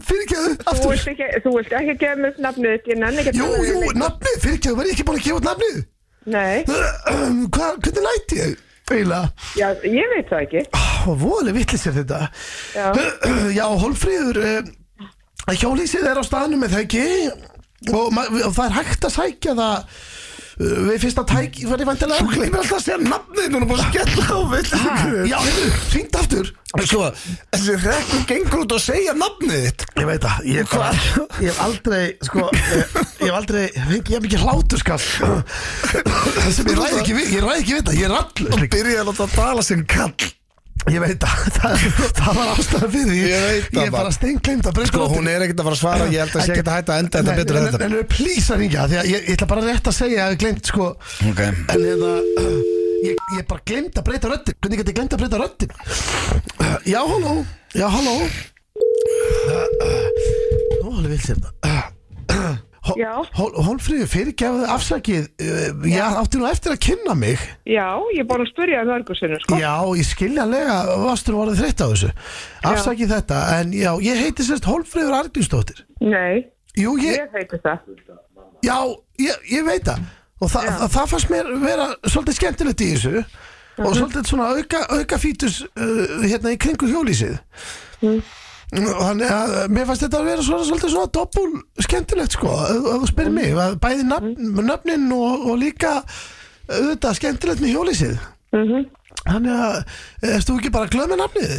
[SPEAKER 3] Fyrirgefðu,
[SPEAKER 5] Þú
[SPEAKER 3] aftur
[SPEAKER 5] vilt ekki, þú vilt ekki gefa mér upp nafnið þitt, ég nenni ekki að
[SPEAKER 3] Jú,
[SPEAKER 5] tala við
[SPEAKER 3] jú,
[SPEAKER 5] þig.
[SPEAKER 3] nafnið, fyrirgefðu, var ég ekki búin að gefa út nafnið
[SPEAKER 5] Nei,
[SPEAKER 3] Hvað, hvernig læti ég? Eila
[SPEAKER 5] já, ég veit það ekki.
[SPEAKER 3] og voðalega vittlis er þetta
[SPEAKER 5] Já.
[SPEAKER 3] já Hólfríður eh, hjólísið er á staðnum með það ekki og, ma- og það er hægt að sækja það eh, við fyrsta tæk verði vandilega
[SPEAKER 1] Þú gleymir alltaf að segja nafnið, þú erum búin að skella á vill
[SPEAKER 3] já, hefðu, hringt aftur
[SPEAKER 1] Sko, þessi rekkur gengur út og segja nafnið þitt
[SPEAKER 3] ég veit það, ég, Hva? ég hef aldrei sko, ég, ég hef aldrei fengið ég mikið hláturskall sem ég ræð ekki við ég ræð ekki við það, ég er allur
[SPEAKER 1] Og byrja að láta að tala sem kall
[SPEAKER 3] ég veit það, það, það var ástæðan fyrir því
[SPEAKER 1] Ég veit það
[SPEAKER 3] ég er
[SPEAKER 1] bara.
[SPEAKER 3] bara steingleimt að breyta
[SPEAKER 1] Sko, hún er ekkert að fara að svara, ég held að sé ekkert að hætta að enda þetta
[SPEAKER 3] Nei,
[SPEAKER 1] betur en
[SPEAKER 3] en-
[SPEAKER 1] þetta
[SPEAKER 3] En en please að ringja, því að ég, ég ætla bara rétt að segja að ég glemt sko
[SPEAKER 1] Ok,
[SPEAKER 3] En hérna, uh, ég, ég bara glemt að breyta röddin Hvernig gæti ég glemt að breyta röddin? Uh, já, halló, já, halló uh, uh, Nú, alveg hérna. vil sér það
[SPEAKER 5] Já.
[SPEAKER 3] Hólfríður, fyrirgefðu afsakið uh, Ég átti nú eftir að kynna mig
[SPEAKER 5] Já, ég er búin að spyrja það örgursinu, sko.
[SPEAKER 3] Já, ég skiljanlega Vastur voruð þreytt á þessu Afsakið þetta, en já, ég heiti sérst Hólfríður Argrímsdóttir
[SPEAKER 5] Nei,
[SPEAKER 3] Jú, ég,
[SPEAKER 5] ég heiti það.
[SPEAKER 3] Já, ég, ég veit það Og þa,
[SPEAKER 5] Já.
[SPEAKER 3] það, það fannst mér vera svolítið skemmtilegt í þessu og svolítið svona auka, auka fítus uh, hérna í kringu hjólísið og þannig að uh, mér fannst þetta að vera svona svolítið svona doppul skemmtilegt sko, ef ef þú spyrir mig að bæði nöfn, nöfnin og, og líka auðvitað skemmtilegt með hjólísið þannig að erst þú ekki bara að glöða með nafnið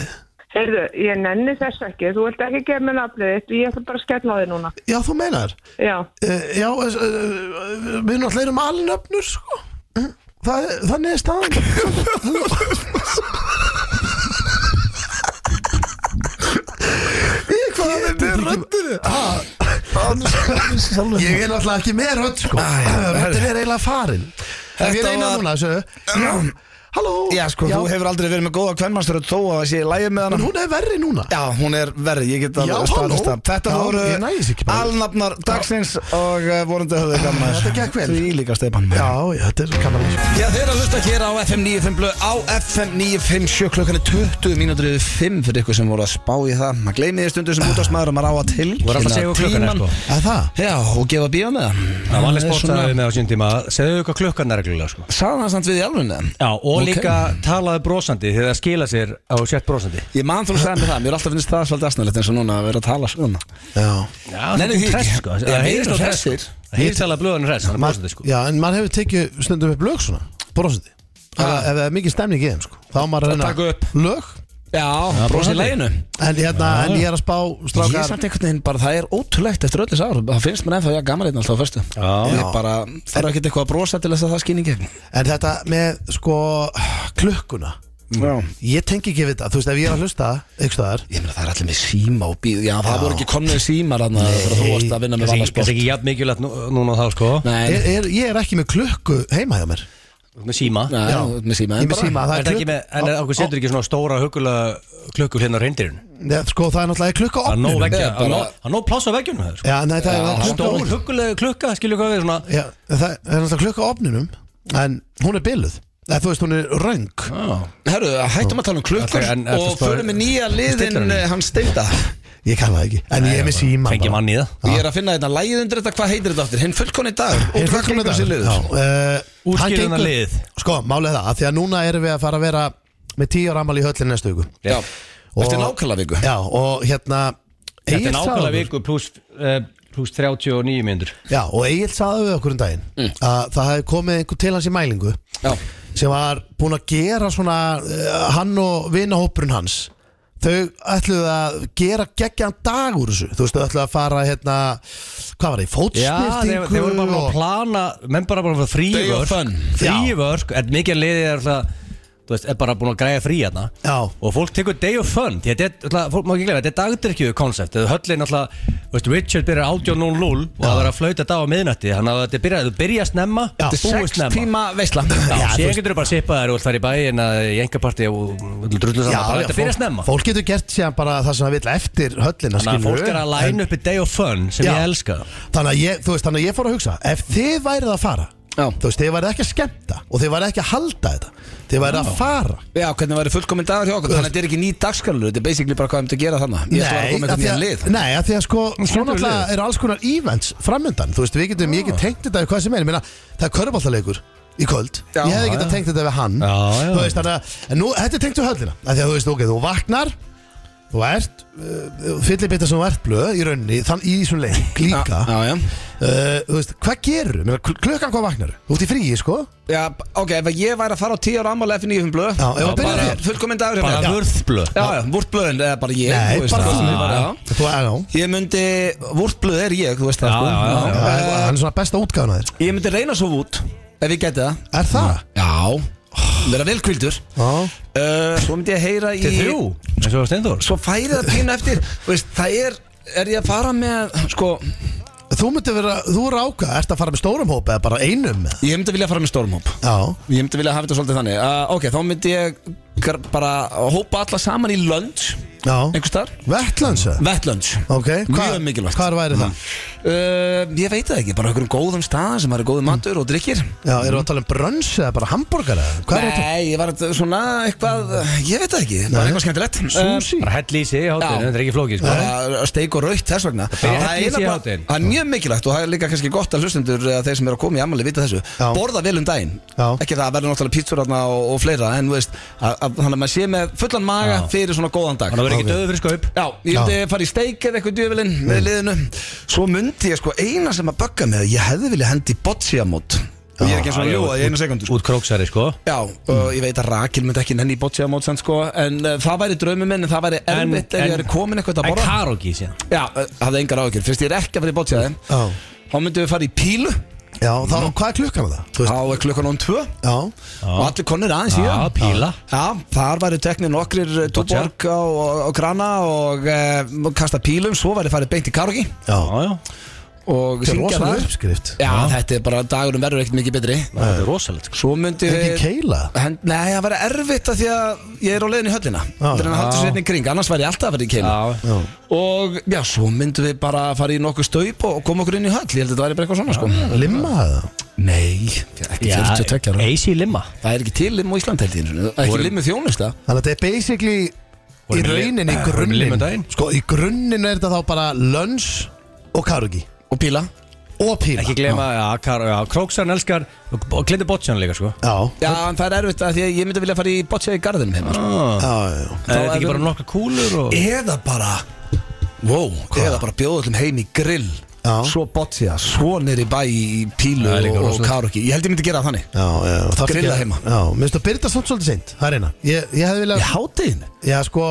[SPEAKER 5] Heyrðu, ég nenni þess ekki, þú vilt ekki gefa mér nafnið þitt, ég ætla bara að skella á þig núna.
[SPEAKER 3] já þú meinar
[SPEAKER 5] Já,
[SPEAKER 3] Uh, já, uh, uh, við náttúrulega erum alnöfnur sko. Það, er- þannig er staðan Ég hvað er með röndinu Ég er náttúrulega ekki með rönd sko. Þetta er eiginlega farin Ef ég
[SPEAKER 1] Þetta
[SPEAKER 3] reyna
[SPEAKER 1] var-
[SPEAKER 3] núna þessu Halló
[SPEAKER 1] Já, sko, þú hefur aldrei verið með góða kvennmannsröð þó að það sé í lægi með hana
[SPEAKER 3] En hún er verri núna
[SPEAKER 1] Já, hún er verri, ég get
[SPEAKER 3] Já,
[SPEAKER 1] alveg staðfest
[SPEAKER 3] halló.
[SPEAKER 1] það Þetta
[SPEAKER 3] Já, ég næ þessu ekki
[SPEAKER 1] voru
[SPEAKER 3] bara.
[SPEAKER 1] alnafnar dagsins og uh, vorandi höfðu gaman að þessu.
[SPEAKER 3] Þetta gekk vel.
[SPEAKER 1] Því líka Stefán
[SPEAKER 3] Já, já, þetta er kannan
[SPEAKER 1] Já, þeir eru að hlusta hér á FM 95 blöð á FM 957 klukkan er 20 mínútur yfir 5 fyrir ykkur sem voru að spá í það maður gleymið þér stundur sem út á smaður og maður á að
[SPEAKER 2] Þú voru alltaf að
[SPEAKER 1] tilkynna
[SPEAKER 2] segja hvað klukkan er,
[SPEAKER 1] tímann.
[SPEAKER 2] sko.
[SPEAKER 3] Að það?
[SPEAKER 1] Já, og gefa bíó með það
[SPEAKER 2] Það var
[SPEAKER 1] er
[SPEAKER 2] alveg spórt að
[SPEAKER 1] svona-
[SPEAKER 2] við með á sín tíma Segðu okkur klukkan er reglulega sko
[SPEAKER 1] Sagði hann samt við í alveg
[SPEAKER 2] Já, og
[SPEAKER 1] Ok.
[SPEAKER 2] líka talaðu brosandi þegar það skila sér á sett brosandi
[SPEAKER 1] Ég man þú að segja mig það, mér er alltaf finnst það svolítið asnalegt eins og núna að vera að tala svona
[SPEAKER 3] Já
[SPEAKER 1] Nei,
[SPEAKER 2] Já,
[SPEAKER 1] nei, því ekki. Ég
[SPEAKER 2] sko Það
[SPEAKER 1] heyri
[SPEAKER 2] heyrist á
[SPEAKER 1] nú
[SPEAKER 2] þess
[SPEAKER 1] hressir.
[SPEAKER 2] Það heyrist alveg blöðan hress, hann er brosandi sko
[SPEAKER 3] Já, en maður hefur tekið stundum upp lög svona Brosandi
[SPEAKER 2] Ah.
[SPEAKER 3] Ef ef það er mikið stemning í þeim sko Þá á maður að reyna
[SPEAKER 1] taka upp.
[SPEAKER 3] Lög
[SPEAKER 1] Já, brosið
[SPEAKER 2] brosandi.
[SPEAKER 1] læginu
[SPEAKER 3] En, hérna,
[SPEAKER 2] Ah.
[SPEAKER 3] en ég er að spá
[SPEAKER 1] Ég er
[SPEAKER 3] strákar
[SPEAKER 1] samt einhvern veginn bara, það er ótrúlegt eftir öllis ár Það finnst mér ennþá ég að gaman einn alltaf á föstu
[SPEAKER 2] Já.
[SPEAKER 1] Ég bara, þarf ekki eitthvað að brosa til þess að það skýni gegn
[SPEAKER 3] En þetta með sko klukkuna
[SPEAKER 1] Já
[SPEAKER 3] Ég tengi ekki við þetta Þú veist ef ég er að hlusta Ykkur staðar
[SPEAKER 1] Ég meina það er allir með síma og bíð Já, það voru ekki komnið símar hann þegar þú varst að vinna með
[SPEAKER 2] Kannski kannski
[SPEAKER 1] vallasport
[SPEAKER 2] ekki jafn mikilvægt nú- núna á þá sko
[SPEAKER 1] Nei,
[SPEAKER 3] er, er, Ég er ekki með klukku heima hjá mér
[SPEAKER 2] Með síma
[SPEAKER 1] nei,
[SPEAKER 3] Já.
[SPEAKER 1] þú ert með síma
[SPEAKER 3] Ég er með síma
[SPEAKER 2] Er
[SPEAKER 3] Það
[SPEAKER 2] það ekki með, en
[SPEAKER 3] á-
[SPEAKER 2] okkur setur ekki svona stóra hugulega klukkur hérna á reyndirinn
[SPEAKER 3] Nei, Sko það er náttúrulega klukka
[SPEAKER 2] Það er nóg
[SPEAKER 3] opnum
[SPEAKER 2] veggja,
[SPEAKER 1] Eða
[SPEAKER 2] það
[SPEAKER 1] bara-
[SPEAKER 2] er nóg- það er nóg pláss á veggjunum það, sko.
[SPEAKER 3] Já, nei, það er klukka
[SPEAKER 2] Stór
[SPEAKER 3] opnum
[SPEAKER 2] hugulega klukka, skilju hvað við svona
[SPEAKER 3] Já, það er náttúrulega klukka opnunum En hún er biluð Eða, Þú veist hún er röng
[SPEAKER 2] Ah.
[SPEAKER 1] Herru, hættum að tala um klukkur
[SPEAKER 2] Ætli, en- en-
[SPEAKER 1] og
[SPEAKER 2] sko-
[SPEAKER 1] förum með nýja liðin eh,
[SPEAKER 2] Stillarinn.
[SPEAKER 1] hans steinda
[SPEAKER 3] Ég kann það ekki En ég er með síma
[SPEAKER 2] Fengi mann í það
[SPEAKER 1] Ég er að finna þetta lægið undir þetta, hvað heitir þetta áttir? Hinn fullkonni dagur og hvað gengur sér liður?
[SPEAKER 2] eh, Útskýrðu
[SPEAKER 3] Útskýrðuna
[SPEAKER 2] hennar liðið.
[SPEAKER 3] Sko, málið er það, að því að núna erum við að fara að vera með tíu ára amal í höllin næstu viku
[SPEAKER 1] Já, eftir
[SPEAKER 3] Og-
[SPEAKER 1] nákvæmlega viku
[SPEAKER 3] Já, og hérna
[SPEAKER 2] Þetta
[SPEAKER 3] Egill
[SPEAKER 2] er nákvæmlega
[SPEAKER 3] sagði okkur-
[SPEAKER 2] viku pluss eh, pluss 39 minnur
[SPEAKER 3] Já, og Egil sagði við okkur um daginn
[SPEAKER 2] Mm.
[SPEAKER 3] að það hefði komið einhver til hans í mælingu
[SPEAKER 1] Já,
[SPEAKER 3] sem var búin að gera svona uh, hann og vinahópurinn hans þau ætluðu að gera geggjan dag úr þessu þú veist, þau ætluðu að fara hérna hvað var það, í
[SPEAKER 2] Já, þeir,
[SPEAKER 3] fótsnýrtingu
[SPEAKER 2] þeir voru bara búin að plana menn bara bara
[SPEAKER 1] Day of
[SPEAKER 2] frívörk
[SPEAKER 1] fun.
[SPEAKER 2] frívörk, en mikið af liðið er alltaf þú veist, er bara búin að græja frí hérna
[SPEAKER 3] Já.
[SPEAKER 2] og fólk tekur day of fun því þetta er, alltaf, fólk má ekki glemja, þetta er dagdyrkjuðu koncept þegar höllin alltaf, þú veist, Richard byrjar 18.00 og það verður að flauta dag á miðnætti þannig að þetta byrjar, þú byrjar snemma
[SPEAKER 3] Já.
[SPEAKER 2] þetta er
[SPEAKER 1] sex
[SPEAKER 2] 6 tíma
[SPEAKER 1] tíma veisla
[SPEAKER 2] Já,
[SPEAKER 1] Já,
[SPEAKER 2] síðan getur þú bara að sippa þær og allt þar í bæin að í engaparti og og drullu saman, bara þetta byrjar
[SPEAKER 3] fólk,
[SPEAKER 2] snemma
[SPEAKER 3] fólk getur gert síðan bara það sem það vill eftir höllina
[SPEAKER 2] Þannig að
[SPEAKER 3] skilurðu.
[SPEAKER 2] fólk er að
[SPEAKER 3] En-
[SPEAKER 2] læna upp í day of fun sem
[SPEAKER 3] Já.
[SPEAKER 2] ég elska
[SPEAKER 3] Þannig að ég, þú veist, þannig að ég fór að hugsa Ef þið værið að fara
[SPEAKER 1] Já.
[SPEAKER 3] Þú veist, þið værið ekki að skemmta Og þið værið ekki að halda þetta Þið værið að fara
[SPEAKER 1] Já, hvernig væri fullkomin dagur hjá okkur Þannig að þetta er ekki ný dagskarlur Þetta er basically bara hvað við um að gera þannig Ég ætla að koma eitthvað
[SPEAKER 3] af því
[SPEAKER 1] nýja
[SPEAKER 3] að,
[SPEAKER 1] lið
[SPEAKER 3] nei, að því að sko Svona
[SPEAKER 2] skemmtileg
[SPEAKER 3] alltaf er alls konar events framöndan Þú veist, við getum, ég get tengt þetta við hvað sem er Ég meina, það er körfaltaleikur í kvöld
[SPEAKER 1] Já,
[SPEAKER 3] Ég hefði
[SPEAKER 1] já.
[SPEAKER 3] getað tengt þetta við hann
[SPEAKER 2] Já, já.
[SPEAKER 3] Þú veist, þannig að, en nú, þetta er tengt við höllina Af Því að þú veist, ok, þú vaknar Þú ert, uh, fyllir bita sem þú ert blöð í rauninni, þann í þessum leik líka
[SPEAKER 1] Já, já
[SPEAKER 3] Uh, Þú veist, hvað gerur? Klukkan hvað vaknar? Þú ert í fríi, sko?
[SPEAKER 1] Já, ok, ef ég væri að fara á 10 ára ammála F9 blöð
[SPEAKER 3] Já, ef að byrja
[SPEAKER 1] bara
[SPEAKER 3] þér.
[SPEAKER 1] fullkomin dagur hjá
[SPEAKER 2] bara
[SPEAKER 1] mér.
[SPEAKER 2] vörðblöð
[SPEAKER 1] Já, já, vúrtblöðin eða bara ég
[SPEAKER 3] Nei,
[SPEAKER 1] þú veist
[SPEAKER 3] bara
[SPEAKER 1] það.
[SPEAKER 3] þú.
[SPEAKER 1] Já, já.
[SPEAKER 3] Þú, já, já,
[SPEAKER 1] Ég myndi, vúrtblöð er ég, þú veist það
[SPEAKER 2] Já,
[SPEAKER 1] sko.
[SPEAKER 2] já, já, já.
[SPEAKER 3] já, hann er svona besta útgáðan að þér
[SPEAKER 1] Ég myndi reyna svo út, ef ég geti það
[SPEAKER 3] Er það?
[SPEAKER 1] Já, vera vel kvildur
[SPEAKER 3] Já,
[SPEAKER 1] uh, Svo myndi ég heyra í
[SPEAKER 2] Til þrjú, eins og Steindór
[SPEAKER 1] Svo færi það pínu eftir Þú veist, Það er, er ég að fara með, sko
[SPEAKER 3] Þú myndir vera, þú eru ákvað, ert að fara með stórum hóp eða bara einum eða?
[SPEAKER 1] Ég myndi vilja fara með stormhóp
[SPEAKER 3] Já,
[SPEAKER 1] Ég myndi vilja hafa þetta svolítið þannig uh, Ok, þá myndi ég gr- bara hópa alla saman í lönd
[SPEAKER 3] Já,
[SPEAKER 1] einhvers þar
[SPEAKER 3] Vettlands eða?
[SPEAKER 1] Vettlönds
[SPEAKER 3] Ok,
[SPEAKER 1] Mjög mikilvægt
[SPEAKER 3] Hvar væri það?
[SPEAKER 1] Uh, ég veit það ekki, bara einhverjum góðum stað sem er
[SPEAKER 3] Mm.
[SPEAKER 1] góðum matur og drikkir
[SPEAKER 3] Já, erum við að tala um brönns eða bara hambúrgar eða? Hvað er þetta?
[SPEAKER 1] Nei, ég var þetta svona eitthvað, ég veit það ekki, bara
[SPEAKER 3] Nei.
[SPEAKER 1] eitthvað skemmtilegt Um,
[SPEAKER 3] Sushi?
[SPEAKER 2] eh, Bara hell í sig í hátinu,
[SPEAKER 1] Já.
[SPEAKER 2] þetta er ekki flókið sko.
[SPEAKER 1] Bara steik og raukt þess vegna
[SPEAKER 2] Já.
[SPEAKER 1] Það er
[SPEAKER 2] Í
[SPEAKER 1] eiginlega bara-
[SPEAKER 2] hádeginu.
[SPEAKER 1] það er mjög mikilvægt og það er líka kannski gott að hlustendur eða þeir sem eru að koma í amali vita þessu
[SPEAKER 3] Já.
[SPEAKER 1] Borða vel um daginn,
[SPEAKER 3] Já.
[SPEAKER 1] ekki það að verður náttúrulega pítsur og, og fleira En þú veist, að- að- þannig að maður sé með fullan maga
[SPEAKER 2] Já.
[SPEAKER 1] fyrir svona góðan dag
[SPEAKER 2] Þannig að vera Mm. ekki
[SPEAKER 3] Ok.
[SPEAKER 2] döðu fyrir skaup
[SPEAKER 1] Já, ég myndi fara í steik eða eitthvað djöfilinn með liðinu Svo myndi ég sko eina sem að bögga með Ég hefði vilja hendi bocciamót Og ég er ekki eins og að ljúa í eina sekundu sko.
[SPEAKER 2] Út króksæri sko
[SPEAKER 1] Já, og ég veit að Rakel myndi ekki nenni í bocciamót sem sko En uh, það væri draumi minn En það væri
[SPEAKER 2] En-
[SPEAKER 1] erfitt ef
[SPEAKER 2] en-
[SPEAKER 1] ég er komin eitthvað að
[SPEAKER 2] En
[SPEAKER 1] borða
[SPEAKER 2] karogi síðan
[SPEAKER 1] Já, uh, hafði engar áhyggjur Fyrst ég er ekki að fara í bocciaði
[SPEAKER 3] Já,
[SPEAKER 1] Þá myndum við fara í pílu
[SPEAKER 3] já þá, hvað er klukkan með það? Þú
[SPEAKER 1] Þá
[SPEAKER 3] veist,
[SPEAKER 1] er klukkan án tvö
[SPEAKER 3] já,
[SPEAKER 1] Og allir konir aðeins í
[SPEAKER 2] Já,
[SPEAKER 1] það.
[SPEAKER 2] píla.
[SPEAKER 1] Já, þar væri teknir nokkrir eh,
[SPEAKER 2] Boccia.
[SPEAKER 1] Tuborg og, og, og Grana og uh, kasta pílum Svo væri farið beint í Karogi
[SPEAKER 3] já
[SPEAKER 2] Já, já,
[SPEAKER 1] og
[SPEAKER 3] Þetta er
[SPEAKER 1] syngja
[SPEAKER 3] rosalega
[SPEAKER 1] það
[SPEAKER 3] uppskrift
[SPEAKER 1] Já, þetta er bara dagurum verður ekkert mikið betri
[SPEAKER 2] þetta er rosalegt sko
[SPEAKER 1] Svo myndi
[SPEAKER 3] Það er ekki
[SPEAKER 1] við
[SPEAKER 3] keila
[SPEAKER 1] Hen- Nei, það var erfitt að því að ég er á leiðin í höllina Það er að halda sér hérna í kring, annars væri ég alltaf að vera í keila
[SPEAKER 2] Já,
[SPEAKER 3] Já,
[SPEAKER 1] Og já, svo myndum við bara fara í nokkuð staup og koma okkur inn í höll Ég held að þetta væri bara eitthvað svona sko
[SPEAKER 2] eh,
[SPEAKER 3] limma það
[SPEAKER 1] Nei, ekki 42 ára
[SPEAKER 2] AC Limma
[SPEAKER 1] Það er ekki til lim á Ísland held ég einu sinni. Það er Ekki lim með þjónusta
[SPEAKER 3] Þannig að þetta er basically
[SPEAKER 2] Vorum
[SPEAKER 3] í
[SPEAKER 2] við-
[SPEAKER 3] rauninni, í
[SPEAKER 2] vorum við lim um
[SPEAKER 3] grunninn
[SPEAKER 2] daginn?
[SPEAKER 3] Sko, í grunninn er þetta þá bara lönns og karugi
[SPEAKER 1] og píla
[SPEAKER 3] og píla
[SPEAKER 2] Ekki glema, já, kar- já króksærin elskar Og og gleymdi bottsján líka sko
[SPEAKER 3] Já,
[SPEAKER 1] Já, en það er erfitt að því að ég myndi vilja fara í boccia í garðinum heima sko.
[SPEAKER 3] já, já
[SPEAKER 2] Er þetta
[SPEAKER 1] er
[SPEAKER 2] ekki bara
[SPEAKER 1] við-
[SPEAKER 2] nokkra kúlur og
[SPEAKER 1] Eða bara Wow, eða bara bjóða öllum heim í grill
[SPEAKER 3] Já.
[SPEAKER 1] Svo botja, svo nýri bæ í pílu
[SPEAKER 2] Það er líka
[SPEAKER 1] og, og
[SPEAKER 2] rosalegt.
[SPEAKER 1] karokki Ég held ég myndi gera það þannig
[SPEAKER 3] Já, já, og það
[SPEAKER 1] Grilla
[SPEAKER 3] fyrir-
[SPEAKER 1] heima.
[SPEAKER 3] Já, minnst að byrta samt svolítið seint, það er eina Ég, ég hefði
[SPEAKER 1] Í
[SPEAKER 3] viljað,
[SPEAKER 1] hátíðin?
[SPEAKER 3] já sko,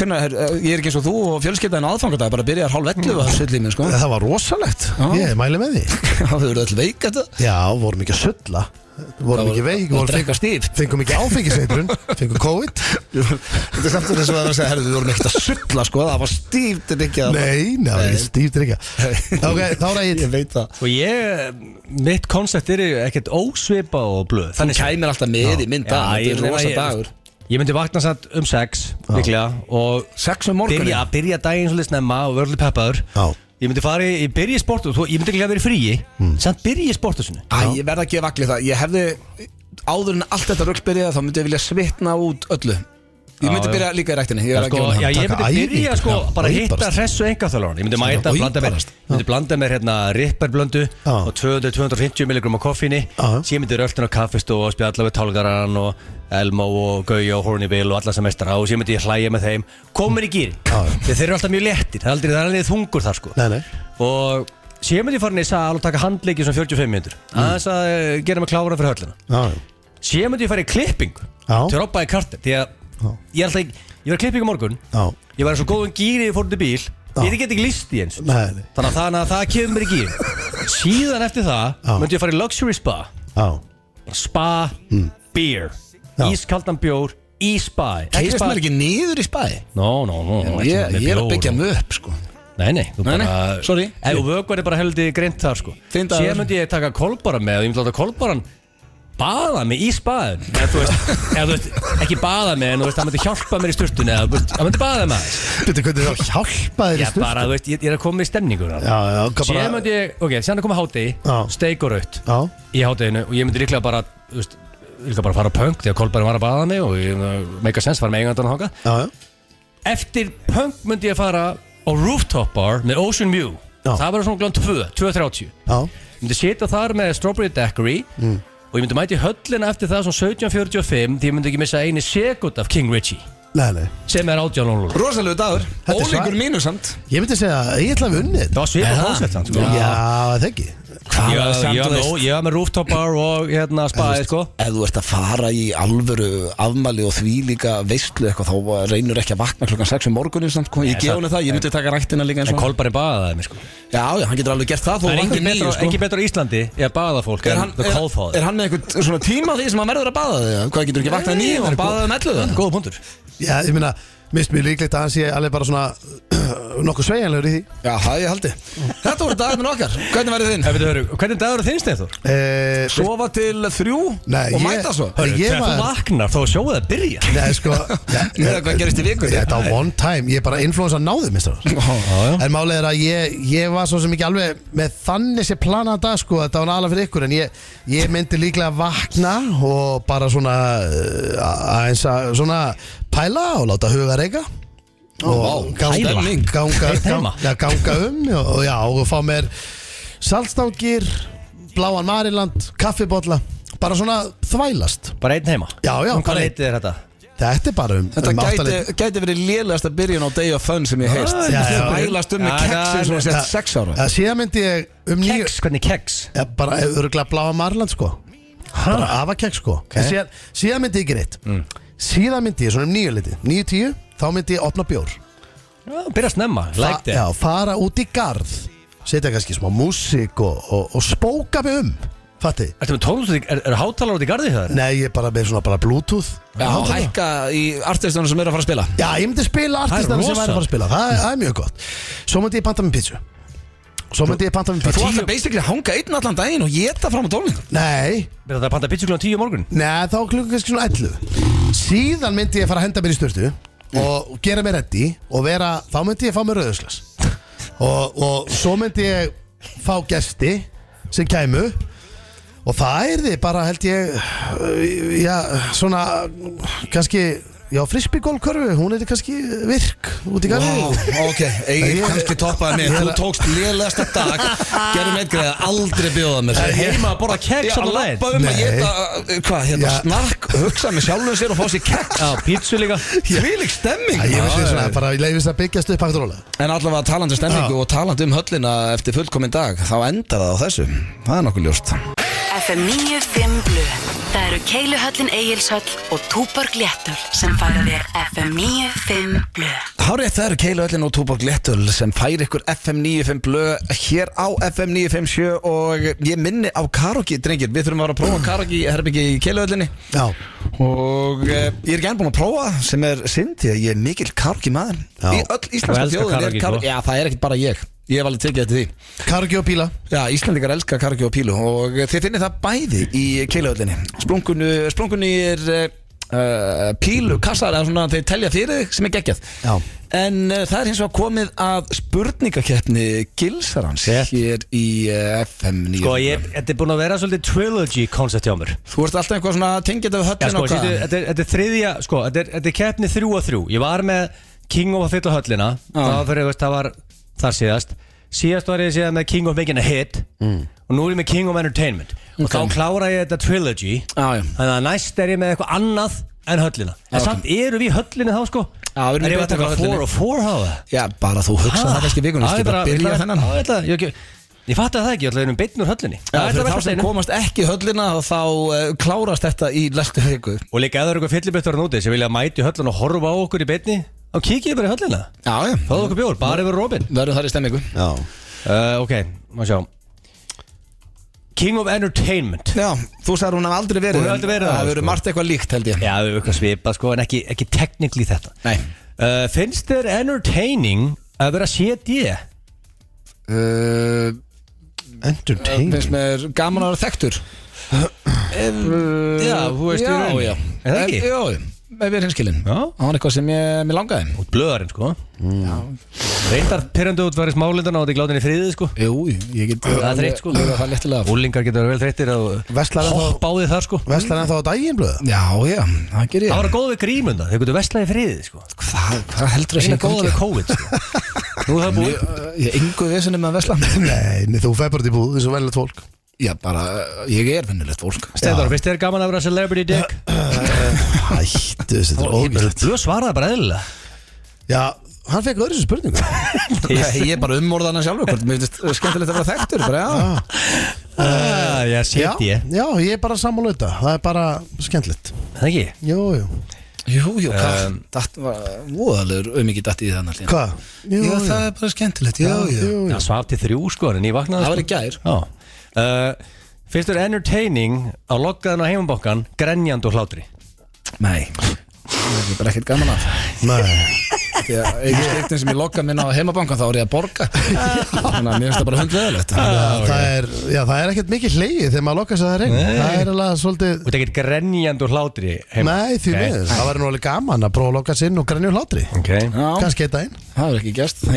[SPEAKER 1] Hvernig, er, ég er ekki eins og þú og fjölskyldaðin aðfangadag bara byrjar hálf 11 mm. að söll í minn sko
[SPEAKER 3] það var rosalegt
[SPEAKER 1] Já.
[SPEAKER 3] Ég mæli með því
[SPEAKER 1] Það eru öll veik þetta
[SPEAKER 3] Já, vorum ekki að sulla
[SPEAKER 1] Það
[SPEAKER 3] Vorum
[SPEAKER 1] voru-
[SPEAKER 3] ekki veik,
[SPEAKER 1] það
[SPEAKER 3] vorum
[SPEAKER 1] drekka
[SPEAKER 3] fengum-
[SPEAKER 1] stíft.
[SPEAKER 3] fengum ekki áfengiseitrun Fengum COVID
[SPEAKER 1] Þetta er samt og þess að það segja, herru, við vorum ekkert að sulla sko Það var stíft en ekki að
[SPEAKER 3] Nei, nei, það er ekki stíf drikja Ok, þá er ég
[SPEAKER 1] Ég veit það
[SPEAKER 2] Og ég, mitt koncept er ekkert ósvipa og blöð
[SPEAKER 1] Þannig
[SPEAKER 2] séð.
[SPEAKER 1] kæmir alltaf með í minn dag,
[SPEAKER 2] ég-
[SPEAKER 1] þetta er
[SPEAKER 2] nema
[SPEAKER 1] rosa
[SPEAKER 2] ég-
[SPEAKER 1] dagur
[SPEAKER 2] Ég myndi vakna samt um sex, líklega Og
[SPEAKER 1] Sex um morgunin?
[SPEAKER 2] Byrja, byrja daginn svolítið snemma og verður peppaður
[SPEAKER 3] Já.
[SPEAKER 2] Ég myndi fara í, ég byrja í sportu Ég myndi ekki að vera í fríi Samt byrja í sportu sinu
[SPEAKER 1] Æ, ég verða ekki að vakli það Ég hefði, áður en allt þetta rögg byrjaði þá myndi ég vilja svitna út öllu Ég
[SPEAKER 2] Já,
[SPEAKER 1] myndi
[SPEAKER 2] já.
[SPEAKER 1] byrja líka í ræktinni Ég
[SPEAKER 2] Já,
[SPEAKER 1] verð að
[SPEAKER 2] sko,
[SPEAKER 1] gefa
[SPEAKER 2] já,
[SPEAKER 1] það.
[SPEAKER 2] ég
[SPEAKER 3] taka
[SPEAKER 2] myndi byrja
[SPEAKER 3] æfingu,
[SPEAKER 2] sko,
[SPEAKER 3] já,
[SPEAKER 2] bara
[SPEAKER 3] og
[SPEAKER 2] að hitta
[SPEAKER 3] íbarast.
[SPEAKER 2] hressu engaþjálfan Ég myndi
[SPEAKER 3] Svona,
[SPEAKER 2] mæta
[SPEAKER 3] og
[SPEAKER 2] að blanda mér
[SPEAKER 3] íbarast.
[SPEAKER 2] Ég myndi blanda mér hérna ripperblöndu
[SPEAKER 3] Já.
[SPEAKER 2] og 200-250 milligram á koffíni
[SPEAKER 3] Já.
[SPEAKER 2] Sér myndi röltin á kaffist og spjalla við tálgaran og Elmo og Gauja og Hornibill og alla sem mestra og sér myndi ég hlæja með þeim Komur í gýrin,
[SPEAKER 3] Já.
[SPEAKER 2] þeir þeir eru alltaf mjög léttir Það er aldrei, það er aldrei þungur þar sko
[SPEAKER 3] Nei, nei
[SPEAKER 2] Og sér myndi ég fara inn í sal og taka handleiki sem 45 minnur
[SPEAKER 3] Mm.
[SPEAKER 2] Aðeins að eh, gera mig klára fyrir höllina
[SPEAKER 3] Já, já.
[SPEAKER 2] Sér myndi ég fara í klippingu
[SPEAKER 3] Já.
[SPEAKER 2] til robba í kartin Því að ég er alltaf ekki, ég var í klippingu á morgun
[SPEAKER 3] já,
[SPEAKER 2] Ég var í svo góðum gýri ég fór út í bíl Ég get ekki list í eins
[SPEAKER 3] Nei, nei.
[SPEAKER 2] Þannig að það, að það kemur mér í gýr Síðan eftir það
[SPEAKER 3] Já.
[SPEAKER 2] myndi ég fara í luxury spa
[SPEAKER 3] já
[SPEAKER 2] Bara Spa,
[SPEAKER 1] Hmm.
[SPEAKER 2] beer
[SPEAKER 3] Já.
[SPEAKER 2] Ískaldan bjór, í spa Ekki
[SPEAKER 1] Keyrist
[SPEAKER 2] spa
[SPEAKER 1] maður ekki niður í spæði
[SPEAKER 2] No, no, no, no ekki
[SPEAKER 1] Ég,
[SPEAKER 2] með
[SPEAKER 1] ég er að
[SPEAKER 2] bjór
[SPEAKER 1] byggja
[SPEAKER 2] og-
[SPEAKER 1] mig upp sko
[SPEAKER 2] Nei, nei, þú
[SPEAKER 1] Nei, nei,
[SPEAKER 2] bara
[SPEAKER 1] sorry.
[SPEAKER 2] Ef þú vökvar er bara heldi greint þar sko
[SPEAKER 1] Þinn dagur.
[SPEAKER 2] Síðan myndi ég taka kolbara með og ég myndi láta kolbaran baða mig í spaðin eða þú veist, eða, þú veist ekki baða mig en þú veist, það myndi hjálpa mér í sturtunni eða þú veist, það myndi baða mig aðeins.
[SPEAKER 3] Býttu, hvernig þá hjálpa þér í
[SPEAKER 2] Já,
[SPEAKER 3] stund?
[SPEAKER 2] bara, þú veist, ég, ég er að koma í stemningu
[SPEAKER 3] Já, já, hvað bara
[SPEAKER 2] Síðan myndi ég, ok, síðan er komið hátegi
[SPEAKER 3] Já.
[SPEAKER 2] Steik og raut
[SPEAKER 3] Já,
[SPEAKER 2] í háteginu Og ég myndi líklega bara, þú veist Líklega bara fara á punk þegar Kolbæri var að baða mig Og ég uh, meika sens, fara með eigandann að hanga
[SPEAKER 3] já, já
[SPEAKER 2] Eftir punk myndi ég fara á rooftop bar með Ocean View
[SPEAKER 3] Já.
[SPEAKER 2] Það verður svona glan 2, 2.30
[SPEAKER 3] Já,
[SPEAKER 2] Ég myndi sita þar með Strawberry Daiquiri
[SPEAKER 3] Mm.
[SPEAKER 2] Og ég myndi mæti höllina eftir það svona 17.45 Því ég myndi ekki missa eini sekund af King Richie
[SPEAKER 3] nei, nei
[SPEAKER 2] Sem er átjálónlúl
[SPEAKER 1] Rosalegu dagur,
[SPEAKER 3] Þetta er
[SPEAKER 1] ólíkur
[SPEAKER 3] svar.
[SPEAKER 1] mínu samt
[SPEAKER 3] Ég myndi segja, að ég ætla að við unnið
[SPEAKER 2] Það var svipað
[SPEAKER 1] Eða?
[SPEAKER 2] koncept samt, sko.
[SPEAKER 3] Já, það ekki
[SPEAKER 1] Hvað
[SPEAKER 2] Ég
[SPEAKER 1] var
[SPEAKER 2] var-
[SPEAKER 1] samt,
[SPEAKER 2] ég var
[SPEAKER 1] þú
[SPEAKER 2] með-
[SPEAKER 1] veist?
[SPEAKER 2] ég var með rooftop bar og hérna spaði sko
[SPEAKER 1] Ef þú ert að fara í alvöru afmæli og því líka veistlu eitthvað þá reynur ekki að vakna klokkan 6 um morgunin samt, sko. ég
[SPEAKER 2] Nei,
[SPEAKER 1] gef
[SPEAKER 2] það-
[SPEAKER 1] henni það, ég myndi taka ræktina líka eins
[SPEAKER 2] En
[SPEAKER 1] og
[SPEAKER 2] kolbarinn baðaði mig sko
[SPEAKER 1] Já, já, hann getur alveg gert það þó
[SPEAKER 2] Það er
[SPEAKER 1] vakni
[SPEAKER 2] engin betra,
[SPEAKER 1] níu, sko.
[SPEAKER 2] sko. betra á Íslandi í að baða fólk
[SPEAKER 1] Er
[SPEAKER 2] en
[SPEAKER 1] hann,
[SPEAKER 2] The
[SPEAKER 1] er,
[SPEAKER 2] Callfather
[SPEAKER 1] er hann með eitthvað svona tíma því sem hann verður að baða þig? eða? Hvað getur ekki vaknað
[SPEAKER 2] Sko-
[SPEAKER 1] nýjum og baðað um elluðu?
[SPEAKER 2] Góða punktur
[SPEAKER 3] Já, ég meina, mist mér líklegt að hann sé alveg bara svona nokkuð sveigjanlegur í því
[SPEAKER 1] Já, það er ég haldi Þetta voru dagarnir okkar, hvernig verður þinn?
[SPEAKER 2] Ef við höfum, hvernig dagur er þinn Steinþór?
[SPEAKER 3] Eh,
[SPEAKER 1] Sofa til þrjú
[SPEAKER 3] Nei,
[SPEAKER 1] og
[SPEAKER 3] ég-
[SPEAKER 1] mæta svo
[SPEAKER 3] Hörru, Ég
[SPEAKER 2] Þegar þú
[SPEAKER 3] var-
[SPEAKER 2] vaknar þá er sjóið að byrja
[SPEAKER 3] Nei, sko ja,
[SPEAKER 1] Ég veit hvað gerist í vikunni.
[SPEAKER 3] Þetta á one time, ég er bara influensa náði mér
[SPEAKER 2] já.
[SPEAKER 3] En málið er að ég, ég var svo sem ekki alveg með þannig sér planað dag sko, þetta var alveg fyrir ykkur en ég, ég myndi líklega vakna og bara svona uh, aðeins að svona pæla og láta huga reyka og ganga,
[SPEAKER 2] pæla.
[SPEAKER 3] ganga,
[SPEAKER 2] Heitt heima.
[SPEAKER 3] ganga, já, ganga um og, og já, og fá mér saltstangir, bláan mariland, kaffibotla, bara svona þvælast
[SPEAKER 2] Bara einn heima
[SPEAKER 3] Já, já,
[SPEAKER 2] um,
[SPEAKER 3] bara
[SPEAKER 2] Hvað
[SPEAKER 3] einn.
[SPEAKER 2] reytið er þetta?
[SPEAKER 3] Þetta er bara um
[SPEAKER 1] Þetta
[SPEAKER 3] um áttalit-
[SPEAKER 1] gæti, gæti verið lélegasta byrjun á Day of Fun sem ég heist
[SPEAKER 2] Já,
[SPEAKER 3] já, já.
[SPEAKER 1] Bælast um með
[SPEAKER 2] Já,
[SPEAKER 1] keksin
[SPEAKER 2] það-
[SPEAKER 1] sem var
[SPEAKER 3] Já,
[SPEAKER 1] sett sex ára
[SPEAKER 3] já, Eh, Síðan myndi ég um nýju
[SPEAKER 2] Keks, hvernig keks?
[SPEAKER 3] ja, Bara örgulega bláa marland sko Bara afa keks sko En síðan, síðan myndi ég ekki neitt
[SPEAKER 1] Mm.
[SPEAKER 3] Síðan myndi ég svona um nýju liti Nýju tíu, þá myndi ég opna bjór
[SPEAKER 2] Já, byrja snemma, like
[SPEAKER 3] Já,
[SPEAKER 2] that
[SPEAKER 3] fara út í garð Setja kannski smá músík og, og, og spóka mig um Fatti
[SPEAKER 2] Ertu með tónlustið, er, er hátalar út í garði það?
[SPEAKER 3] Nei, ég er bara með svona bara bluetooth
[SPEAKER 1] Já,
[SPEAKER 3] Hátalara.
[SPEAKER 1] hækka í artistunum sem eru að fara að spila
[SPEAKER 3] Já, ég myndi spila artistana sem
[SPEAKER 2] rosa.
[SPEAKER 3] væri að fara að spila Það, það er mjög gott Svo myndi ég panta með pítsu Svo myndi ég panta með
[SPEAKER 1] Þú
[SPEAKER 3] pítsu
[SPEAKER 1] ætlar basically að hanga einn allan daginn og geta fram á tónleikum
[SPEAKER 3] Nei,
[SPEAKER 2] Byrja þetta að panta pizza klukkan 10 á morgun
[SPEAKER 3] Nei, þá klukkan kannski svona 11 Síðan myndi ég fara að henda mér í störtu Og gera mér reddi Og vera, þá myndi ég fá mér rauðuslas og, og svo myndi ég Fá gesti sem kæmu Og það er þið bara held ég uh, Já, svona Kannski, já, frisbygólkörfu Hún er kannski virk út í garði
[SPEAKER 1] ok, eigin kannski toppaði mig Þú tókst lélegasta dag Gerðum eitt greið að aldrei bjóða mér
[SPEAKER 2] Er heima að borða keks
[SPEAKER 1] Ég
[SPEAKER 2] allan
[SPEAKER 1] lappa
[SPEAKER 2] daginn
[SPEAKER 1] um að
[SPEAKER 3] Nei.
[SPEAKER 1] geta, uh, hvað, hérna,
[SPEAKER 3] Já.
[SPEAKER 1] snark Hugsa með sjálfum sér og fá sér keks
[SPEAKER 2] Já, pizza líka
[SPEAKER 1] Þvílík stemming
[SPEAKER 3] Æ, Ég veist
[SPEAKER 1] Já,
[SPEAKER 3] þið svona, bara leifist að byggjast upp hægt og rólega
[SPEAKER 1] En allavega talandi um stemningu og talandi um höllina eftir fullkominn dag, þá endar það á þessu. Það er nokkuð ljóst.
[SPEAKER 6] FM 95 Blu Það eru Keiluhöllin Egilshöll og Túborg Léttul sem færa þér FM 95 Blu
[SPEAKER 1] Hárið það eru Keilu Öllin og Túborg Lettul sem fær ykkur FM 95 blöð hér á FM 957 og ég minni á karaoke, drengir. Við þurfum að vera að prófa karaoke í herbyggi í Keilu Öllinni
[SPEAKER 3] Já,
[SPEAKER 1] og eh, ég er ekki enn búin að prófa sem er synd því að ég er mikill karaoke maður.
[SPEAKER 3] Já.
[SPEAKER 1] Í öll íslenska
[SPEAKER 2] Þú elskar
[SPEAKER 1] þjóðin er
[SPEAKER 2] karaoke,
[SPEAKER 1] karaoke.
[SPEAKER 2] sko.
[SPEAKER 1] Já, það er ekkert bara ég. Ég hef alveg tekið eftir því.
[SPEAKER 3] kargi og píla
[SPEAKER 1] Já, Íslandingar elska kargi og pílu og þið finnir það bæði í keiluhöllinni Splungunni, splungunni er eh, uh, pílu, kassar eða svona þeir telja fyrir þig sem er geggjað
[SPEAKER 3] Já.
[SPEAKER 1] En uh, það er hins vegar komið að spurningakeppni Gilsarans
[SPEAKER 2] Rétt.
[SPEAKER 1] hér í uh, FM 9
[SPEAKER 2] Sko, ég, þetta er búin að vera svolítið trilogy koncept hjá mér
[SPEAKER 1] Þú ert alltaf eitthvað svona tengið af
[SPEAKER 2] Já,
[SPEAKER 1] höllin
[SPEAKER 2] sko,
[SPEAKER 1] og
[SPEAKER 2] þetta
[SPEAKER 1] hvað
[SPEAKER 2] er- þetta er- þetta er þriðja, sko, þetta er- þetta er keppni þrjú og þrjú Ég var með King of að fylla höllina
[SPEAKER 1] Já.
[SPEAKER 2] Það var fyrir, þú veist, það var þar síðast Síðast var ég síðan með King of Making a Hit
[SPEAKER 1] Mm.
[SPEAKER 2] Og nú er ég með King of Entertainment Og þá klára ég þetta trilogy
[SPEAKER 1] Já, já.
[SPEAKER 2] Þannig að næst er ég með eitthvað annað en höllina En
[SPEAKER 1] Já,
[SPEAKER 2] samt eru við í höllinni þá, sko
[SPEAKER 1] Já, við erum
[SPEAKER 2] Er ég
[SPEAKER 1] betur
[SPEAKER 2] að taka
[SPEAKER 1] á höllinni.
[SPEAKER 2] 4 og 4 hafa
[SPEAKER 1] Já, bara þú hugsa
[SPEAKER 2] Ah,
[SPEAKER 1] það kannski í vikunni
[SPEAKER 2] Já,
[SPEAKER 1] Ég
[SPEAKER 2] ég
[SPEAKER 1] bara
[SPEAKER 2] ég
[SPEAKER 1] byrja
[SPEAKER 2] ætla-
[SPEAKER 1] þennan
[SPEAKER 2] Já, ég ætla- ég ekki- Ég fatt að það ekki, ég ætla að við erum beitn úr höllinni
[SPEAKER 1] Já,
[SPEAKER 2] Það er
[SPEAKER 1] fyrir
[SPEAKER 2] það
[SPEAKER 1] þá
[SPEAKER 2] versta
[SPEAKER 1] sem
[SPEAKER 2] einu.
[SPEAKER 1] komast ekki í höllina þá uh, klárast þetta í lestu viku
[SPEAKER 2] Og líka ef það eru eitthvað fyllibettur á núti sem vilja mæti höllin og horfa á okkur í beitni þá kikið bara í höllina
[SPEAKER 1] Já, já,
[SPEAKER 2] Fáðu okkur bjór, bara yfir Robin
[SPEAKER 1] verður þar í stemmingu
[SPEAKER 3] Já
[SPEAKER 2] uh, Ok, má sjá King of Entertainment
[SPEAKER 1] Já, þú sagði hún hef aldrei verið
[SPEAKER 2] Hún hefur aldrei verið
[SPEAKER 1] það
[SPEAKER 2] það,
[SPEAKER 1] Það verður
[SPEAKER 2] sko.
[SPEAKER 1] margt eitthvað líkt held ég
[SPEAKER 2] Já, við erum eitthvað svipað sko en ekki, ekki teknikli þetta
[SPEAKER 1] Nei
[SPEAKER 2] uh, Finnst þér entertaining að vera CD?
[SPEAKER 1] uh,
[SPEAKER 3] Entertainment
[SPEAKER 1] Finnst mér gaman að vera þekktur Eh,
[SPEAKER 2] Já, þú veist í
[SPEAKER 1] já,
[SPEAKER 2] rauninni.
[SPEAKER 1] já.
[SPEAKER 2] Er það ekki?
[SPEAKER 1] Ef- Já, ef ég er hinskilin
[SPEAKER 2] Já.
[SPEAKER 1] Það var eitthvað sem ég, mér langaði
[SPEAKER 2] Út blöðarinn sko
[SPEAKER 3] Mm.
[SPEAKER 2] Reyndar pyrrandu út varist málindana og þetta er gláðin í friði sko
[SPEAKER 1] Jú, ég get
[SPEAKER 2] Það er þreytt, sko.
[SPEAKER 1] Ég var það léttilega
[SPEAKER 2] Úlingar getur verið vel þreyttir að
[SPEAKER 3] Verslar ennþá-
[SPEAKER 2] hoppa á því þar sko
[SPEAKER 3] Vestlar ennþá á daginn blöða
[SPEAKER 1] Já, já, það ger ég
[SPEAKER 2] Það var að góða við grímunda, þeir getur veslað í friði sko
[SPEAKER 1] Hvað, hvað heldur
[SPEAKER 2] Eina góða
[SPEAKER 1] gangi?
[SPEAKER 2] við COVID sko. Nú er það búið
[SPEAKER 1] Mjög- Ég engu vesinni með að vesla
[SPEAKER 3] Nei, nei, þú fæð bara til búð eins og velilegt fólk
[SPEAKER 1] Já, bara, eh, ég er vinnulegt fólk
[SPEAKER 2] Stendar, finnst þér gaman að vera celebrity dick?
[SPEAKER 3] Hættu þessi, þetta er ógæst
[SPEAKER 2] Þú svaraði bara eðlilega
[SPEAKER 3] Já, hann fekk öðru sem spurningu
[SPEAKER 1] Nei, ég er bara umorðana sjálfur hvort Mér finnst skemmtilegt að vera þekktur bara, já.
[SPEAKER 2] Ah, Já,
[SPEAKER 3] já,
[SPEAKER 2] shit ég
[SPEAKER 3] já, ég er bara sammála þetta Það er bara skemmtilegt
[SPEAKER 2] Það ekki?
[SPEAKER 3] Jú, jú
[SPEAKER 1] Jú, jú, hvað Þetta var voðalegur um ekki dætt í þannig allt í einu.
[SPEAKER 3] Hvað?
[SPEAKER 1] Já,
[SPEAKER 3] Jú, jú
[SPEAKER 1] það er bara skemmtilegt, já, já
[SPEAKER 3] jú,
[SPEAKER 2] Já,
[SPEAKER 3] jú.
[SPEAKER 2] svaf til þrjú sko, en ég vaknaði
[SPEAKER 1] Það var í
[SPEAKER 2] sko.
[SPEAKER 1] gær.
[SPEAKER 2] Já uh, Finnst þér entertaining að logga þenn á heimabokkan grenjandi og hlátri?
[SPEAKER 1] Nei, það er bara ekkert gaman að
[SPEAKER 3] Nei,
[SPEAKER 1] því að einu skiptin sem ég lokka minna á heimabankan þá er ég að borga þannig að mér finnst það bara hundleðilegt
[SPEAKER 3] það er, já, það er ekkert mikið hleyið þegar maður lokast að það regn það er alveg svolítið
[SPEAKER 2] Þú ert ekkert grenjandi og hlátri heima
[SPEAKER 3] Nei, því
[SPEAKER 2] Nei.
[SPEAKER 3] miður, það væri nú alveg gaman að prófa að lokast inn og grænja úr hlátri
[SPEAKER 2] Ok
[SPEAKER 1] Já,
[SPEAKER 3] Kannski eitt daginn
[SPEAKER 1] það er ekki gæst
[SPEAKER 2] um,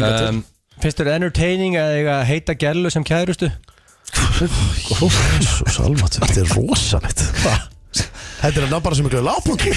[SPEAKER 2] Finnst þér entertaining að eiga heita gælu sem kærustu?
[SPEAKER 3] Jésús almat, þetta er rosalegt Þetta er að ná bara sem ykkur lágbúndi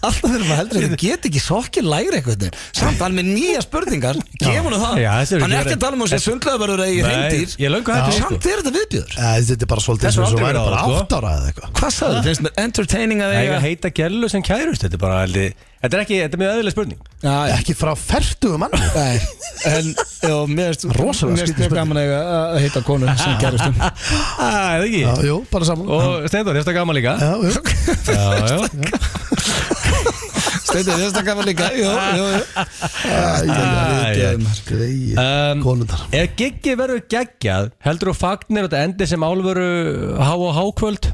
[SPEAKER 1] Alltaf þegar maður heldur þetta get ekki sokkið lægri eitthvað samt hann með nýja spurningar gefur hann það,
[SPEAKER 2] Já, þetta eru
[SPEAKER 1] hann er
[SPEAKER 2] ekki
[SPEAKER 1] ekki að tala um þessi sundlegaverður eigi
[SPEAKER 2] Nei,
[SPEAKER 1] reyndir
[SPEAKER 2] ég er löngu hættur því, sko.
[SPEAKER 1] samt er þetta viðbjöður
[SPEAKER 3] Þetta er bara svolítið
[SPEAKER 2] Þessu
[SPEAKER 3] sem
[SPEAKER 2] aldrei
[SPEAKER 3] svo væri
[SPEAKER 2] verið
[SPEAKER 3] bara
[SPEAKER 2] áður, sko.
[SPEAKER 3] átt ára eða eitthvað
[SPEAKER 1] Hvað sagði þið? Finnst mér entertaining að
[SPEAKER 2] Að
[SPEAKER 1] eiga
[SPEAKER 2] eiga heita gælu sem kærustu? Þetta er bara aldrei Þetta er ekki, þetta er mjög öðurlega spurning
[SPEAKER 1] Já, já.
[SPEAKER 3] Ekki frá fertugu mann
[SPEAKER 1] Nei, en já, mér finnst
[SPEAKER 3] Rosalega
[SPEAKER 1] mér finnst
[SPEAKER 3] skrítið
[SPEAKER 1] mjög gaman að eiga að heita konu sem gerist um
[SPEAKER 2] Það Ah, er ekki
[SPEAKER 3] Já, jú, bara saman
[SPEAKER 2] Og Steindor, þetta er gaman líka
[SPEAKER 3] Já, jú,
[SPEAKER 2] Já, já
[SPEAKER 1] Steindið, þér stakkaði líka Jú, jú, jú
[SPEAKER 3] greið
[SPEAKER 2] Um,
[SPEAKER 3] Konundar
[SPEAKER 2] Ef giggi verður geggjað, heldur þú fagnir að þetta endi sem álveru há og hákvöld?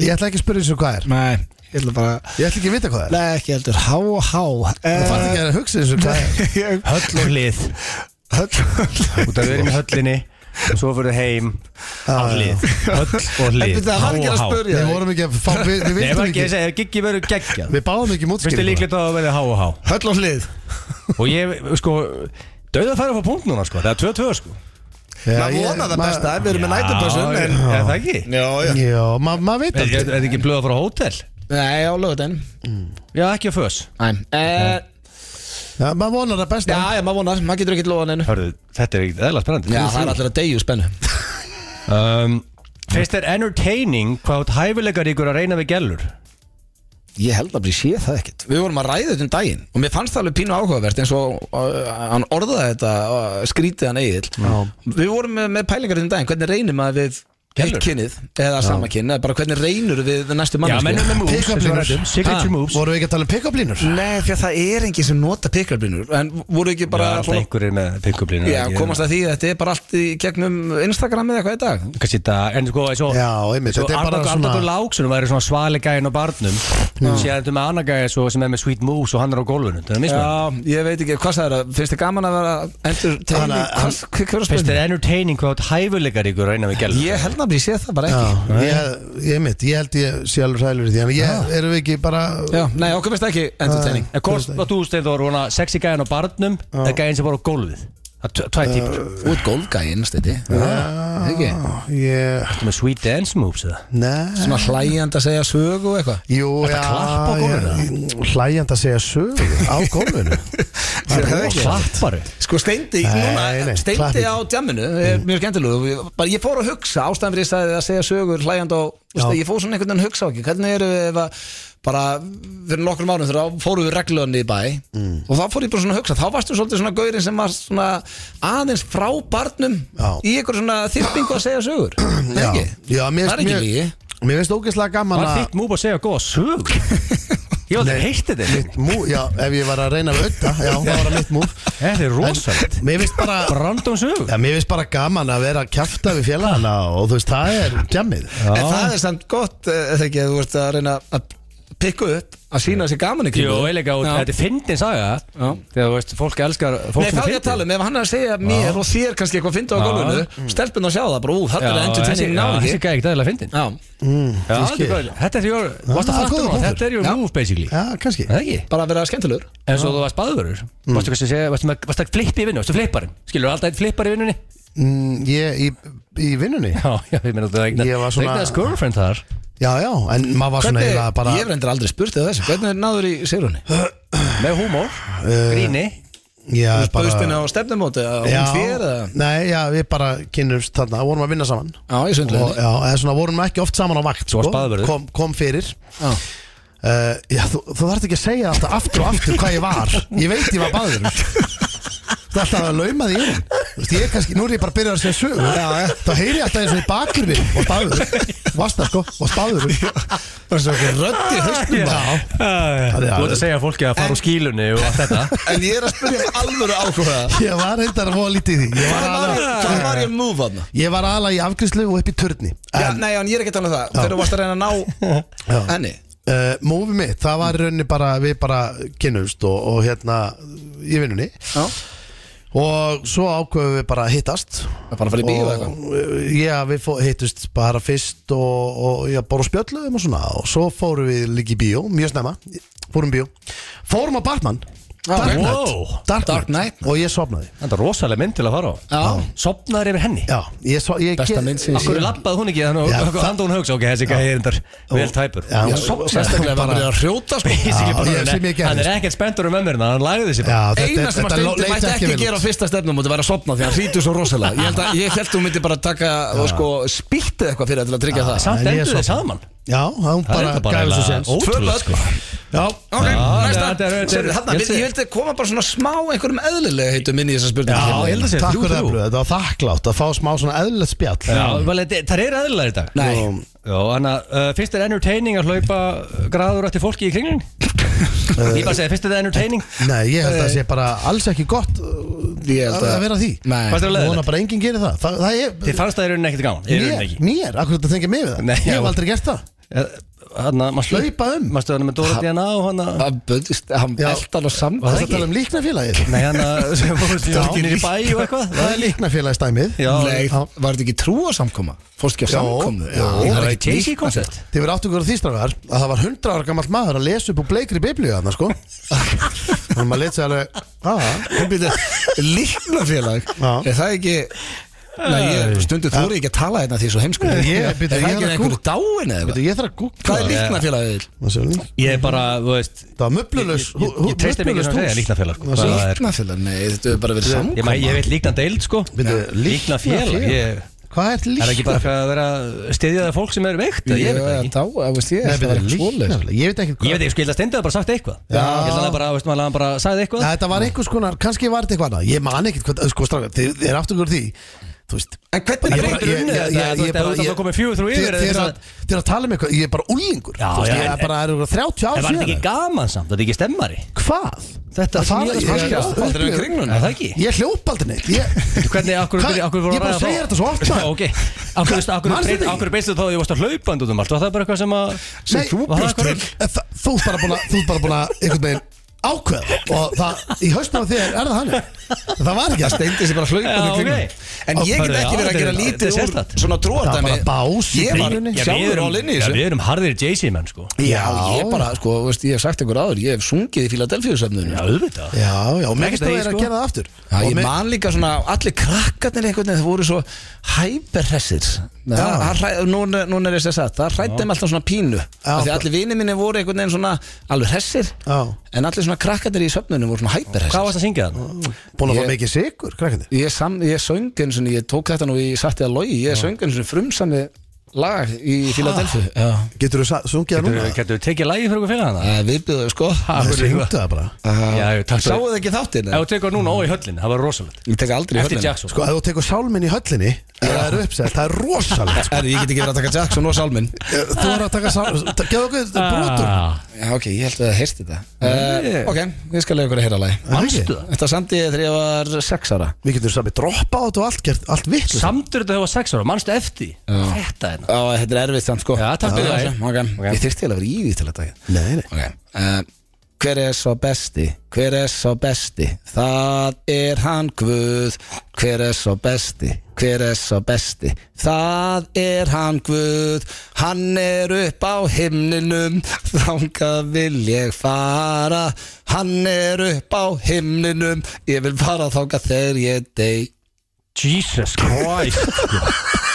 [SPEAKER 3] Ég ætla ekki að spyrja þessu hvað er
[SPEAKER 1] Nei, ég ætla bara
[SPEAKER 3] Ég ætla ekki að vita hvað er
[SPEAKER 1] Nei, ekki heldur, há og há
[SPEAKER 3] Það fann ekki að hugsa þessu hvað er
[SPEAKER 1] ekki
[SPEAKER 2] Höll og hlið Þú þarf að vera með höllinni og svo fyrir heim á hlið Höll og hlið
[SPEAKER 1] Það var ekki að spurja
[SPEAKER 3] Við vorum ekki að fá Við, við
[SPEAKER 2] Nei, ég var
[SPEAKER 3] viltum
[SPEAKER 2] ekki
[SPEAKER 3] ekki
[SPEAKER 2] að segja, ef giggi verður geggjað
[SPEAKER 3] Við báðum ekki
[SPEAKER 2] Fyrst er
[SPEAKER 3] mútskýringu
[SPEAKER 2] líklegt að það verði há og há
[SPEAKER 1] Höll og hlið
[SPEAKER 2] Og ég, sko, döðu að fara upp á punkt núna, sko Það er 2-2, sko
[SPEAKER 1] Maður vona það besta, við erum með nætupössun
[SPEAKER 2] en Er það ekki?
[SPEAKER 1] Já, já
[SPEAKER 3] Já, maður ma veit
[SPEAKER 2] Er
[SPEAKER 3] aldrei
[SPEAKER 2] er þetta ekki blöða frá hótel?
[SPEAKER 1] Nei, á lögutin
[SPEAKER 2] Já, ekki á fös
[SPEAKER 1] Nei, eh,
[SPEAKER 3] Já, Maður vonar það besta
[SPEAKER 1] já, já, maður vonar, maður getur ekki loðan einu
[SPEAKER 2] Hörðu, þetta er ekkert eðla spennandi
[SPEAKER 1] Já, það er allir að deyju spennu
[SPEAKER 2] um, Fyrst er entertaining hvað átt hæfilegar ykkur að reyna við gælur
[SPEAKER 1] Ég held að bli séð það ekkert Við vorum að ræða þetta um daginn og mér fannst það alveg pínu áhugavert eins og uh, hann orðaði þetta uh, skrítið hann eigið Við vorum með, með pælingar um daginn hvernig reynir maður við
[SPEAKER 2] Gellur.
[SPEAKER 1] eitt kynnið eða sama kynni, eða bara hvernig reynir við næstu
[SPEAKER 2] Já,
[SPEAKER 1] mann
[SPEAKER 2] mennum með moves eins
[SPEAKER 3] Pick-up
[SPEAKER 2] og við
[SPEAKER 3] línur.
[SPEAKER 2] ræddum, Signature
[SPEAKER 1] Ha,
[SPEAKER 2] moves
[SPEAKER 3] Vorum við ekki að tala um pick-up línur?
[SPEAKER 1] Nei, því að það er enginn sem nota pikkarblinur en voru ekki bara
[SPEAKER 2] Já, alltaf einhverjir með pick-up-línu
[SPEAKER 1] Já, komast að því að þetta er bara allt í gegnum Instagram eða eitthvað í dag
[SPEAKER 2] Kansi þetta, en sko, eins og
[SPEAKER 3] Já, einmitt,
[SPEAKER 2] Svo
[SPEAKER 3] þetta er bara svona
[SPEAKER 2] Arnagur Láksunum væri svona svali gæðin á barnum Sér þetta með annar gæði svo sem er með Sweet Moose og hann er á gólfinu Það er mismun
[SPEAKER 1] Já, ég veit ekki, hvað sagði það? Finnst þið gaman að vera endur tegning?
[SPEAKER 3] Þannig að-
[SPEAKER 1] Hvað hver- hver er
[SPEAKER 2] Fyrst er
[SPEAKER 1] spurning?
[SPEAKER 2] entertaining hvað átt hæfilegar ykkur að reyna við gælur
[SPEAKER 1] Ég held að ég sé það bara
[SPEAKER 3] Já,
[SPEAKER 1] ekki
[SPEAKER 3] ég, ég mitt, ég held ég sé alveg sælir í því En ég, erum við ekki bara
[SPEAKER 1] Já, nei, okkur finnst það ekki entertaining
[SPEAKER 2] En hvort að þú stein þó er svona sexy gæðin á barnum eða gæðin sem var á gólfið Það er tv-
[SPEAKER 3] Uh,
[SPEAKER 2] tvær típur
[SPEAKER 1] Þú ert golfgæinn, steiti Ekki?
[SPEAKER 3] Ég,
[SPEAKER 2] Ertu Með Sweet Dance Moves eða
[SPEAKER 3] neð
[SPEAKER 1] Svona hlægjand að segja sögu og eitthvað
[SPEAKER 3] Jú, já,
[SPEAKER 2] klappa á gólfinu?
[SPEAKER 3] ég- hlæjandi að segja sög á gólfinu Það er
[SPEAKER 1] hefði
[SPEAKER 2] Og
[SPEAKER 1] ekki.
[SPEAKER 3] rosa.
[SPEAKER 2] klappari
[SPEAKER 1] Sko steindi,
[SPEAKER 3] Nei,
[SPEAKER 1] núna,
[SPEAKER 3] nei,
[SPEAKER 1] steindi
[SPEAKER 3] klappið.
[SPEAKER 1] á
[SPEAKER 3] Mm.
[SPEAKER 1] djamminu er mjög skemmtilegur Ég- bara- Ég fór að hugsa, ástæðan fyrir ég sagði að segja sögur hlægjand og þú veist,
[SPEAKER 3] Já.
[SPEAKER 1] ég fór svona einhvern veginn að hugsa ekki Hvernig eru við ef að bara fyrir nokkrum árum þegar fórum við reglunni í bæ
[SPEAKER 3] Mm.
[SPEAKER 1] og þá fór ég bara svona að hugsa þá varstu svolítið svona gaurin sem var svona aðeins frá barnum
[SPEAKER 3] Já.
[SPEAKER 1] í einhver svona þyrpingu að segja sögur Nei,
[SPEAKER 3] Já,
[SPEAKER 1] ekki?
[SPEAKER 3] já, mér
[SPEAKER 1] Það er ekki lígi
[SPEAKER 3] finnst Mér finnst ógeðslega gaman
[SPEAKER 2] Var
[SPEAKER 3] að
[SPEAKER 2] þitt múb að segja góða sög? Ég var þetta heitt þetta
[SPEAKER 3] mitt mú, Já, ef ég var að reyna að auðta Já, það var að mitt múf
[SPEAKER 2] Þetta er rosalegt
[SPEAKER 3] Mér finnst bara
[SPEAKER 2] Random sög
[SPEAKER 3] Já, mér finnst bara gaman að vera að kjafta við félagana og þú veist, það er djammið
[SPEAKER 1] En það er samt gott, eh, þegar ekki, að þú ert að reyna að pikka upp að sína sér gaman í
[SPEAKER 2] Jú,
[SPEAKER 1] kringum.
[SPEAKER 2] eiginlega, og
[SPEAKER 1] Já.
[SPEAKER 2] þetta er fyndin saga
[SPEAKER 1] Já.
[SPEAKER 2] Þegar þú veist, fólk elskar fólk
[SPEAKER 1] Nei,
[SPEAKER 2] sem
[SPEAKER 1] það er ég að tala um, ef hann er að segja mér og þér kannski eitthvað fyndu á
[SPEAKER 2] Já.
[SPEAKER 1] gólfinu Stelpun að sjá það, bara ú, þetta er
[SPEAKER 2] Já, þessi
[SPEAKER 1] entertaining náði
[SPEAKER 2] gæði
[SPEAKER 1] ekki
[SPEAKER 2] ekki dæðilega fyndin
[SPEAKER 1] Já,
[SPEAKER 3] Mm,
[SPEAKER 2] Já, þetta er bara- Þetta er því að, varst um að
[SPEAKER 3] Ah,
[SPEAKER 2] fatta
[SPEAKER 3] góður
[SPEAKER 2] núna,
[SPEAKER 3] punktur.
[SPEAKER 2] þetta er your
[SPEAKER 1] Já.
[SPEAKER 2] move basically
[SPEAKER 3] Já, kannski
[SPEAKER 2] Er Það ekki?
[SPEAKER 1] bara að vera skemmtilegur
[SPEAKER 2] En svo þú varst baðvörur
[SPEAKER 3] Mm.
[SPEAKER 2] Varstu hvað sem segja, varstu með- varstu að flippa í vinnu, varstu flipparinn Skilur alltaf eitt flippar í vinnunni?
[SPEAKER 3] Mm, Ég, í, í vinnunni
[SPEAKER 2] Já, já, ég meina þú
[SPEAKER 3] Ég var svona-
[SPEAKER 2] eignaðist girlfriend þar
[SPEAKER 3] Já, já, en maður var
[SPEAKER 1] Hvernig,
[SPEAKER 3] svona eiginlega bara
[SPEAKER 1] ég hef reyndar aldrei spurt eða þessu, hvernig er náður í sigrunni?
[SPEAKER 2] Með húmór,
[SPEAKER 3] Eh,
[SPEAKER 2] gríni
[SPEAKER 3] Já,
[SPEAKER 1] Böðstinn á stefnumóti, að
[SPEAKER 3] Já,
[SPEAKER 1] hún þér eða
[SPEAKER 3] nei, já, við bara kynnumst þarna, vorum að vinna saman
[SPEAKER 1] Já, ég sundlega
[SPEAKER 3] og, Já, eða svona vorum ekki oft saman á vakt sko.
[SPEAKER 2] Þú varst baðvörður.
[SPEAKER 3] kom, kom fyrir uh, Já, þú, þú þarft ekki að segja alltaf aftur og aftur hvað ég var Ég veit ég var baður Þú ert alltaf að lauma því inn Þú veist, ég kannski, nú er ég bara að byrja að segja sögur já, já. Þá heyri ég alltaf eins og í bakur við og baður Vasta sko, og baður Það er svo ekki röddi höstum Já,
[SPEAKER 2] Þú
[SPEAKER 3] já.
[SPEAKER 2] ert að segja fólki að fara úr skílunni og allt þetta
[SPEAKER 1] En ég er að spyrja um alvöru ákvöða
[SPEAKER 3] ég var reyndar að voða lítið í því Ég var aðalega
[SPEAKER 1] Hvað var ég að move aðna?
[SPEAKER 3] Ég var aðalega í afgriðslu og upp í turni
[SPEAKER 1] Já, nei, en ég er ekki að tala um það, þegar þú varst að reyna að ná henni
[SPEAKER 3] uh, Mófið mitt, það var í rauninni bara Við bara kynnumst og, og hérna Í vinnunni
[SPEAKER 1] Já.
[SPEAKER 3] Og svo ákveðum við bara að hittast
[SPEAKER 1] Það bara að fara í bíó eða eitthvað
[SPEAKER 3] og, eh, Já, við fó, hittust bara fyrst og, og já, bara spjöllum og svona og svo fórum við líka í bíó, mjög snemma fórum í bíó, fórum á Batman Dark,
[SPEAKER 1] ok.
[SPEAKER 3] Knight.
[SPEAKER 2] Wow.
[SPEAKER 3] Dark,
[SPEAKER 1] Dark
[SPEAKER 3] Knight.
[SPEAKER 1] Knight.
[SPEAKER 3] og ég sofnaði
[SPEAKER 2] Þetta er rosalega mynd til að fara á
[SPEAKER 1] Já.
[SPEAKER 2] Sopnaður yfir henni
[SPEAKER 3] Já, ég, so, ég
[SPEAKER 1] Besta
[SPEAKER 3] get-
[SPEAKER 1] mynd sem ég
[SPEAKER 2] Akkur lappaði hún ekki þannig
[SPEAKER 3] Já,
[SPEAKER 2] og
[SPEAKER 3] það-
[SPEAKER 2] hann hún hugsa Ok, þessi gæði er endar vel tæpur
[SPEAKER 3] Já,
[SPEAKER 2] Hún
[SPEAKER 3] og-
[SPEAKER 2] sofnaði.
[SPEAKER 1] Sérstaklega var bara að hrjóta sko
[SPEAKER 2] Basically
[SPEAKER 3] Já,
[SPEAKER 2] bara,
[SPEAKER 3] ég- sem ég gerði,
[SPEAKER 2] Hann er
[SPEAKER 3] sko.
[SPEAKER 2] ekkert spenntur um ömmurina Hann lagði þessi bara
[SPEAKER 3] Já, þetta,
[SPEAKER 1] Eina sem að
[SPEAKER 3] þetta
[SPEAKER 1] Steindi
[SPEAKER 3] leit
[SPEAKER 1] mætti ekki
[SPEAKER 3] vel
[SPEAKER 1] gera á
[SPEAKER 3] út.
[SPEAKER 1] fyrsta stefnum Þetta var að sopna því að hann hrýtur svo rosalega Ég held að ég held að hún myndi bara taka og sko spiltið eitthvað fyrir það til að tryggja það
[SPEAKER 2] Samt
[SPEAKER 3] en ég
[SPEAKER 2] endur
[SPEAKER 3] sofna.
[SPEAKER 2] þið saman
[SPEAKER 3] Já, hún
[SPEAKER 2] Það er
[SPEAKER 3] bara
[SPEAKER 2] þetta bara
[SPEAKER 3] gæði svo
[SPEAKER 2] eiginlega
[SPEAKER 3] séns
[SPEAKER 1] Tvö
[SPEAKER 2] ótrúlegt,
[SPEAKER 1] börn.
[SPEAKER 2] sko.
[SPEAKER 3] Já,
[SPEAKER 1] Ok,
[SPEAKER 2] Já,
[SPEAKER 1] næsta
[SPEAKER 2] þetta er- þetta er-
[SPEAKER 1] Sérðu, þarna,
[SPEAKER 2] ég
[SPEAKER 1] við-
[SPEAKER 2] sé-
[SPEAKER 1] Ég vildi koma bara svona smá einhverjum eðlilega heitum inn í þessa spurningu
[SPEAKER 2] Já, ég held að sé
[SPEAKER 3] Takk
[SPEAKER 2] þrjú,
[SPEAKER 3] fyrir það,
[SPEAKER 2] þrjú.
[SPEAKER 3] Blöð, þetta var þakklátt að fá smá svona eðlilegt spjall
[SPEAKER 2] Já, vel, þetta- það er aðlilega í dag
[SPEAKER 1] Nei.
[SPEAKER 2] Jó, þannig að uh, fyrst er entertaining að hlaupa græður eftir fólki í kringlun Ég bara segi, fyrst er það entertaining
[SPEAKER 3] Nei, ég held að það sé bara alls ekki gott uh,
[SPEAKER 1] Ég held
[SPEAKER 3] að
[SPEAKER 1] að-
[SPEAKER 3] að vera því
[SPEAKER 1] Nei.
[SPEAKER 2] Fannst þér það
[SPEAKER 3] Ég vona
[SPEAKER 2] leiðilegt?
[SPEAKER 3] bara enginn gerir það Það, það er,
[SPEAKER 2] Þið fannst það í rauninni ekkert gaman Í rauninni
[SPEAKER 3] mér,
[SPEAKER 2] ekki
[SPEAKER 3] mér, akkur þetta tengja mig við það
[SPEAKER 2] Nei,
[SPEAKER 3] Ég
[SPEAKER 2] já.
[SPEAKER 3] hef aldrei gert það
[SPEAKER 2] Eh, Hanna, maður slöp-
[SPEAKER 3] Hlaupa um.
[SPEAKER 2] Maður stöðan með Dóra DNA og hanna
[SPEAKER 1] Hann buddist- Hann
[SPEAKER 3] Já.
[SPEAKER 1] eldan og
[SPEAKER 3] Það er
[SPEAKER 1] saman
[SPEAKER 3] að tala um líknafélagið
[SPEAKER 2] Nei, hanna, sem fór
[SPEAKER 3] Já.
[SPEAKER 2] sér í bæ og eitthvað
[SPEAKER 3] Það er líknafélagið stæmið
[SPEAKER 2] Já,
[SPEAKER 1] Nei,
[SPEAKER 3] Já.
[SPEAKER 1] var þetta ekki trú að samkoma? Fórst ekki að
[SPEAKER 3] Já.
[SPEAKER 1] samkomu?
[SPEAKER 3] Já.
[SPEAKER 2] Ég
[SPEAKER 1] það
[SPEAKER 2] var
[SPEAKER 1] er
[SPEAKER 2] ekki
[SPEAKER 1] ekki
[SPEAKER 2] Jay-Z
[SPEAKER 1] líknafélag.
[SPEAKER 2] koncert
[SPEAKER 3] Þið verður áttu ykkur á því strafgar að það var 100 ára gammal maður að lesa upp úr bleikri biblíu þarna sko Þannig að maður leit sér alveg "Ah,
[SPEAKER 1] Hún býtti líknafélag
[SPEAKER 3] Já.
[SPEAKER 1] Er það ekki Nei, ég stundu þú ekki að tala þetta því svo heimsku
[SPEAKER 3] Ég-
[SPEAKER 1] Er
[SPEAKER 3] býttu,
[SPEAKER 1] það
[SPEAKER 3] ég
[SPEAKER 1] ekki
[SPEAKER 3] er að
[SPEAKER 1] einhverju dáin eða
[SPEAKER 3] Veitu,
[SPEAKER 1] eitthvað?
[SPEAKER 3] Ég þarf að googla
[SPEAKER 1] Hvað er líknafélagið?
[SPEAKER 3] Það sé lík-
[SPEAKER 2] Ég er bara, þú veist
[SPEAKER 3] Það var möblulös
[SPEAKER 2] Ég, ég, ég treysti mikið sem að segja líkna félag sko. Það er-
[SPEAKER 1] Líknafélag? Nei, þetta er bara verið
[SPEAKER 2] Ég,
[SPEAKER 1] samkoma
[SPEAKER 2] mæ- ég veit líkna deild sko Líkna félag Ég-
[SPEAKER 3] Hvað er
[SPEAKER 2] Er það ekki bara
[SPEAKER 3] líknafélag?
[SPEAKER 2] að vera að styðja það fólk sem eru veikt? Ég veit það ekki
[SPEAKER 1] Dá, ég veist ég,
[SPEAKER 3] Nei,
[SPEAKER 1] það var
[SPEAKER 3] byrju,
[SPEAKER 1] ekki svoleiðis
[SPEAKER 3] líknafélag. Ég veit ekki
[SPEAKER 2] Ég veit
[SPEAKER 3] hvað
[SPEAKER 2] ekki, sko, ég held að Steindi hafi bara sagt eitthvað Ég held að hann bara, veist maður, hann bara sagði eitthvað
[SPEAKER 3] Nei, þetta var einhvers konar, kannski var þetta eitthvað annað Ég man ekkert hvað, sko strafgar, þið, þið er aftur ykkur því Þú veist
[SPEAKER 1] En hvernig
[SPEAKER 3] Ég bara-
[SPEAKER 2] breytir
[SPEAKER 3] ég-
[SPEAKER 2] unnið
[SPEAKER 3] ég-
[SPEAKER 2] þetta, þú veist, ef
[SPEAKER 3] ég- ég bara-
[SPEAKER 2] þú ert að
[SPEAKER 3] ég-
[SPEAKER 2] koma fjögur þrjú yfir,
[SPEAKER 3] Þið-
[SPEAKER 2] eða
[SPEAKER 3] þið er
[SPEAKER 2] þess
[SPEAKER 3] að- þið er að tala með eitthvað, ég er bara úlingur
[SPEAKER 2] Já,
[SPEAKER 3] Þú veist,
[SPEAKER 2] já,
[SPEAKER 3] Ég
[SPEAKER 2] en-
[SPEAKER 3] er bara er ykkur
[SPEAKER 2] En
[SPEAKER 3] 30 ár
[SPEAKER 2] var þetta
[SPEAKER 3] síðan
[SPEAKER 2] ekki
[SPEAKER 3] eða?
[SPEAKER 2] gaman samt, þetta er ekki stemmari
[SPEAKER 3] Hvað?
[SPEAKER 2] Þetta
[SPEAKER 3] Það
[SPEAKER 2] er
[SPEAKER 3] fara-
[SPEAKER 2] mjög
[SPEAKER 3] ég-
[SPEAKER 2] skemmtilegt.
[SPEAKER 3] Aldrei um
[SPEAKER 2] Er
[SPEAKER 1] kringluna
[SPEAKER 2] það ekki?
[SPEAKER 3] Ég hljópa aldrei neitt Ég,
[SPEAKER 2] Hvernig, akkur,
[SPEAKER 3] Hvað-
[SPEAKER 2] Hva? akkur voru
[SPEAKER 3] ég bara segir þetta svo oft, sko. maður.
[SPEAKER 2] Ok, akkur, veist, akkur,
[SPEAKER 3] Manstu
[SPEAKER 2] breyt,
[SPEAKER 3] þetta ekki?
[SPEAKER 2] akkur beist þetta þá að ég varst að hlaupa undan um allt Var það bara eitthvað sem að
[SPEAKER 3] Sem þú
[SPEAKER 2] Var það
[SPEAKER 3] bjóst
[SPEAKER 2] eitthvað-
[SPEAKER 3] En það- Þú ert bara búin að, þú ert bara búin að einhvern veginn ákveða og það í haustum af þér er það hann það var ekki að
[SPEAKER 1] Steindi sér bara
[SPEAKER 2] Já,
[SPEAKER 1] hlaupandi
[SPEAKER 2] ok.
[SPEAKER 1] kringum En ég get
[SPEAKER 2] Hörðu,
[SPEAKER 1] ekki
[SPEAKER 2] já,
[SPEAKER 1] verið að
[SPEAKER 2] þetta
[SPEAKER 1] gera
[SPEAKER 2] er- þetta er
[SPEAKER 1] lítið úr
[SPEAKER 2] sérstakt.
[SPEAKER 1] svona
[SPEAKER 3] Það
[SPEAKER 1] trúardæmi
[SPEAKER 3] var bara bás í
[SPEAKER 1] Ég var
[SPEAKER 3] kringlunni.
[SPEAKER 2] Já, við
[SPEAKER 1] sjálfur á
[SPEAKER 2] erum-
[SPEAKER 1] linni í
[SPEAKER 2] já,
[SPEAKER 1] þessu
[SPEAKER 2] Við erum harðir Jay-Z menn sko
[SPEAKER 1] Já,
[SPEAKER 3] Já,
[SPEAKER 1] ég bara, sko, þú veist, ég hef sagt einhver áður Ég hef sungið í Filadelfíu-söfnunum
[SPEAKER 2] Já, auðvitað
[SPEAKER 3] Já, já, mér
[SPEAKER 2] Ekkert
[SPEAKER 3] finnst
[SPEAKER 2] að ég,
[SPEAKER 3] þú er að
[SPEAKER 2] sko.
[SPEAKER 3] gera það aftur
[SPEAKER 1] Já,
[SPEAKER 3] Og
[SPEAKER 1] ég
[SPEAKER 3] mér-
[SPEAKER 1] man líka svona, allir krakkarnir einhvern veginn, það voru svo hæperhressir Það- það hræ- Núna núna er þess að sagt, það hrætti mig alltaf um svona pínu Af Því að allir vinir minni voru einhvern veginn svona alveg hressir
[SPEAKER 3] Já.
[SPEAKER 1] En allir svona krakkarnir í söfnunum voru svona
[SPEAKER 2] Hvað
[SPEAKER 1] hæperhressir
[SPEAKER 2] varst að syngja þann?
[SPEAKER 3] Búin að
[SPEAKER 1] Ég-
[SPEAKER 3] fá mikið sigur, krakkandi
[SPEAKER 1] Ég, sam, ég söng eins og ég tók þetta nú í Satti að logi Ég söng eins og frumsami lag í Filadelfíu Já
[SPEAKER 3] Getur þú sungið það núna?
[SPEAKER 2] Getur þú tekið lægi fyrir okkur fyrir hana?
[SPEAKER 1] Það er viðbjöðu sko
[SPEAKER 3] Það syngdu það bara
[SPEAKER 2] Já, já, takk
[SPEAKER 1] Sáu
[SPEAKER 2] fyrir
[SPEAKER 1] þið ekki þáttinn?
[SPEAKER 2] Ef þú tekur núna ó í höllinni, það var rosalegt
[SPEAKER 1] Ég tek aldrei
[SPEAKER 2] Eftir
[SPEAKER 1] hörnina.
[SPEAKER 2] Jackson
[SPEAKER 3] Sko, ef þú tekur sálminn í höllinni Það er uppsett, það er rosalegt sko.
[SPEAKER 1] Herri, ég get ekki verið að taka Jackson og Salmin
[SPEAKER 3] Þú er að taka sálminn Gjáðu okkur brotur
[SPEAKER 2] Ah,
[SPEAKER 1] Já, ok, ég held að það heyrst þetta uh, Ok, ég skal leiða ykkur að heyra lagi
[SPEAKER 2] Manstu
[SPEAKER 3] ekki?
[SPEAKER 2] það?
[SPEAKER 1] Þetta samdi ég þegar ég var 6 ára
[SPEAKER 3] Við getum sami droppa á þetta og allt, gert allt vitt
[SPEAKER 2] Samdur þetta þegar þú var 6 ára, mannstu eftir Þetta hérna? er
[SPEAKER 1] Já, þetta er erfitt samt sko
[SPEAKER 2] Já, takk fyrir það.
[SPEAKER 1] okay. Ég þyrfti eiginlega að vera í því til þetta
[SPEAKER 3] Nei, nei.
[SPEAKER 1] okay. uh, Hver er svo besti? Hver er svo besti? Það er hann Guð Hver er svo besti? Hver er svo besti? Það er hann Guð Hann er upp á himninum Þangað vil ég fara Hann er upp á himninum Ég vil fara þangað þegar ég dey
[SPEAKER 2] Jesus Christ sko.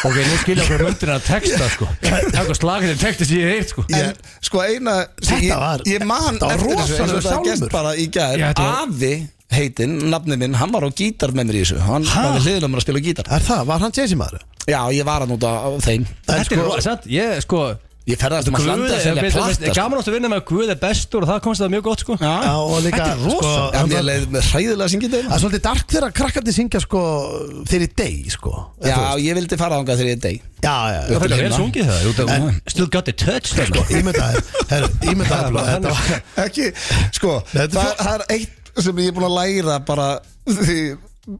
[SPEAKER 2] Ok, nú skilja okkur möndina að texta sko. Takk og slagið þeir texta sem ég heilt sko.
[SPEAKER 1] En sko eina
[SPEAKER 3] Þetta
[SPEAKER 1] ég,
[SPEAKER 3] var-
[SPEAKER 1] Ég man
[SPEAKER 3] þetta var
[SPEAKER 1] eftir þessu eins og
[SPEAKER 3] rosalegur
[SPEAKER 1] þetta hafi gerst
[SPEAKER 3] sálmur.
[SPEAKER 1] bara í gær
[SPEAKER 2] Já, þetta var-
[SPEAKER 1] Afi heitinn, nafni minn, hann var á gítar með mér í þessu Hann
[SPEAKER 2] Ha?
[SPEAKER 1] var við hliðlum að spila á gítar
[SPEAKER 3] Er það, var hann Jesse maður?
[SPEAKER 1] Já, ég var hann út á á þeim
[SPEAKER 2] Þetta er rosalegt Ég sko
[SPEAKER 1] Ég ferðast um að
[SPEAKER 2] Guð
[SPEAKER 1] landa að
[SPEAKER 2] er
[SPEAKER 1] selja
[SPEAKER 2] betur
[SPEAKER 1] platta sko.
[SPEAKER 2] Gaman átt að vinna með að Guð er bestur og það komst það mjög gott sko
[SPEAKER 1] Já,
[SPEAKER 3] Já, og líka
[SPEAKER 2] Þetta er
[SPEAKER 3] sko,
[SPEAKER 2] rosalegt.
[SPEAKER 1] en
[SPEAKER 3] hann
[SPEAKER 1] ég
[SPEAKER 3] var-
[SPEAKER 1] leið með hræðilega að syngja
[SPEAKER 3] Það
[SPEAKER 1] þetta
[SPEAKER 3] er svolítið dark þegar krakkarnir syngja sko þeirri deg sko
[SPEAKER 1] Já, ég vildi fara þangað þegar ég dey
[SPEAKER 3] já, já, já.
[SPEAKER 2] Það fyrir að vel sungið það út af-
[SPEAKER 1] En-
[SPEAKER 2] Still got the touch þarna.
[SPEAKER 3] Sko, ímyndaði, herru, ímyndaði blá, þetta var
[SPEAKER 1] Ekki, sko,
[SPEAKER 3] Þetta
[SPEAKER 1] það,
[SPEAKER 3] er-
[SPEAKER 1] það er eitt sem ég er búin að læra bara því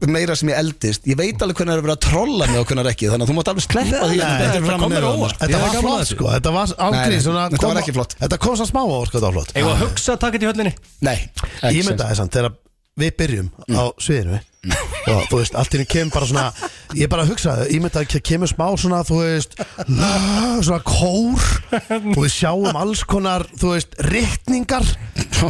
[SPEAKER 1] meira sem ég eldist Ég veit alveg hvernig það er verið að trolla mig og hvernig ekki Þannig að þú mátt alveg sleppa því að
[SPEAKER 2] þetta
[SPEAKER 1] þetta er
[SPEAKER 2] kom
[SPEAKER 1] framan
[SPEAKER 2] mér á
[SPEAKER 1] nefnum,
[SPEAKER 2] óvart.
[SPEAKER 1] sko.
[SPEAKER 3] Þetta
[SPEAKER 2] Ég
[SPEAKER 3] var
[SPEAKER 2] var gaman að
[SPEAKER 3] flott
[SPEAKER 2] þessu.
[SPEAKER 3] sko, þetta var
[SPEAKER 1] Nei, nei,
[SPEAKER 3] ángrín
[SPEAKER 1] þetta var ekki flott.
[SPEAKER 3] Þetta kom svo smá á sko, þetta var flott
[SPEAKER 2] Eða að hugsa að taka þetta í höllinni
[SPEAKER 1] Nei, ekki
[SPEAKER 3] Ég myndi
[SPEAKER 1] sens.
[SPEAKER 3] aðeins hann, þegar við byrjum
[SPEAKER 2] Mm.
[SPEAKER 3] á sviðinu og þú veist, allt í henni kemur bara svona ég er bara að hugsa, ég myndi að kemur smá svona, þú veist svona kór og við sjáum alls konar, þú veist, rittningar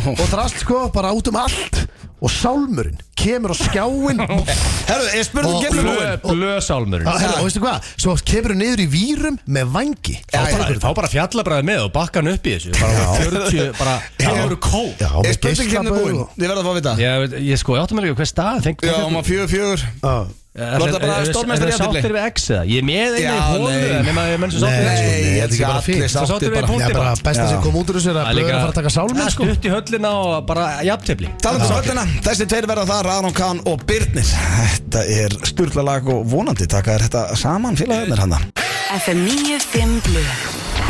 [SPEAKER 3] og drast sko, bara út um allt og sálmurinn kemur á skjáin
[SPEAKER 1] Herru, ég spurði
[SPEAKER 3] Og
[SPEAKER 1] um gefnum búinn
[SPEAKER 2] Blö- Blösálmurinn
[SPEAKER 3] og, herra, og veistu hvað, svo kemur hún niður í výrum með vangi
[SPEAKER 2] Þá bara, þá bara fjallabræði með og bakka hann upp í þessu bara 40, bara, það voru kól
[SPEAKER 3] Já, með
[SPEAKER 1] Ég spurði um
[SPEAKER 2] hérna
[SPEAKER 1] gefnum
[SPEAKER 3] geislabaug
[SPEAKER 1] búinn
[SPEAKER 3] og-
[SPEAKER 1] Þið verða að fá að vita
[SPEAKER 2] Ég, veit- ég sko, ég áttum ekki hvað stað fengt
[SPEAKER 1] Já, maður fjögur fjögur
[SPEAKER 3] Já.
[SPEAKER 1] Var þetta bara stórmeistari
[SPEAKER 2] í aðtili?
[SPEAKER 1] jafntefli?
[SPEAKER 2] Sáttir við X eða? Ég er með einu
[SPEAKER 1] Já,
[SPEAKER 2] í hólu
[SPEAKER 1] nei.
[SPEAKER 2] eða nema að menn sem sáttir við
[SPEAKER 3] Nei,
[SPEAKER 1] Nei,
[SPEAKER 2] X sko.
[SPEAKER 3] þetta er
[SPEAKER 1] ég
[SPEAKER 3] ekki bara fínt.
[SPEAKER 1] allir
[SPEAKER 2] Svo sáttir
[SPEAKER 1] sáttir
[SPEAKER 2] við
[SPEAKER 1] bara
[SPEAKER 2] punkt.
[SPEAKER 3] Já, bara besta sem kom út úr þessu er að blöður að fara að taka sálminn sko
[SPEAKER 2] Stutt í höllina og bara jafntefli
[SPEAKER 1] Talandi um sáttina, þessi tveir verða það, Aron Kahn og Birnir Þetta er sturla lag og vonandi taka þér þetta saman félagarnir hann
[SPEAKER 6] FM 95 Blu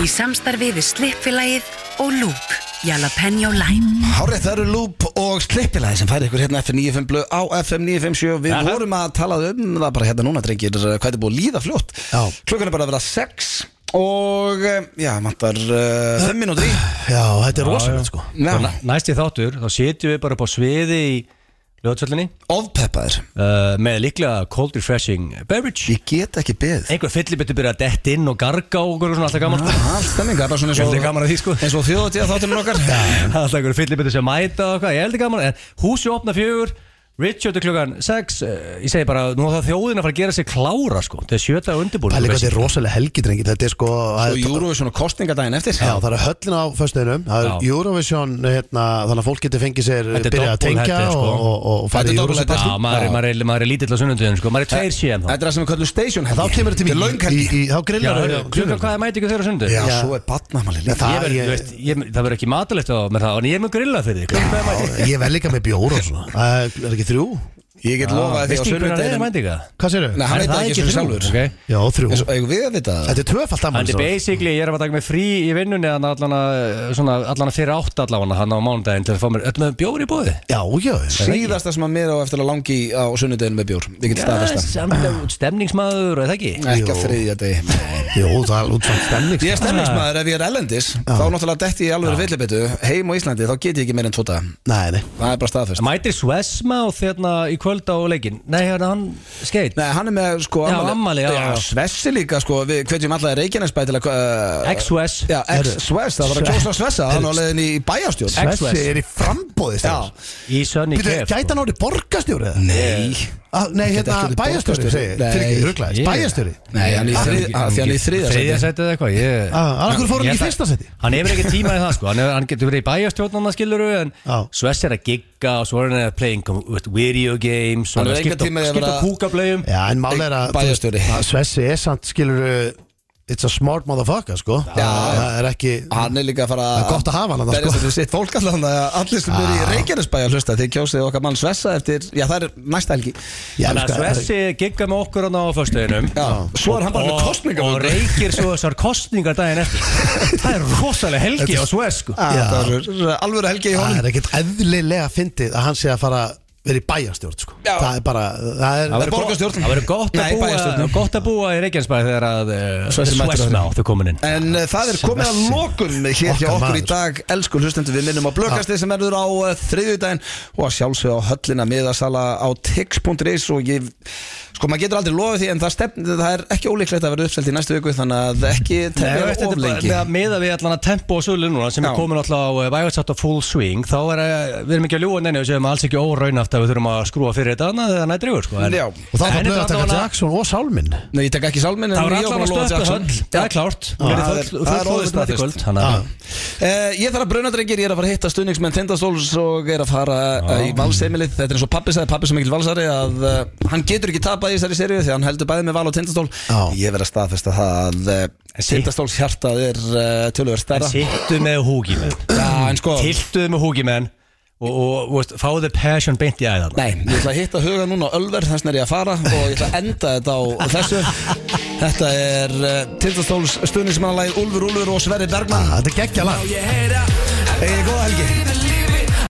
[SPEAKER 6] Í samstarfið við Slippfélagið og Loop Jalapeno Lime
[SPEAKER 1] Hárið það eru Loop og Slippilagi sem færi ykkur hérna FM 95 blöð á FM 957 Við
[SPEAKER 2] Aha.
[SPEAKER 1] vorum að tala um það bara hérna núna drengir hvað þetta er búið að líða fljótt
[SPEAKER 3] Já.
[SPEAKER 1] Klukkan er bara að vera 6 og eh, já, vantar 5 uh, mínútur í
[SPEAKER 3] Já, þetta er rosalegt sko
[SPEAKER 1] Já,
[SPEAKER 2] Næ- Næst í þáttur, þá setjum við bara upp á sviði í lögatsöllinni
[SPEAKER 1] ofpeppaðir
[SPEAKER 2] uh, með líklega cold refreshing beverage
[SPEAKER 1] Ég get ekki beð
[SPEAKER 2] einhver fyllibittu byrja að dett inn og garga og okkur svona alltaf gaman
[SPEAKER 1] Aha, Stemmingar, bara svona eins
[SPEAKER 2] Ég held ég gaman að því, sko.
[SPEAKER 1] og, eins og þjóðatíða þáttunum okkar
[SPEAKER 2] alltaf einhver fyllibittu sem mæta og hvað, ég heldur gaman en húsi opna fjögur Richard er klukkan 6 uh, ég segi bara, nú þarf þjóðin að fara að gera sig klára sko. þetta er sjöta undirbúin
[SPEAKER 3] Pæli hvað þetta er rosalega helgi drengi Þetta er sko
[SPEAKER 1] Og
[SPEAKER 3] það er-
[SPEAKER 1] sko. Eurovision og kostningadaginn eftir
[SPEAKER 3] Já, það er höllin á föstuðinum Það
[SPEAKER 2] Já.
[SPEAKER 3] er Eurovision hérna, Þannig að fólk getur fengið sér
[SPEAKER 2] Þetta er
[SPEAKER 3] Byrjað að tengja
[SPEAKER 2] doppelhætti, sko.
[SPEAKER 3] og, og, og
[SPEAKER 1] Þetta
[SPEAKER 3] farið
[SPEAKER 1] er
[SPEAKER 3] í
[SPEAKER 1] doppelhætti.
[SPEAKER 3] Eurovision partí.
[SPEAKER 2] Já, maður, er- maður, er- maður er lítill á sunnundöðin sko. maður er tveir síðan
[SPEAKER 1] Þetta
[SPEAKER 2] þá
[SPEAKER 1] er það sem við kallum station
[SPEAKER 3] Þá kemur
[SPEAKER 1] Þetta er
[SPEAKER 3] þetta í
[SPEAKER 1] löng
[SPEAKER 3] mig í,
[SPEAKER 1] helgi
[SPEAKER 3] í, Þá
[SPEAKER 2] Já,
[SPEAKER 3] grillar
[SPEAKER 2] heyrðu, klukkan hvað er mæti ykkur þeirra sunnundöð
[SPEAKER 3] Já,
[SPEAKER 1] Já,
[SPEAKER 3] Já.
[SPEAKER 1] svo er batnamáli líka
[SPEAKER 2] Ég
[SPEAKER 3] Það
[SPEAKER 2] verð,
[SPEAKER 3] ég-
[SPEAKER 2] þú veist, ég, það verður ekki matalegt á með það, en ég er með grilla fyrir því Hvað er
[SPEAKER 3] Já, Ég vel líka með bjóra og svona Það er- Er ekki þrjú?
[SPEAKER 1] Ég get lofað því á
[SPEAKER 2] Veist ekki hvernig það er
[SPEAKER 1] sunnudeginum
[SPEAKER 2] mændi ekki það?
[SPEAKER 3] Hvað sérðu?
[SPEAKER 1] Nei, hann
[SPEAKER 2] Er
[SPEAKER 1] veit það ekki
[SPEAKER 2] þrjú?
[SPEAKER 1] svona sjálfur
[SPEAKER 2] Ok.
[SPEAKER 3] Já, þrjú
[SPEAKER 1] Eins og eigum við að vita það
[SPEAKER 3] Þetta er tvöfalt
[SPEAKER 2] Þannig
[SPEAKER 3] ammælis
[SPEAKER 2] að basically ég er að taka mig frí í vinnunni Þannig að allan að, svona, allan að fyrir átt allan að hann á mánudaginn til að fá mér öll með bjóður í bóði
[SPEAKER 3] Já, já
[SPEAKER 1] Síðasta sem að mér á eftir að langi í á sunnudeginu með bjór Ég get staðfesta
[SPEAKER 2] Stemningsmaður og það ekki
[SPEAKER 1] Ekki
[SPEAKER 3] Jú.
[SPEAKER 1] að þriðja degi
[SPEAKER 3] Jú, það er út svona stemning sko.
[SPEAKER 1] Ég er stemningsmaður ef ég er ellendis Þá náttúrulega detti ég alveg fyllibittu Heim á Íslandi þá get ég ekki meir en tóta
[SPEAKER 3] Nei, nei
[SPEAKER 1] Það er bara staðfest
[SPEAKER 2] Mætir Svesma og þérna í kvöld á leikinn Nei, hérna hann skeit
[SPEAKER 1] Nei, hann er með sko
[SPEAKER 2] Já, afmæli, já, já.
[SPEAKER 1] Svessi líka sko Við hvetjum alla í Reykjanesbæ til að uh,
[SPEAKER 2] Ex-Svess
[SPEAKER 1] Já, ex-Svess Það var að kjósa Svessa Hann var leiðin í bæjarstjórn
[SPEAKER 2] Ex-
[SPEAKER 3] Svessi er í frambóði
[SPEAKER 1] Já
[SPEAKER 3] strákur.
[SPEAKER 2] í Sunny
[SPEAKER 3] Býtu,
[SPEAKER 2] Kef
[SPEAKER 3] gæti hann orðið borgarstjóri eða?
[SPEAKER 1] sko. Nei
[SPEAKER 3] Ah, nei,
[SPEAKER 1] Gæti ekki
[SPEAKER 3] hérna
[SPEAKER 1] orðið
[SPEAKER 3] bæjarstjóri
[SPEAKER 1] borgarstjóri.
[SPEAKER 3] segi
[SPEAKER 1] Nei.
[SPEAKER 3] Fyrir ekki,
[SPEAKER 2] Ég-
[SPEAKER 3] bæjarstjóri
[SPEAKER 1] Nei, hann í þrið- að því hann er í þriðja sæti.
[SPEAKER 2] Þriðja sæti eða eitthvað ég-
[SPEAKER 3] Ah, hann af hverju fór hann
[SPEAKER 2] Ég
[SPEAKER 3] ekki í
[SPEAKER 2] ætla-
[SPEAKER 3] fyrsta sæti?
[SPEAKER 2] Hann hefur ekki tíma í það sko Hann, hefur, hann getur verið í bæjastjórnana skiluru En
[SPEAKER 3] Já.
[SPEAKER 2] Svess er að gigga Og svo er hann að play income with video games og
[SPEAKER 1] Hann hefur
[SPEAKER 2] er að
[SPEAKER 1] engan
[SPEAKER 2] skipta-
[SPEAKER 1] tíma í að
[SPEAKER 2] Skipta
[SPEAKER 1] vera-
[SPEAKER 2] kúkablöjum
[SPEAKER 3] Já, en mál er að þú veist,
[SPEAKER 1] Bæjarstjóri.
[SPEAKER 3] að Svessi er samt, skilur It's a smart motherfucker, sko Það það er ekki
[SPEAKER 1] Hann er líka að fara
[SPEAKER 3] Það er gott að hafa hann þarna,
[SPEAKER 1] Berjast
[SPEAKER 3] sko.
[SPEAKER 1] þetta við sitt fólk allan Þannig að allir sem eru í
[SPEAKER 3] Ah.
[SPEAKER 1] Reykjanesbæ að hlusta Þið kjósið okkar mann Svessa eftir Já, það er næsta helgi
[SPEAKER 3] Já,
[SPEAKER 2] Þannig að
[SPEAKER 3] sko,
[SPEAKER 2] Svessi gigga með okkur hann á föstuðinum
[SPEAKER 1] Já, svo er hann bara með kostningar
[SPEAKER 2] Og reykir svo þessar kostningar daginn eftir Það er rosalega helgi á Svess sko
[SPEAKER 1] Já,
[SPEAKER 3] Já.
[SPEAKER 1] það er alveg helgi í
[SPEAKER 3] Það
[SPEAKER 1] honum
[SPEAKER 3] er ekkit eðlilega fyndið að hann sé að fara vera í bæjarstjórn, sko
[SPEAKER 1] Já.
[SPEAKER 3] Það er bara, það er
[SPEAKER 1] verður borgarstjórn.
[SPEAKER 2] Það verður gott, að
[SPEAKER 1] Nei,
[SPEAKER 2] búa-
[SPEAKER 1] bæjarstjórn.
[SPEAKER 2] gott að búa í Reykjanesbæði þegar að uh,
[SPEAKER 1] Svessi mætir
[SPEAKER 2] Svessna
[SPEAKER 1] þarna.
[SPEAKER 2] á þau komin inn
[SPEAKER 1] En uh, það er komið að lokum hér hjá okkur
[SPEAKER 3] Okkar
[SPEAKER 1] í
[SPEAKER 3] maður.
[SPEAKER 1] dag Elsku hlustendur, við minnum á blökasti sem verður á uh, þriðjudaginn og að sjálfsögja á höllina miðasala á tix.is og ég, sko maður getur aldrei lofið því en það, stefn, það er ekki ólíklegt að verða uppselt í næstu viku þannig að ekki
[SPEAKER 2] Nei,
[SPEAKER 1] tefja
[SPEAKER 2] veist,
[SPEAKER 1] of
[SPEAKER 2] þetta er
[SPEAKER 1] lengi
[SPEAKER 2] bara- með að meða við allan að tempo og sölu núna sem
[SPEAKER 1] Já.
[SPEAKER 2] er komin alltaf á vægarsátt og full swing þá er eh, við erum ekki að ljúa neina og séum alls ekki óraunhaft að við þurfum að skrúa fyrir þetta annað þegar nættir yfir sko en-
[SPEAKER 1] Já.
[SPEAKER 3] Og þá
[SPEAKER 2] en
[SPEAKER 3] er það
[SPEAKER 2] þetta
[SPEAKER 3] blöð að taka
[SPEAKER 2] allavega-
[SPEAKER 3] Jackson og Sálminn
[SPEAKER 1] Nei, ég tek ekki sálminn en
[SPEAKER 2] Það var
[SPEAKER 1] ég var
[SPEAKER 2] allan að
[SPEAKER 1] búin lofa
[SPEAKER 2] stöppu
[SPEAKER 1] Jackson.
[SPEAKER 2] höll Það er klárt
[SPEAKER 1] Já,
[SPEAKER 2] Verið
[SPEAKER 1] það er-
[SPEAKER 2] full-
[SPEAKER 1] það er orðið
[SPEAKER 2] full- fullorðið þetta í
[SPEAKER 1] staðfest.
[SPEAKER 2] kvöld, þannig að-
[SPEAKER 1] Eh, Ég þarf að bruna drengir, ég er að fara að hitta stuðningsmenn Tindastóls og er að fara uh, í valseimilið Þetta er eins og pappi sagði, pappi sem ekki valsari að uh, hann getur ekki tapað í þessari serju því að hann heldur bæði með val og Tindastól
[SPEAKER 3] Já.
[SPEAKER 1] Ég verð að staðfesta það að uh,
[SPEAKER 2] En sí.
[SPEAKER 1] Tindastóls hjartað er uh, tölverð
[SPEAKER 2] En
[SPEAKER 1] stærra
[SPEAKER 2] Sittu með húki menn
[SPEAKER 1] Já, en sko
[SPEAKER 2] Tiltuðu með húki menn og, og, og veist, fáðu passion beint í æðan
[SPEAKER 1] Nei, ég ætla að hitta huga núna á Ölver þess vegna er ég að fara og ég ætla að enda þetta á þessu Þetta er uh, Tindastóls
[SPEAKER 3] Ah,
[SPEAKER 1] stuðningsmannalæð Úlfur Úlfur og Sverri Bergmann
[SPEAKER 3] Þetta er geggja lag
[SPEAKER 1] Egið góða helgi